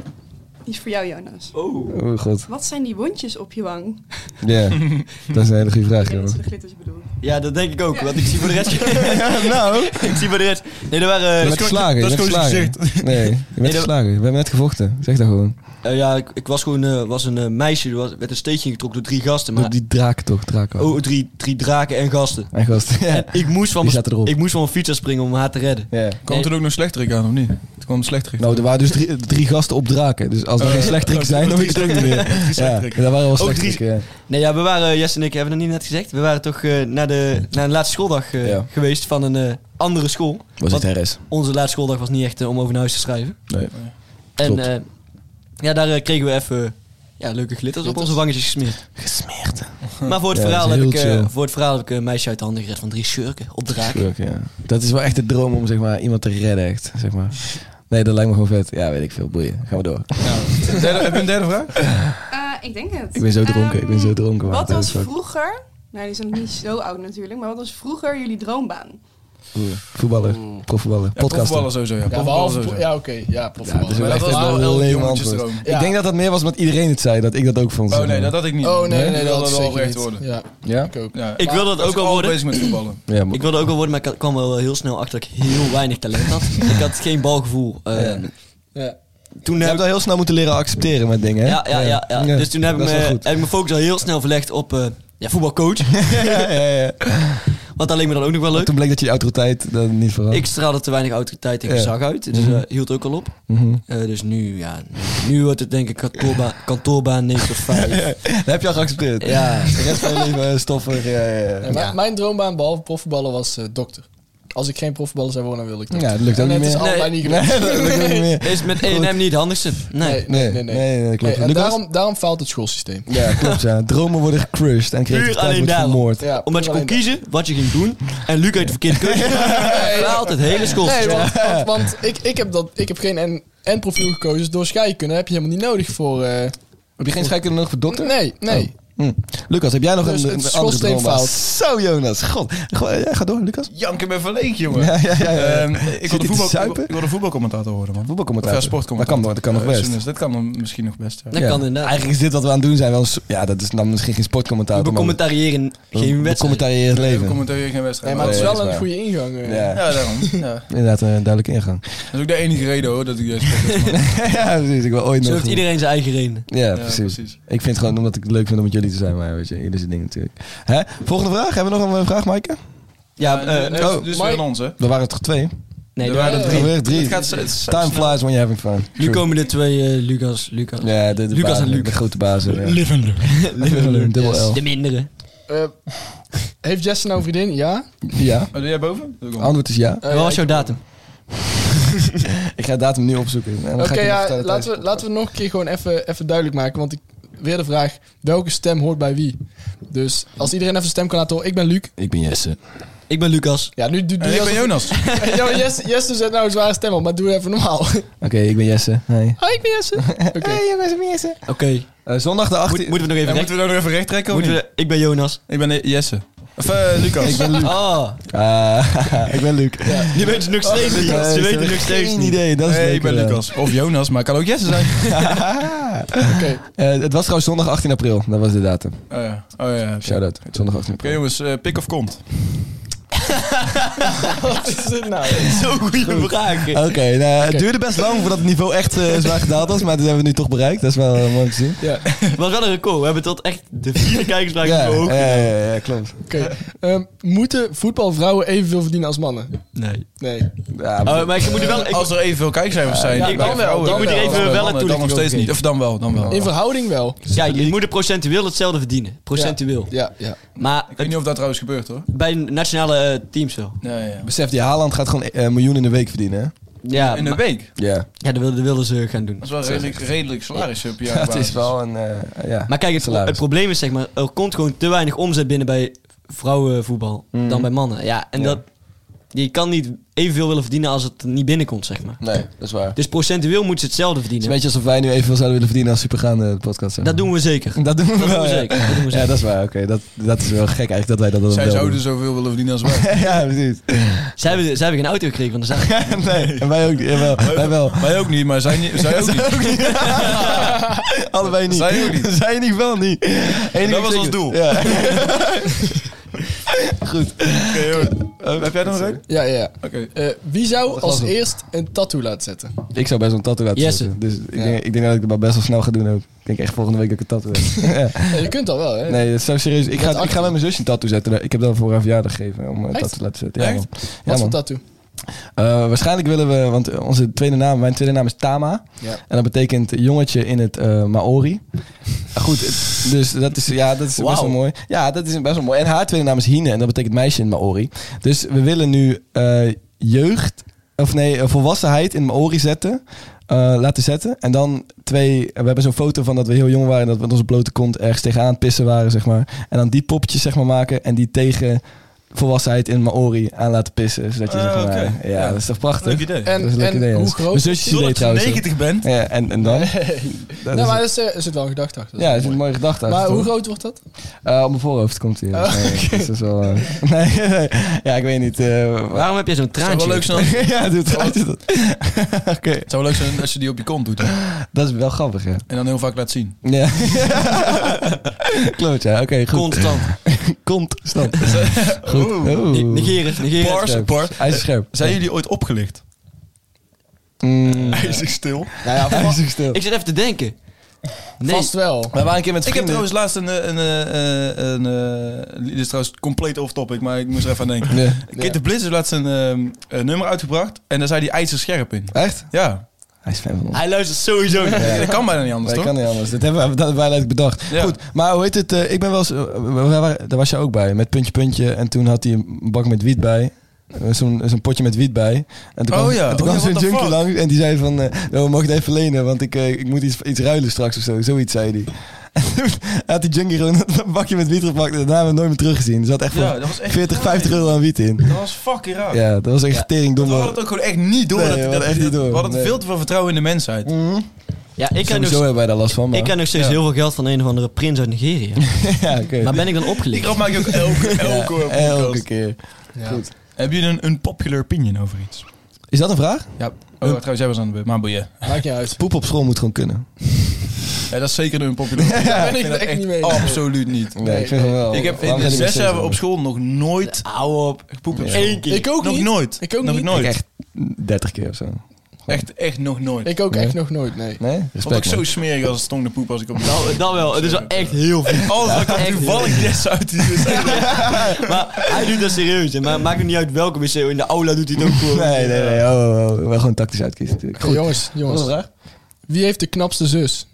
Speaker 9: Die is voor jou, Jonas.
Speaker 2: Oh, god.
Speaker 9: Wat zijn die wondjes op je wang?
Speaker 2: Ja. Dat is een hele goede vraag,
Speaker 9: Ik denk dat
Speaker 2: jongen.
Speaker 9: ze de glitters bedoelt.
Speaker 5: Ja, dat denk ik ook. Want ik zie voor de rest...
Speaker 2: nou.
Speaker 5: ik zie voor de rest... Nee, er waren...
Speaker 2: Je bent geslagen.
Speaker 3: dat
Speaker 2: Je
Speaker 3: is
Speaker 2: bent
Speaker 3: gewoon zijn
Speaker 2: geslagen. Nee, je bent
Speaker 5: dat-
Speaker 2: geslagen. We hebben net gevochten. Zeg dat gewoon.
Speaker 5: Eh, ja, ik, ik was gewoon eh, was een eh, meisje. Er was, werd een steekje getrokken door drie gasten. Maar,
Speaker 2: Door die draken toch, draken.
Speaker 5: Oh, drie, drie draken en gasten.
Speaker 2: Mijn gast. Ja.
Speaker 5: En ik moest, van
Speaker 2: Die
Speaker 5: mijn-
Speaker 2: zaten erop.
Speaker 5: ik moest van mijn fiets springen om haar te redden.
Speaker 2: Ja.
Speaker 3: Komt er ook nog slechterik aan, of niet? Het kwam een slechterik.
Speaker 2: Nou, er waren dus drie, drie gasten op draken. Dus als er geen slechterik zijn, dan weet je het ook niet meer. Ja,
Speaker 3: slechterik.
Speaker 2: dat waren wel
Speaker 5: drie-
Speaker 2: slechteriken. Ja.
Speaker 5: Nee, ja, we waren, Jess en ik hebben het niet net gezegd. We waren toch eh, naar, de, naar een laatste schooldag eh,
Speaker 2: Ja.
Speaker 5: geweest van een eh, andere school.
Speaker 2: Was
Speaker 5: Want
Speaker 2: het RS?
Speaker 5: onze laatste schooldag was niet echt eh, om over naar huis te schrijven.
Speaker 2: Nee.
Speaker 5: En
Speaker 2: Klopt.
Speaker 5: eh, ja, daar eh, kregen we even ja, leuke glitters op onze wangetjes gesmeerd.
Speaker 2: Gesmeerd.
Speaker 5: Maar voor het,
Speaker 2: Ja, dat
Speaker 5: verhaal
Speaker 2: is
Speaker 5: heb ik,
Speaker 2: heel
Speaker 5: eh,
Speaker 2: chill.
Speaker 5: voor het verhaal heb ik een meisje uit de handen gered van drie schurken op draken.
Speaker 2: Tuurlijk, ja. Dat is wel echt de droom om zeg maar, iemand te redden, echt. Zeg maar. Nee, dat lijkt me gewoon vet. Ja, weet ik veel. Boeien. Gaan we door.
Speaker 3: Derde- heb je een derde vraag?
Speaker 9: Eh, ik denk het.
Speaker 2: Ik ben zo dronken.
Speaker 9: Ehm,
Speaker 2: Ik ben zo dronken. man.
Speaker 9: Wat
Speaker 2: Dat
Speaker 9: was
Speaker 2: is wel-
Speaker 9: vroeger... Nou, die is nog niet zo oud natuurlijk. Maar wat was vroeger jullie droombaan?
Speaker 2: Oeh, Voetballer. Profvoetballer.
Speaker 3: Ja,
Speaker 2: Podcaster.
Speaker 3: profvoetballer sowieso, ja.
Speaker 6: Ja,
Speaker 3: Profvoetballer
Speaker 6: behalve...
Speaker 3: sowieso.
Speaker 6: Ja, oké. ja,
Speaker 2: Ja, dat is
Speaker 6: profvoetballer.
Speaker 2: wel
Speaker 3: Maar
Speaker 2: echt
Speaker 3: dat was wel
Speaker 2: een
Speaker 3: heel
Speaker 2: lame
Speaker 3: jongetjesdroom.
Speaker 2: antwoord.
Speaker 6: Ja.
Speaker 2: Ik denk dat dat meer was omdat iedereen het zei, dat ik dat ook vond.
Speaker 3: Oh
Speaker 2: zeg
Speaker 3: nee,
Speaker 2: maar.
Speaker 3: dat had ik niet.
Speaker 6: Oh, nee, nee,
Speaker 3: Ik
Speaker 6: dat
Speaker 3: wilde
Speaker 6: is
Speaker 3: wel
Speaker 6: zeker
Speaker 3: oprecht
Speaker 6: niet.
Speaker 3: worden.
Speaker 6: Ja,
Speaker 2: Ja?
Speaker 6: ik ook.
Speaker 3: Ja,
Speaker 5: Ik wilde dat
Speaker 3: was
Speaker 5: ook wel
Speaker 3: al
Speaker 5: worden.
Speaker 3: bezig met voetballen.
Speaker 2: Ja, maar-
Speaker 5: Ik wilde ook wel worden, maar ik kwam wel heel snel achter dat ik heel weinig talent had. Ik had geen balgevoel. eh,
Speaker 6: Ja.
Speaker 5: Toen
Speaker 2: Je
Speaker 5: heb
Speaker 2: hebt
Speaker 5: ik
Speaker 2: dat heel snel moeten leren accepteren met dingen, hè?
Speaker 5: Ja, ja, ja, ja. Dus toen heb ik,
Speaker 2: dat
Speaker 5: me,
Speaker 2: is wel
Speaker 5: heb
Speaker 2: goed.
Speaker 5: ik mijn focus al heel snel verlegd op eh, ja, voetbalcoach.
Speaker 2: ja, ja, ja.
Speaker 5: Want dat leek me dan ook nog wel
Speaker 2: Maar
Speaker 5: leuk.
Speaker 2: Toen bleek dat je die autoriteit dat niet veranderd.
Speaker 5: Ik straalde te weinig autoriteit en
Speaker 2: Ja.
Speaker 5: gezag uit. Dus
Speaker 2: Mhm.
Speaker 5: eh, hield ook al op.
Speaker 2: Mhm.
Speaker 5: Eh, dus nu, ja, nu wordt het denk ik kantoorba kantoorbaan 9 tot 5.
Speaker 2: Dat heb je al geaccepteerd.
Speaker 5: Ja.
Speaker 2: De rest van je leven eh, stoffig. Ja, ja,
Speaker 6: Ja,
Speaker 2: ja.
Speaker 6: mijn-
Speaker 5: Ja.
Speaker 6: Mijn droombaan, behalve profvoetballer, was eh, dokter. Als ik geen profvoetballer zou worden, dan wilde ik dat.
Speaker 2: ja dat lukt ook
Speaker 6: En
Speaker 2: niet
Speaker 6: het is
Speaker 2: meer.
Speaker 6: allebei
Speaker 5: Nee.
Speaker 6: niet gelukt.
Speaker 2: dat lukt ook niet meer.
Speaker 5: Is met E&M niet het handigste? Nee.
Speaker 6: Nee,
Speaker 2: Nee,
Speaker 6: nee,
Speaker 2: nee,
Speaker 6: nee.
Speaker 2: nee, dat klopt.
Speaker 6: Nee, en
Speaker 2: Lucas?
Speaker 6: daarom, daarom faalt het schoolsysteem.
Speaker 2: Ja, klopt. Ja. Dromen worden gecrushed en creativiteit
Speaker 5: alleen
Speaker 2: wordt
Speaker 5: daarom.
Speaker 2: vermoord.
Speaker 6: Ja,
Speaker 5: Omdat je kon kiezen wat je ging doen. En Luc uit de verkeerde keuze. Haalt het hele
Speaker 6: Nee,
Speaker 5: schoolsysteem.
Speaker 6: want, want, want ik, ik, heb dat, ik heb geen N, N profiel gekozen. Dus door scheikunde heb je helemaal niet nodig voor... eh,
Speaker 2: Heb je geen scheikunde nodig voor dokter?
Speaker 6: Nee, nee.
Speaker 2: Hm. Lucas, heb jij nog
Speaker 6: Dus
Speaker 2: een,
Speaker 6: het
Speaker 2: een andere
Speaker 6: schoolsysteem
Speaker 2: droom?
Speaker 6: faalt.
Speaker 2: Zo, Jonas. God. Go- ja, ga door, Lucas.
Speaker 3: Janken ben verleek, jongen.
Speaker 2: Ja, ja, ja. ja.
Speaker 3: Ehm, ik,
Speaker 2: hij
Speaker 3: wilde
Speaker 2: te
Speaker 3: voetbal, ik
Speaker 2: zuipen?
Speaker 3: wil- ik wilde voetbalcommentator worden, man. Of
Speaker 2: Voetbalcommentator.
Speaker 3: ja, sportcommentator.
Speaker 2: Dat kan, dat kan nog
Speaker 3: Eh,
Speaker 2: best.
Speaker 3: journalist, Dat kan dan misschien nog best, ja.
Speaker 5: Dat
Speaker 2: Ja.
Speaker 5: kan inderdaad.
Speaker 2: Eigenlijk is dit wat we aan het doen zijn wel een so- Ja, dat is dan misschien geen
Speaker 5: We
Speaker 2: sportcommentator. maar
Speaker 5: becommentariëren
Speaker 2: we
Speaker 5: geen wedstrijd.
Speaker 2: becommentariëren het
Speaker 3: We
Speaker 2: leven.
Speaker 3: commentariëren geen
Speaker 6: Nee,
Speaker 3: wedstrijd.
Speaker 6: maar het is
Speaker 2: Nee,
Speaker 6: wel
Speaker 2: dat is
Speaker 6: een
Speaker 2: waar.
Speaker 6: goede ingang. eh.
Speaker 2: Ja.
Speaker 3: Ja, daarom. Ja.
Speaker 2: Inderdaad, een duidelijke ingang.
Speaker 3: Dat is ook de enige reden, hoor, dat ik deze podcast maak.
Speaker 2: ja, precies. Ik wil ooit
Speaker 5: Zo
Speaker 2: nog...
Speaker 5: heeft iedereen zijn eigen reden.
Speaker 2: Ja, precies. Ik vind het gewoon omdat ik het leuk vind om met jullie niet te zijn, maar weet je, ieder zijn ding natuurlijk. Hè? Volgende vraag. Hebben we nog een eh, vraag, Maaike?
Speaker 5: Ja,
Speaker 3: Eh,
Speaker 5: eh,
Speaker 3: dus-
Speaker 2: oh,
Speaker 3: dus
Speaker 6: Mike-
Speaker 3: weer aan ons, hè?
Speaker 2: Er waren er toch twee?
Speaker 5: nee,
Speaker 3: er
Speaker 5: daar-
Speaker 3: waren er
Speaker 2: Er waren er drie.
Speaker 3: Het gaat, het is-
Speaker 2: Time flies when you're having fun.
Speaker 5: nu komen de twee eh, Lucas, Lucas.
Speaker 2: Ja, de, de
Speaker 5: Lucas
Speaker 2: bazen,
Speaker 5: en Luc.
Speaker 2: De grote eh. bazen. Ja.
Speaker 7: Live and learn.
Speaker 2: Live and learn, dubbel L.
Speaker 5: De mindere.
Speaker 6: Eh, heeft Jess nou een vriendin? Ja.
Speaker 2: Ja,
Speaker 3: Oh, doe jij boven? Doe ik onder.
Speaker 2: antwoord is ja.
Speaker 6: Eh,
Speaker 5: Wat was
Speaker 6: ik-
Speaker 5: jouw datum?
Speaker 2: Ik ga de datum nu opzoeken. en dan ga
Speaker 6: Oké,
Speaker 2: ik je nog
Speaker 6: ja,
Speaker 2: vertellen tijdens
Speaker 6: laten,
Speaker 2: de
Speaker 6: we, laten we nog een keer gewoon even, even duidelijk maken. Want ik, weer de vraag, welke stem hoort bij wie? Dus als iedereen even een stem kan laten horen. Ik ben Luc.
Speaker 2: podcast. Ik ben Jesse.
Speaker 5: Ik ben Lucas.
Speaker 6: Ja, nu doe doe
Speaker 3: En Eh, ik
Speaker 6: je
Speaker 3: ben Jonas.
Speaker 6: alsof- Ja, maar Jesse, Jesse zet nou een zware stem op, maar doe even normaal.
Speaker 2: Oké, ik ben Jesse. Hey.
Speaker 6: Hoi, ik ben Jesse. Oké.
Speaker 5: Oké.
Speaker 2: Eh, zondag de 18e.
Speaker 5: Moeten we nog even
Speaker 3: En
Speaker 5: recht...
Speaker 3: moeten we dat nog even recht trekken?
Speaker 5: Moeten we... Ik ben Jonas.
Speaker 3: Ik ben eh, Jesse. Of eh, Lucas.
Speaker 2: Ik ben Luc.
Speaker 5: Ah,
Speaker 2: Ah, ik ben Luc.
Speaker 5: die weet het nog steeds niet.
Speaker 2: Eh,
Speaker 5: Ze
Speaker 2: ik
Speaker 5: weten
Speaker 2: heb
Speaker 5: het nog steeds
Speaker 2: geen
Speaker 5: niet.
Speaker 2: idee. Dat is
Speaker 3: Nee, ik
Speaker 2: leuk,
Speaker 3: ben
Speaker 2: eh.
Speaker 3: Lucas. Of Jonas, maar het kan ook Jesse zijn.
Speaker 6: Oké.
Speaker 2: Eh, het was trouwens zondag 18 april. Dat was de datum.
Speaker 3: Oh ja. Oh ja. oké.
Speaker 2: Shout out. Zondag 18
Speaker 3: Oké
Speaker 2: april.
Speaker 3: jongens, eh, pik of kont?
Speaker 6: Wat is dit nou?
Speaker 5: Zo'n goede vraag.
Speaker 2: Oké, nou, het duurde best lang voordat het niveau echt eh, zwaar gedaald was. Maar dat hebben we nu toch bereikt. Dat is wel eh, mooi om te zien.
Speaker 6: Ja,
Speaker 5: Het was wel een record. We hebben tot echt de vier kijkersvragen
Speaker 2: Ja, eh,
Speaker 5: omhoog.
Speaker 2: ja, ja, ja, klopt.
Speaker 6: oké. Ehm, moeten voetbalvrouwen evenveel verdienen als mannen?
Speaker 5: Nee.
Speaker 6: Nee.
Speaker 2: Ja,
Speaker 5: Oh, maar ik moet er wel... Ik,
Speaker 3: Eh, Als er evenveel kijkcijfers zijn.
Speaker 6: ja,
Speaker 3: bij
Speaker 6: dan wel,
Speaker 3: vrouwen,
Speaker 6: dan
Speaker 3: bij
Speaker 6: wel.
Speaker 3: mannen,
Speaker 6: Even
Speaker 5: wel een
Speaker 3: dan, nog
Speaker 5: toelichting
Speaker 3: steeds
Speaker 5: ook
Speaker 3: niet. Of dan wel, dan wel.
Speaker 6: In verhouding wel.
Speaker 5: ja, je moet er procentueel hetzelfde verdienen. Procentueel.
Speaker 6: Ja, ja.
Speaker 5: Maar
Speaker 3: Ik weet niet of dat trouwens gebeurt hoor.
Speaker 5: het- bij nationale eh, teams wel.
Speaker 3: Ja, ja.
Speaker 2: Besef, die Haaland gaat gewoon eh, een miljoen in de week verdienen. hè?
Speaker 5: Ja,
Speaker 3: In een
Speaker 5: maar-
Speaker 3: week.
Speaker 2: Ja.
Speaker 5: ja dat, wilden, dat wilden ze gaan doen.
Speaker 3: Dat is wel redelijk, redelijk salaris op jaar.
Speaker 2: Dat is wel een... eh, ja.
Speaker 5: Maar kijk, het, pro-
Speaker 2: Salaris.
Speaker 5: het probleem is zeg maar... Er komt gewoon te weinig omzet binnen bij vrouwenvoetbal
Speaker 2: Mm.
Speaker 5: dan bij mannen. Ja, en
Speaker 2: Ja.
Speaker 5: dat... Je kan niet evenveel willen verdienen als het niet binnenkomt, zeg maar.
Speaker 2: Nee, dat is waar. Het
Speaker 5: Dus procentueel moeten ze hetzelfde
Speaker 2: is een
Speaker 5: verdienen.
Speaker 2: beetje alsof wij nu evenveel zouden willen verdienen als supergaande podcast.
Speaker 5: Dat doen we zeker.
Speaker 2: Dat doen we wel,
Speaker 5: Dat doen we
Speaker 2: ja.
Speaker 5: zeker. Dat doen we
Speaker 2: Ja,
Speaker 5: zeker.
Speaker 2: dat is waar. Oké, dat, dat is wel gek eigenlijk dat wij dat dan
Speaker 3: Zij
Speaker 2: wel
Speaker 3: zouden zoveel willen verdienen als wij.
Speaker 2: doen. ja, precies.
Speaker 5: Zij, hebben, zij hebben geen auto gekregen van de zaak.
Speaker 2: nee, en wij ook niet. Jawel, wij wel.
Speaker 3: wij ook niet, maar zij, niet, zij ook niet.
Speaker 2: Allebei niet.
Speaker 3: Zij ook niet.
Speaker 2: Zij in ieder geval niet. Eén
Speaker 3: Dat was ons doel.
Speaker 2: Ja. Goed.
Speaker 3: Eh, heb jij nog een?
Speaker 6: Ja, ja. ja.
Speaker 3: Oké.
Speaker 6: Eh, wie zou
Speaker 2: Wat
Speaker 6: als
Speaker 2: was het?
Speaker 6: eerst een tattoo laten zetten?
Speaker 2: Ik zou best wel een tattoo laten
Speaker 5: Jesse.
Speaker 2: zetten. Dus ik,
Speaker 6: Ja.
Speaker 2: denk, ik denk dat ik dat maar best wel snel ga doen ook. Ik denk echt volgende week dat ik een tattoo heb.
Speaker 6: Ja, je kunt al wel, hè?
Speaker 2: Nee, dat is zo serieus. Ik ga, ik ga met mijn zusje een tattoo zetten. Ik heb dat voor haar verjaardag gegeven om een
Speaker 6: Echt?
Speaker 2: tattoo te laten zetten. Ja,
Speaker 3: Echt?
Speaker 2: man. Ja,
Speaker 6: Wat
Speaker 2: man.
Speaker 6: voor tattoo?
Speaker 2: Eh, waarschijnlijk willen we, want onze tweede naam, mijn tweede naam is Tama.
Speaker 6: Ja.
Speaker 2: En dat betekent jongetje in het eh, Maori. Eh, Goed, het- dus dat is, ja, dat is best
Speaker 5: Wauw.
Speaker 2: wel mooi. Ja, dat is best wel mooi. En haar tweede naam is Hine en dat betekent meisje in het Maori. Dus we willen nu eh, jeugd, of nee, eh, volwassenheid in Maori zetten. eh, laten zetten. En dan twee. We hebben zo'n foto van dat we heel jong waren. En dat we met onze blote kont ergens tegenaan aan het pissen waren, zeg maar. En dan die poppetjes, zeg maar, maken. En die tegen volwassenheid in Maori aan laten pissen. Zodat je,
Speaker 3: Ah,
Speaker 2: zeg maar,
Speaker 3: oké.
Speaker 2: ja,
Speaker 3: Ja.
Speaker 2: dat is toch prachtig?
Speaker 3: Leuk idee.
Speaker 6: En,
Speaker 2: dat is een leuk
Speaker 6: en
Speaker 2: idee.
Speaker 6: hoe
Speaker 2: Hans. Mijn
Speaker 6: groot?
Speaker 2: zusjes idee trouwens. ook.
Speaker 3: 90 bent.
Speaker 2: Ja, en, en dan? Dat
Speaker 6: Nee,
Speaker 2: is-
Speaker 6: maar er zit- er zit wel een gedachte achter.
Speaker 2: ja, dat is een mooie gedachte.
Speaker 6: Maar
Speaker 2: toch?
Speaker 6: hoe groot wordt dat?
Speaker 2: Eh, op mijn voorhoofd komt hij.
Speaker 6: Oh,
Speaker 2: Nee, dat is wel, eh, nee, nee. Ja, ik weet niet. eh, wa-
Speaker 5: Waarom heb jij zo'n
Speaker 3: Het zou
Speaker 5: traantje?
Speaker 3: wel leuk zijn als-
Speaker 2: ja, doe het. doe het. Oké,
Speaker 3: het zou wel leuk zijn als je die op je kont doet. hè.
Speaker 2: dat is wel grappig, ja.
Speaker 3: En dan heel vaak laat zien.
Speaker 2: ja. Klopt, ja. Oké, goed.
Speaker 5: Constant.
Speaker 2: Constant. Goed. Oeh.
Speaker 5: Negeren, negeren.
Speaker 3: Bars,
Speaker 2: Scherp.
Speaker 3: bars.
Speaker 2: Hij is scherp.
Speaker 3: Zijn jullie ooit opgelicht?
Speaker 2: Mm,
Speaker 3: Hij is stil.
Speaker 2: nou ja, hij is ook stil.
Speaker 5: Ik zit even te denken. Nee.
Speaker 6: Vast wel.
Speaker 2: We waren een keer met
Speaker 3: Ik heb
Speaker 2: vrienden.
Speaker 3: trouwens laatst een... eh, een, eh, eh, een, eh, dit is trouwens compleet off-topic, maar ik moest er even aan denken.
Speaker 2: Nee.
Speaker 3: Kit de Blitz heeft laatst een, ehm, een nummer uitgebracht en daar zei hij ijzer scherp in.
Speaker 2: Echt?
Speaker 3: Ja,
Speaker 2: Hij is fan van ons.
Speaker 5: Hij luistert
Speaker 2: Oh,
Speaker 5: sowieso niet.
Speaker 3: dat kan bijna niet anders,
Speaker 2: Dat
Speaker 3: Ah, toch?
Speaker 2: kan niet anders. Dat hebben we, dat hebben wij eigenlijk bedacht.
Speaker 3: Ja.
Speaker 2: Goed, maar hoe heet het? eh, ik ben wel eens... eh, we- we waren- daar was je ook bij. Met puntje, puntje. En toen had hij een bak met wiet bij. Eh, Zo'n zo'n potje met wiet bij. En toen
Speaker 3: Oh
Speaker 2: kwam,
Speaker 3: ja.
Speaker 2: en toen kwam
Speaker 3: Oh ja,
Speaker 2: zo'n
Speaker 3: what the
Speaker 2: junkie
Speaker 3: fuck?
Speaker 2: langs en die zei van... eh, "Yo, we mogen het even lenen, want ik, eh, ik moet iets, iets ruilen straks of zo. Zoiets zei hij. En toen had die junkie gewoon een bakje met wiet gepakt. En daarna hebben we hem nooit meer teruggezien. Er zat echt
Speaker 3: Ja,
Speaker 2: voor
Speaker 3: dat was echt
Speaker 2: 40,
Speaker 3: raar.
Speaker 2: 50 euro aan wiet in.
Speaker 3: Dat was fucking raar.
Speaker 2: Ja, dat was echt teringdomme.
Speaker 3: We hadden het ook gewoon echt niet door.
Speaker 2: Nee,
Speaker 3: dat,
Speaker 2: we
Speaker 3: dat,
Speaker 2: hadden echt niet door.
Speaker 3: We hadden
Speaker 2: Nee.
Speaker 3: veel te veel vertrouwen in de mensheid.
Speaker 2: Mhm.
Speaker 5: Ja, ik ken, nog,
Speaker 2: Sowieso hebben wij daar last van, maar...
Speaker 5: ik ken nog steeds
Speaker 3: Ja.
Speaker 5: heel veel geld van een of andere prins uit Nigeria.
Speaker 2: ja, oké.
Speaker 5: Maar ben ik dan
Speaker 3: Die
Speaker 5: opgelicht?
Speaker 3: grap maak je ook elke, elke
Speaker 2: Ja,
Speaker 3: podcast.
Speaker 2: elke keer. Goed.
Speaker 3: Hebben jullie een unpopular opinion over iets?
Speaker 2: Is dat een vraag?
Speaker 3: Oh, trouwens, jij was aan de beurt. Maar boeien.
Speaker 6: Maakt niet uit.
Speaker 2: Poep op school moet gewoon kunnen.
Speaker 3: Ja, dat is zeker een unpopular opinion.
Speaker 6: Daar ben
Speaker 3: Ik
Speaker 6: ik
Speaker 3: vind
Speaker 6: het
Speaker 3: dat
Speaker 6: echt niet mee. eens.
Speaker 3: Absoluut niet.
Speaker 2: Nee, ik vind het wel.
Speaker 3: Ik heb
Speaker 2: Waarom
Speaker 3: in
Speaker 2: zijn die
Speaker 3: zes
Speaker 2: wc's
Speaker 3: jaar
Speaker 2: dan?
Speaker 3: op school nog nooit...
Speaker 5: Hou op.
Speaker 3: gepoept op
Speaker 2: Ja.
Speaker 3: school.
Speaker 5: Eén keer.
Speaker 6: Ik ook
Speaker 3: Nog
Speaker 6: niet.
Speaker 3: nooit.
Speaker 6: Ik ook
Speaker 3: nog
Speaker 6: niet.
Speaker 3: nooit.
Speaker 2: Ik echt 30 keer of zo.
Speaker 3: Echt, echt nog nooit.
Speaker 6: Ik ook
Speaker 2: Nee.
Speaker 6: echt nog nooit, nee.
Speaker 2: Nee?
Speaker 3: Vond ik
Speaker 2: Respect,
Speaker 3: zo
Speaker 2: man.
Speaker 3: smerig als tong de poep als ik op
Speaker 5: Nou, dat wel. Het is wel echt heel veel.
Speaker 3: Alles wat ik
Speaker 5: echt.
Speaker 3: had toevallig yes uit dus- die wc.
Speaker 5: Maar hij doet dat serieus. hè. Maar maakt het niet uit welke wc. In de aula doet hij het ook gewoon.
Speaker 2: Nee, nee, nee. Oh, oh, oh. Wel gewoon tactisch uitkiezen natuurlijk.
Speaker 6: Hey,
Speaker 2: Goed.
Speaker 6: jongens, jongens. Wie heeft de knapste zus?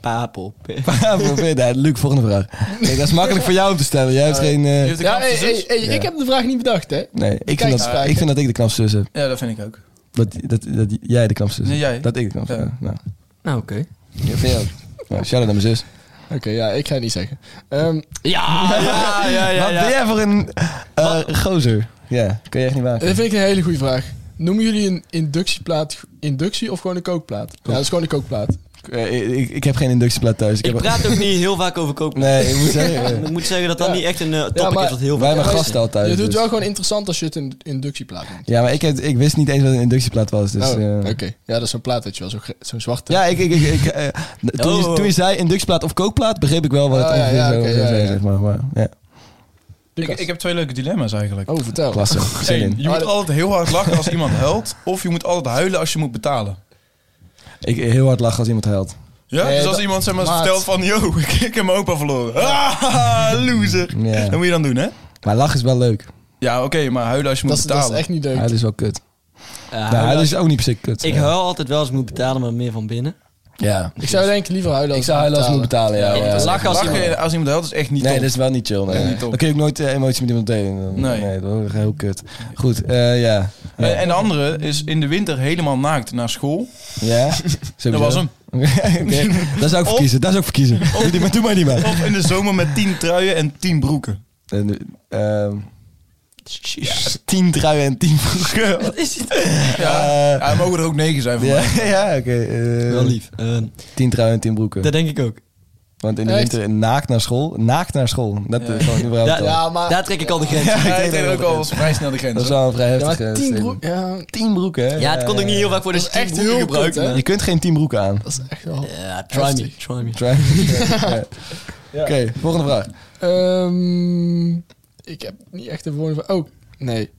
Speaker 5: Papel.
Speaker 2: Ja, voor- nee, Luc, volgende vraag. Kijk, dat is makkelijk voor jou om te stellen. Jij hebt geen... eh,
Speaker 3: Heeft de
Speaker 6: Ja,
Speaker 3: knapste
Speaker 6: hey,
Speaker 3: zus?
Speaker 6: hey, hey, ik
Speaker 2: Ja.
Speaker 6: heb de vraag niet bedacht, hè?
Speaker 2: Nee, ik
Speaker 6: Kijk,
Speaker 2: vind, dat,
Speaker 6: spraak,
Speaker 2: ik vind dat ik de knapste zus heb.
Speaker 3: Ja, dat vind ik ook.
Speaker 2: Dat, dat, dat jij de knapste zus
Speaker 3: Nee,
Speaker 2: hebt.
Speaker 3: jij.
Speaker 2: Dat ik de knapste zus heb. Nou,
Speaker 5: Nou, oké.
Speaker 2: ja, vind je ook. Nou, shout-out naar mijn zus.
Speaker 6: Oké, ja, ik ga het niet zeggen. Ehm,
Speaker 5: Ja, ja, ja, ja.
Speaker 2: Wat
Speaker 5: ja.
Speaker 2: ben jij voor een eh gozer? Ja, kun je echt niet maken.
Speaker 6: dat vind ik een hele goede vraag. Noemen jullie een inductieplaat inductie of gewoon een kookplaat? Ja, dat is gewoon een kookplaat.
Speaker 2: Eh, ik, ik heb geen inductieplaat thuis. Ik
Speaker 5: Ik
Speaker 2: heb-
Speaker 5: praat ook niet heel vaak over koken.
Speaker 2: Nee, ik moet zeggen. eh,
Speaker 5: Ik moet zeggen dat dat
Speaker 6: Ja.
Speaker 5: niet echt een eh, topic
Speaker 6: Ja, maar
Speaker 5: is. Wat heel
Speaker 2: Wij
Speaker 5: vaak
Speaker 2: hebben
Speaker 5: is.
Speaker 2: gasten al thuis.
Speaker 6: je doet
Speaker 2: dus-
Speaker 6: wel gewoon interessant als je het een inductieplaat noemt.
Speaker 2: Ja, maar ik, heb, ik wist niet eens wat een inductieplaat was. Dus,
Speaker 6: oh,
Speaker 2: eh,
Speaker 6: oké. Ja, dat is zo'n plaat, weet je wel. Zo'n gr- zo'n zwarte.
Speaker 2: Ja, ik, ik, ik, ik, eh, toen, je, toen je zei inductieplaat of kookplaat, begreep ik wel wat het
Speaker 6: Oh, ja,
Speaker 2: ongeveer
Speaker 6: ja,
Speaker 2: zou
Speaker 6: oké,
Speaker 2: zou
Speaker 6: ja,
Speaker 2: zijn,
Speaker 6: ja.
Speaker 2: zeg maar. maar ja,
Speaker 3: Ik,
Speaker 6: Lucas.
Speaker 3: ik heb twee leuke dilemma's eigenlijk.
Speaker 6: Oh, vertel.
Speaker 2: klasse. Zin
Speaker 3: Eén,
Speaker 2: in.
Speaker 3: je
Speaker 6: Ah,
Speaker 3: moet
Speaker 6: dat-
Speaker 3: altijd heel hard lachen als iemand huilt. Of je moet altijd huilen als je moet betalen.
Speaker 2: Ik heel hard lachen als iemand huilt.
Speaker 3: Ja,
Speaker 6: Nee,
Speaker 3: dus als
Speaker 6: dat-
Speaker 3: iemand zeg maar
Speaker 6: maat.
Speaker 3: vertelt van... Yo, ik heb mijn opa verloren. Ah, loser.
Speaker 2: Ja.
Speaker 3: Dat moet je dan doen, hè?
Speaker 2: Maar lachen is wel leuk.
Speaker 3: Ja, oké, maar huilen als je
Speaker 6: Dat
Speaker 3: moet
Speaker 6: is, dat
Speaker 3: betalen.
Speaker 6: is echt niet leuk.
Speaker 2: Huilen is wel kut.
Speaker 5: Ja,
Speaker 2: nou,
Speaker 5: huilen
Speaker 2: huilen
Speaker 5: als-
Speaker 2: is ook niet per se kut.
Speaker 5: Ik
Speaker 2: ja.
Speaker 5: huil altijd wel als ik moet betalen, maar meer van binnen.
Speaker 2: Ja.
Speaker 6: Ik zou denk ik liever huilen
Speaker 2: Ik
Speaker 6: als
Speaker 2: zou huilen als ik moet
Speaker 6: betalen.
Speaker 2: betalen, ja.
Speaker 5: Ja,
Speaker 2: ja.
Speaker 5: lachen
Speaker 3: Lachen als, iemand... huilt is echt niet
Speaker 2: Nee,
Speaker 3: top.
Speaker 2: dat is wel niet chill. Nee.
Speaker 3: Nee, niet top.
Speaker 2: Dan kun je ook nooit eh, emoties met iemand delen. Dan-
Speaker 3: Nee.
Speaker 2: nee, dat wordt heel kut. Goed, eh, ja. Ja?
Speaker 3: Eh, En de andere is in de winter helemaal naakt naar school.
Speaker 2: Ja? Sowieso.
Speaker 3: was hem.
Speaker 2: Oké, oké. Dat zou ik verkiezen. Dat zou ik verkiezen. Doe, die maar, doe maar niet meer.
Speaker 3: Of in de zomer met tien truien en tien broeken.
Speaker 2: En, ehm, ja, tien truien en tien broeken.
Speaker 5: Wat is dit?
Speaker 3: Ja,
Speaker 2: Eh,
Speaker 3: ja er mogen er ook negen zijn voor
Speaker 2: ja,
Speaker 3: mij.
Speaker 2: ja, oké. eh,
Speaker 5: Wel lief. Eh,
Speaker 2: Tien truien en tien broeken.
Speaker 5: dat denk ik ook.
Speaker 2: Want in de
Speaker 6: Echt?
Speaker 2: winter naakt naar school. Naakt naar school. Dat
Speaker 3: Ja.
Speaker 2: is gewoon überhaupt
Speaker 5: Ja,
Speaker 2: al.
Speaker 6: Ja, maar,
Speaker 5: Daar trek ik al de grens.
Speaker 3: Ja,
Speaker 5: Ja,
Speaker 3: ik
Speaker 2: dat
Speaker 3: denk ook
Speaker 2: wel.
Speaker 3: al vrij snel de
Speaker 2: Dat is
Speaker 3: grens.
Speaker 2: wel een vrij
Speaker 6: ja, maar
Speaker 2: heftig. eh,
Speaker 6: tien
Speaker 2: statement.
Speaker 6: broek... Ja,
Speaker 2: Tien broeken, hè?
Speaker 5: het komt ook niet heel vaak voor de
Speaker 6: dat is echt
Speaker 5: heel
Speaker 6: heel gebruikt, hè?
Speaker 2: Je kunt geen tien broeken aan.
Speaker 6: Dat is echt wel...
Speaker 5: Ja, try me.
Speaker 6: Heftig.
Speaker 5: Try me.
Speaker 2: Try. Ja. Oké, volgende vraag.
Speaker 6: Ehm, ik heb niet echt een woorden van... Oh, nee.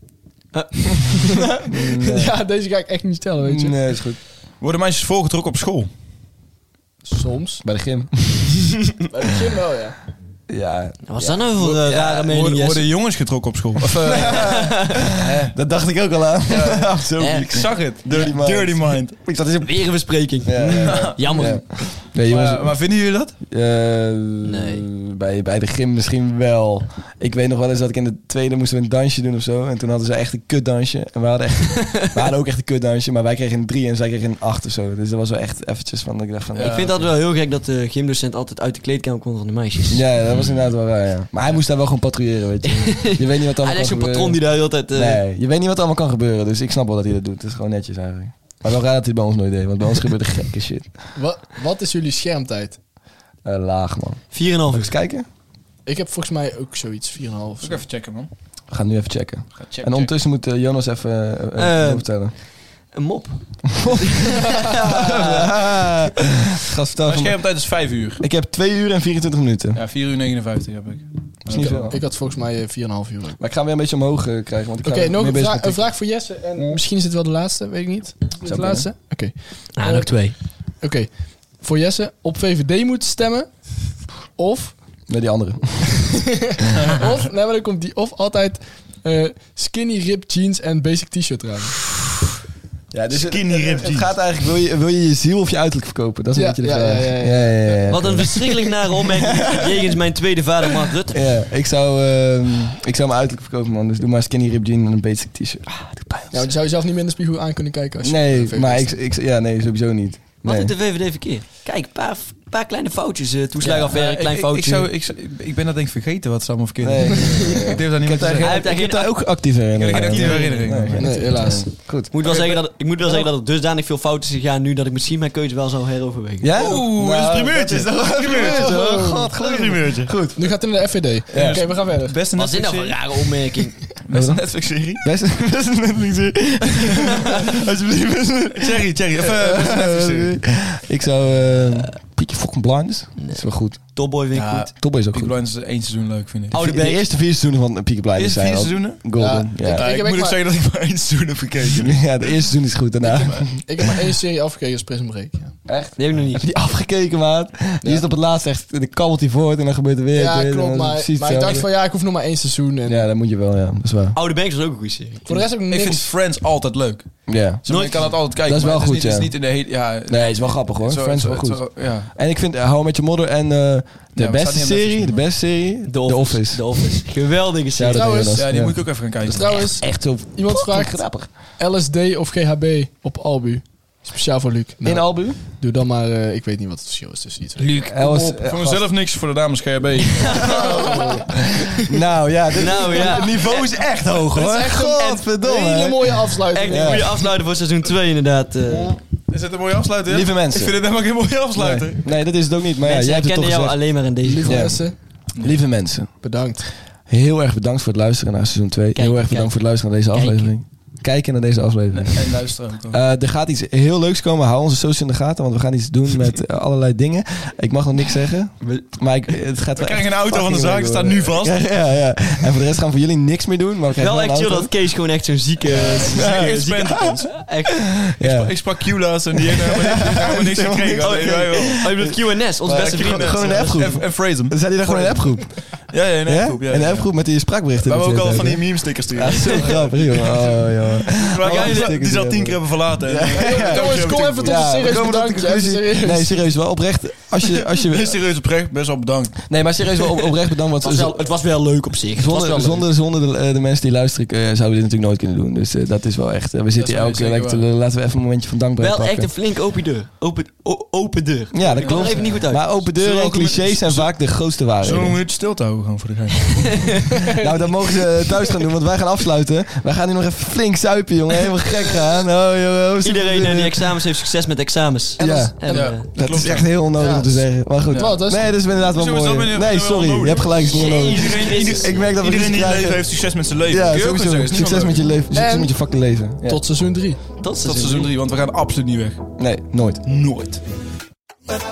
Speaker 6: ja, deze ga ik echt niet stellen, weet je.
Speaker 2: Nee, is goed.
Speaker 3: Worden meisjes voorgetrokken op school?
Speaker 6: Soms.
Speaker 2: Bij de gym.
Speaker 6: Bij het begin wel, ja.
Speaker 2: Ja.
Speaker 5: Wat is dat nou voor eh, rare mening,
Speaker 3: Worden,
Speaker 5: Jesse?
Speaker 3: worden jongens getrokken op school? Of, eh,
Speaker 2: Dat dacht ik ook al aan. Zo
Speaker 5: Ja.
Speaker 3: ik zag het.
Speaker 2: Dirty mind.
Speaker 3: Dirty mind.
Speaker 2: Ik zat eens op...
Speaker 5: Weer een bespreking.
Speaker 2: Ja, ja.
Speaker 5: Jammer.
Speaker 2: Ja. Nee, jongens.
Speaker 3: Maar, maar vinden jullie dat?
Speaker 2: eh,
Speaker 5: Nee.
Speaker 2: bij, bij de gym misschien wel. Ik weet nog wel eens dat ik in de tweede moesten we een dansje doen of zo. En toen hadden ze echt een kutdansje. En we hadden, echt, we hadden ook echt een kutdansje. Maar wij kregen een drie en zij kregen een acht of zo. Dus dat was wel echt eventjes van... dat Ik dacht van...
Speaker 5: Ik vind dat wel heel gek dat de gymdocent altijd uit de kleedkamer komt van de meisjes.
Speaker 2: Ja, dat was inderdaad wel raar, ja. Maar hij moest daar wel gewoon patrouilleren, weet je. Je weet niet wat er allemaal
Speaker 5: Hij
Speaker 2: kan
Speaker 5: is zo'n
Speaker 2: gebeuren.
Speaker 5: patroon die daar heel tijd... eh,
Speaker 2: Nee, je weet niet wat er allemaal kan gebeuren. Dus ik snap wel dat hij dat doet. Het is gewoon netjes eigenlijk. Maar wel raar dat hij het bij ons nooit deed. Want bij ons gebeurde gekke shit.
Speaker 6: Wat, wat is jullie schermtijd?
Speaker 2: Eh, laag, man.
Speaker 5: 4,5 uur.
Speaker 2: Even kijken.
Speaker 6: Ik heb volgens mij ook zoiets, 4,5 of zo.
Speaker 3: even checken, man.
Speaker 2: We gaan nu even checken.
Speaker 3: Ga checken.
Speaker 2: en ondertussen moet eh, Jonas even eh,
Speaker 5: Eh.
Speaker 2: vertellen.
Speaker 5: Een mop.
Speaker 2: Gast, vertel
Speaker 3: Mijn
Speaker 2: even-
Speaker 3: schermtijd is 5 uur.
Speaker 2: Ik heb 2 uur en 24 minuten.
Speaker 3: Ja, 4 uur 59 heb ik.
Speaker 2: Dat is niet veel.
Speaker 6: Ik had volgens mij eh, 4,5 uur. Oké,
Speaker 2: Maar ik ga hem weer een beetje omhoog eh, krijgen. Want ik ga weer
Speaker 6: nog
Speaker 2: meer
Speaker 6: een,
Speaker 2: bezig
Speaker 6: vraag-
Speaker 2: met
Speaker 6: een
Speaker 2: TikTok.
Speaker 6: vraag voor Jesse. En misschien is het wel de laatste, weet ik niet. Is het de
Speaker 2: kunnen.
Speaker 6: laatste? Oké.
Speaker 5: Nou, nog twee.
Speaker 6: Oké. Voor Jesse, op VVD moeten stemmen. Of
Speaker 2: Nee, die andere.
Speaker 6: Of, nee, maar dan komt die of altijd eh, skinny rib jeans en basic t-shirt dragen.
Speaker 2: Ja, dus het-
Speaker 3: Skinny
Speaker 2: het-
Speaker 3: ripped
Speaker 2: het,
Speaker 3: jeans.
Speaker 2: gaat eigenlijk, wil je, wil je je ziel of je uiterlijk verkopen? Dat is een
Speaker 6: Ja,
Speaker 2: beetje de
Speaker 6: ja,
Speaker 2: vraag.
Speaker 6: ja, ja, ja.
Speaker 2: ja, ja, ja.
Speaker 5: Wat een verschrikkelijk nare opmerking jegens mijn tweede vader, Mark Rutte.
Speaker 2: Ja, ik zou, ehm, ik zou mijn uiterlijk verkopen, man. Dus doe maar skinny rib jean en een basic t-shirt. Ah, doe pijn.
Speaker 6: Nou, dan zou je zelf niet meer in de spiegel aan kunnen kijken als je op
Speaker 2: nee,
Speaker 6: tv
Speaker 2: maar ik,
Speaker 6: bent.
Speaker 2: ik, ja, nee, sowieso niet.
Speaker 5: Wat
Speaker 2: Nee.
Speaker 5: doet de VVD verkeer? Kijk, een paar, paar kleine foutjes. eh toeslagaffaire,
Speaker 3: Ja,
Speaker 5: klein
Speaker 3: ik,
Speaker 5: foutje.
Speaker 3: Ik, zou, ik, zou- ik ben dat denk ik vergeten wat ze allemaal verkeerd
Speaker 2: Nee.
Speaker 3: doen. Ik durf daar
Speaker 2: Ik
Speaker 3: niet meer
Speaker 2: heb daar,
Speaker 3: te zeggen.
Speaker 5: Hij heeft
Speaker 2: geen,
Speaker 5: daar
Speaker 2: ik heb
Speaker 5: geen
Speaker 2: daar ook actieve
Speaker 3: Ik heb
Speaker 2: herinneringen
Speaker 3: geen actieve
Speaker 2: aan.
Speaker 3: herinneringen.
Speaker 2: geen
Speaker 6: Nee,
Speaker 2: actieve
Speaker 6: helaas.
Speaker 2: herinneringen. Goed.
Speaker 5: moet wel zeggen dat, ik moet wel zeggen dat er dusdanig veel fouten zijn gegaan nu dat ik misschien mijn keuze wel zou heroverwegen.
Speaker 2: Ja?
Speaker 3: Oeh,
Speaker 2: Nou,
Speaker 3: dat is primeurtjes. Dat is primeurtjes.
Speaker 2: Oh, god,
Speaker 3: Dat is primeurtje. Goed.
Speaker 6: Nu gaat het naar de FVD. Oké, we gaan verder.
Speaker 3: Beste
Speaker 5: Wat is dit nou voor een
Speaker 3: Netflix-serie.
Speaker 5: rare opmerking?
Speaker 3: Beste Netflix-serie.
Speaker 2: Best, best een Netflix-serie. Alsjeblieft, best een
Speaker 3: Cherry, Cherry. Of eh, beste Netflix-serie.
Speaker 2: Netflix-serie. Ik zou... eh ehm, Peaky fucking Blinders.
Speaker 5: Nee.
Speaker 2: is wel goed.
Speaker 5: Topboy vind ik
Speaker 3: Ja.
Speaker 5: goed.
Speaker 2: Topboy is ook
Speaker 3: Peaky
Speaker 2: goed.
Speaker 3: Blinders is één seizoen leuk, vind ik.
Speaker 5: Oude
Speaker 2: De
Speaker 5: Beek.
Speaker 2: eerste vier seizoenen van Peaky Blinders
Speaker 3: Eerste
Speaker 2: zijn
Speaker 3: Oh, vier
Speaker 2: al
Speaker 3: seizoenen?
Speaker 2: golden.
Speaker 6: Ja,
Speaker 2: Ja,
Speaker 3: Ja, ik
Speaker 6: heb
Speaker 3: moet
Speaker 6: echt
Speaker 3: ook zeggen dat ik maar één seizoen heb gekeken.
Speaker 2: ja, de eerste seizoen is goed daarna.
Speaker 6: Ik heb maar één serie afgekeken als Prison Break. Ja,
Speaker 5: Die heb ik nog niet.
Speaker 2: Die afgekeken, maat. Die is op het laatst echt... Dan kabbelt hij voort en dan gebeurt er weer.
Speaker 6: Ja,
Speaker 2: dit en dan
Speaker 6: klopt.
Speaker 2: is het
Speaker 6: Maar,
Speaker 2: precies
Speaker 6: maar ik dacht
Speaker 2: hetzelfde.
Speaker 6: van ja, ik hoef nog maar één seizoen. En
Speaker 2: Ja, dat moet je wel, ja. Dat is waar.
Speaker 5: Oude Beek was ook een goede serie.
Speaker 6: Voor de rest heb ik
Speaker 3: Ik
Speaker 6: niks.
Speaker 3: vind Friends altijd leuk.
Speaker 2: Ja.
Speaker 3: Zeg maar, je kan dat altijd kijken.
Speaker 2: Dat is
Speaker 3: maar
Speaker 2: wel
Speaker 3: het
Speaker 2: goed,
Speaker 3: niet,
Speaker 2: ja.
Speaker 3: Het is niet in de hele... Ja,
Speaker 2: Nee, het is wel grappig hoor.
Speaker 3: zo-
Speaker 2: Friends is wel
Speaker 3: zo-
Speaker 2: goed.
Speaker 3: zo- ja.
Speaker 2: En ik vind eh, How I Met Your Mother en eh, de
Speaker 3: staat
Speaker 2: beste
Speaker 3: niet op Netflix,
Speaker 2: serie, de
Speaker 3: man.
Speaker 2: beste serie, The Office.
Speaker 5: The Office. Geweldige
Speaker 2: Ja,
Speaker 5: serie.
Speaker 2: dat
Speaker 6: Trouwens-
Speaker 2: ben je dan.
Speaker 3: ja, die
Speaker 2: Ja.
Speaker 3: moet ik ook even gaan kijken.
Speaker 6: Dus Trouwens,
Speaker 2: Echt zo
Speaker 6: iemand vraagt
Speaker 2: grappig.
Speaker 6: LSD of GHB op Albu. Speciaal voor Luc. Nou,
Speaker 2: In Albu?
Speaker 6: doe dan maar, eh, ik weet niet wat het verschil is tussen die twee.
Speaker 2: Luc. Els, eh,
Speaker 3: voor mezelf niks, voor de dames GHB.
Speaker 2: nou ja, dit,
Speaker 5: Nou ja.
Speaker 2: het niveau is echt hoog hoor.
Speaker 6: is echt een-
Speaker 2: Godverdomme.
Speaker 6: Hele mooie afsluiting.
Speaker 5: Echt
Speaker 2: Ja.
Speaker 5: een goede afsluiter voor seizoen 2 inderdaad. eh.
Speaker 3: Is dit een mooie afsluiter?
Speaker 2: Lieve mensen.
Speaker 3: Ik vind het helemaal geen mooie afsluiter.
Speaker 2: Nee, nee, dat is het ook niet. Maar ja,
Speaker 5: Mensen
Speaker 2: jij hebt het
Speaker 5: herkennen
Speaker 2: toch
Speaker 5: jou
Speaker 2: gezegd.
Speaker 5: alleen maar in deze.
Speaker 6: Lieve
Speaker 2: Ja.
Speaker 6: mensen,
Speaker 2: Lieve mensen,
Speaker 6: bedankt.
Speaker 2: heel erg bedankt voor het luisteren naar seizoen 2.
Speaker 5: Kijk,
Speaker 2: heel erg
Speaker 5: kijk.
Speaker 2: bedankt voor het luisteren naar deze
Speaker 5: Kijk.
Speaker 2: aflevering. Kijken naar deze aflevering.
Speaker 3: En luisteren ook. dan.
Speaker 2: Eh, er gaat iets heel leuks komen. Hou onze socials in de gaten, want we gaan iets doen met eh, allerlei dingen. Ik mag nog niks zeggen, maar ik, het gaat wel
Speaker 3: We krijgen
Speaker 2: echt
Speaker 3: een auto van de
Speaker 2: fucking
Speaker 3: zaak,
Speaker 2: leuk
Speaker 3: staat
Speaker 2: worden.
Speaker 3: nu vast.
Speaker 2: Ja, ja, ja. En voor de rest gaan we voor jullie niks meer doen. Maar we krijgen
Speaker 5: Wel echt
Speaker 2: een
Speaker 5: chill
Speaker 2: auto.
Speaker 5: dat Kees gewoon echt zo'n zieke...
Speaker 3: Ik spend op ons.
Speaker 5: Echt.
Speaker 2: Ja.
Speaker 3: Ik sprak Q-laatst en eh, die heeft helemaal niks gekregen.
Speaker 5: Oh,
Speaker 3: Alleen wij wel.
Speaker 5: Oh, je bedoelt QNS, ons
Speaker 3: Maar
Speaker 5: beste
Speaker 3: Q-
Speaker 5: vrienden.
Speaker 2: Gewoon een appgroep.
Speaker 3: En- En phrase hem.
Speaker 2: Zijn die daar gewoon in een appgroep?
Speaker 3: Ja, ja, in een
Speaker 2: Ja?
Speaker 3: appgroep. ja,
Speaker 2: Een
Speaker 3: ja.
Speaker 2: appgroep met die spraakberichten.
Speaker 3: We hebben ook
Speaker 2: die
Speaker 3: al
Speaker 2: ze
Speaker 3: van die
Speaker 2: hebben.
Speaker 3: meme stickers
Speaker 2: Ja,
Speaker 3: sturen.
Speaker 2: zo grappig, jongen. Oh, jongen.
Speaker 3: Maar
Speaker 2: Oh,
Speaker 3: jij
Speaker 2: die
Speaker 3: die
Speaker 2: stickers
Speaker 3: zal tien
Speaker 2: hebben.
Speaker 3: keer hebben verlaten.
Speaker 6: Jongens, kom even tot
Speaker 2: Ja, we
Speaker 6: een serieus
Speaker 2: komen tot de
Speaker 6: bedankt. Even
Speaker 2: conclusie.
Speaker 6: serieus.
Speaker 2: Nee, serieus, wel oprecht. Als je, als
Speaker 3: Heel
Speaker 2: je,
Speaker 3: serieus oprecht, best wel bedankt.
Speaker 2: nee, maar serieus, wel op- oprecht bedankt. Want
Speaker 5: Het was, wel,
Speaker 2: z-
Speaker 5: het was wel leuk op zich. Het was wel
Speaker 2: zonder,
Speaker 5: leuk.
Speaker 2: zonder, zonder de, eh, de mensen die luisteren eh, zouden we dit natuurlijk nooit kunnen doen. Dus eh, dat is wel echt. eh, we zitten hier
Speaker 3: wel
Speaker 2: elke keer.
Speaker 3: zeker
Speaker 2: lekker te- Laten we even een momentje van dankbaarheid
Speaker 5: Wel echt een
Speaker 2: pakken.
Speaker 5: flink open deur. Open, o- open deur.
Speaker 2: Ja, dat
Speaker 5: Komt er
Speaker 2: klopt.
Speaker 5: even niet goed uit.
Speaker 2: Maar open deuren en
Speaker 3: Zullen we ook
Speaker 2: clichés
Speaker 3: met-
Speaker 2: zijn vaak de grootste
Speaker 3: Zullen we een
Speaker 2: waarheden.
Speaker 3: minuutje stil te houden gewoon voor de gein?
Speaker 2: Nou, dat mogen ze thuis gaan doen, want wij gaan afsluiten. Wij gaan nu nog even flink zuipen, jongen. Helemaal gek gaan. Oh, jongen.
Speaker 5: Iedereen eh, die examens heeft succes met examens.
Speaker 2: Ja.
Speaker 5: dat- en,
Speaker 3: Ja.
Speaker 5: eh,
Speaker 2: Dat
Speaker 3: Klopt,
Speaker 2: is echt heel onnodig
Speaker 6: Ja.
Speaker 2: om te zeggen. Maar goed.
Speaker 6: Wat, dat is-
Speaker 2: nee, dat is inderdaad wel
Speaker 3: Hoezo is dat
Speaker 2: mooi.
Speaker 3: weer-
Speaker 2: nee,
Speaker 3: weer wel
Speaker 2: sorry. Je
Speaker 3: nodig?
Speaker 2: hebt gelijk. Is niet onnodig. Ik merk dat we
Speaker 3: Iedereen
Speaker 2: ruzie
Speaker 3: die in het leven
Speaker 2: krijgen.
Speaker 3: heeft succes met zijn leven. Kun
Speaker 2: Ja,
Speaker 3: je ook wel
Speaker 2: sowieso.
Speaker 3: zeggen, is niet
Speaker 2: Succes met je
Speaker 3: onnodig.
Speaker 5: Ehm,
Speaker 2: leven. Succes
Speaker 6: En-
Speaker 2: met je fucking leven. Ja.
Speaker 6: Tot seizoen 3.
Speaker 5: dat
Speaker 3: Tot seizoen 3, want we gaan absoluut niet weg.
Speaker 2: Nee, nooit.
Speaker 3: Nooit.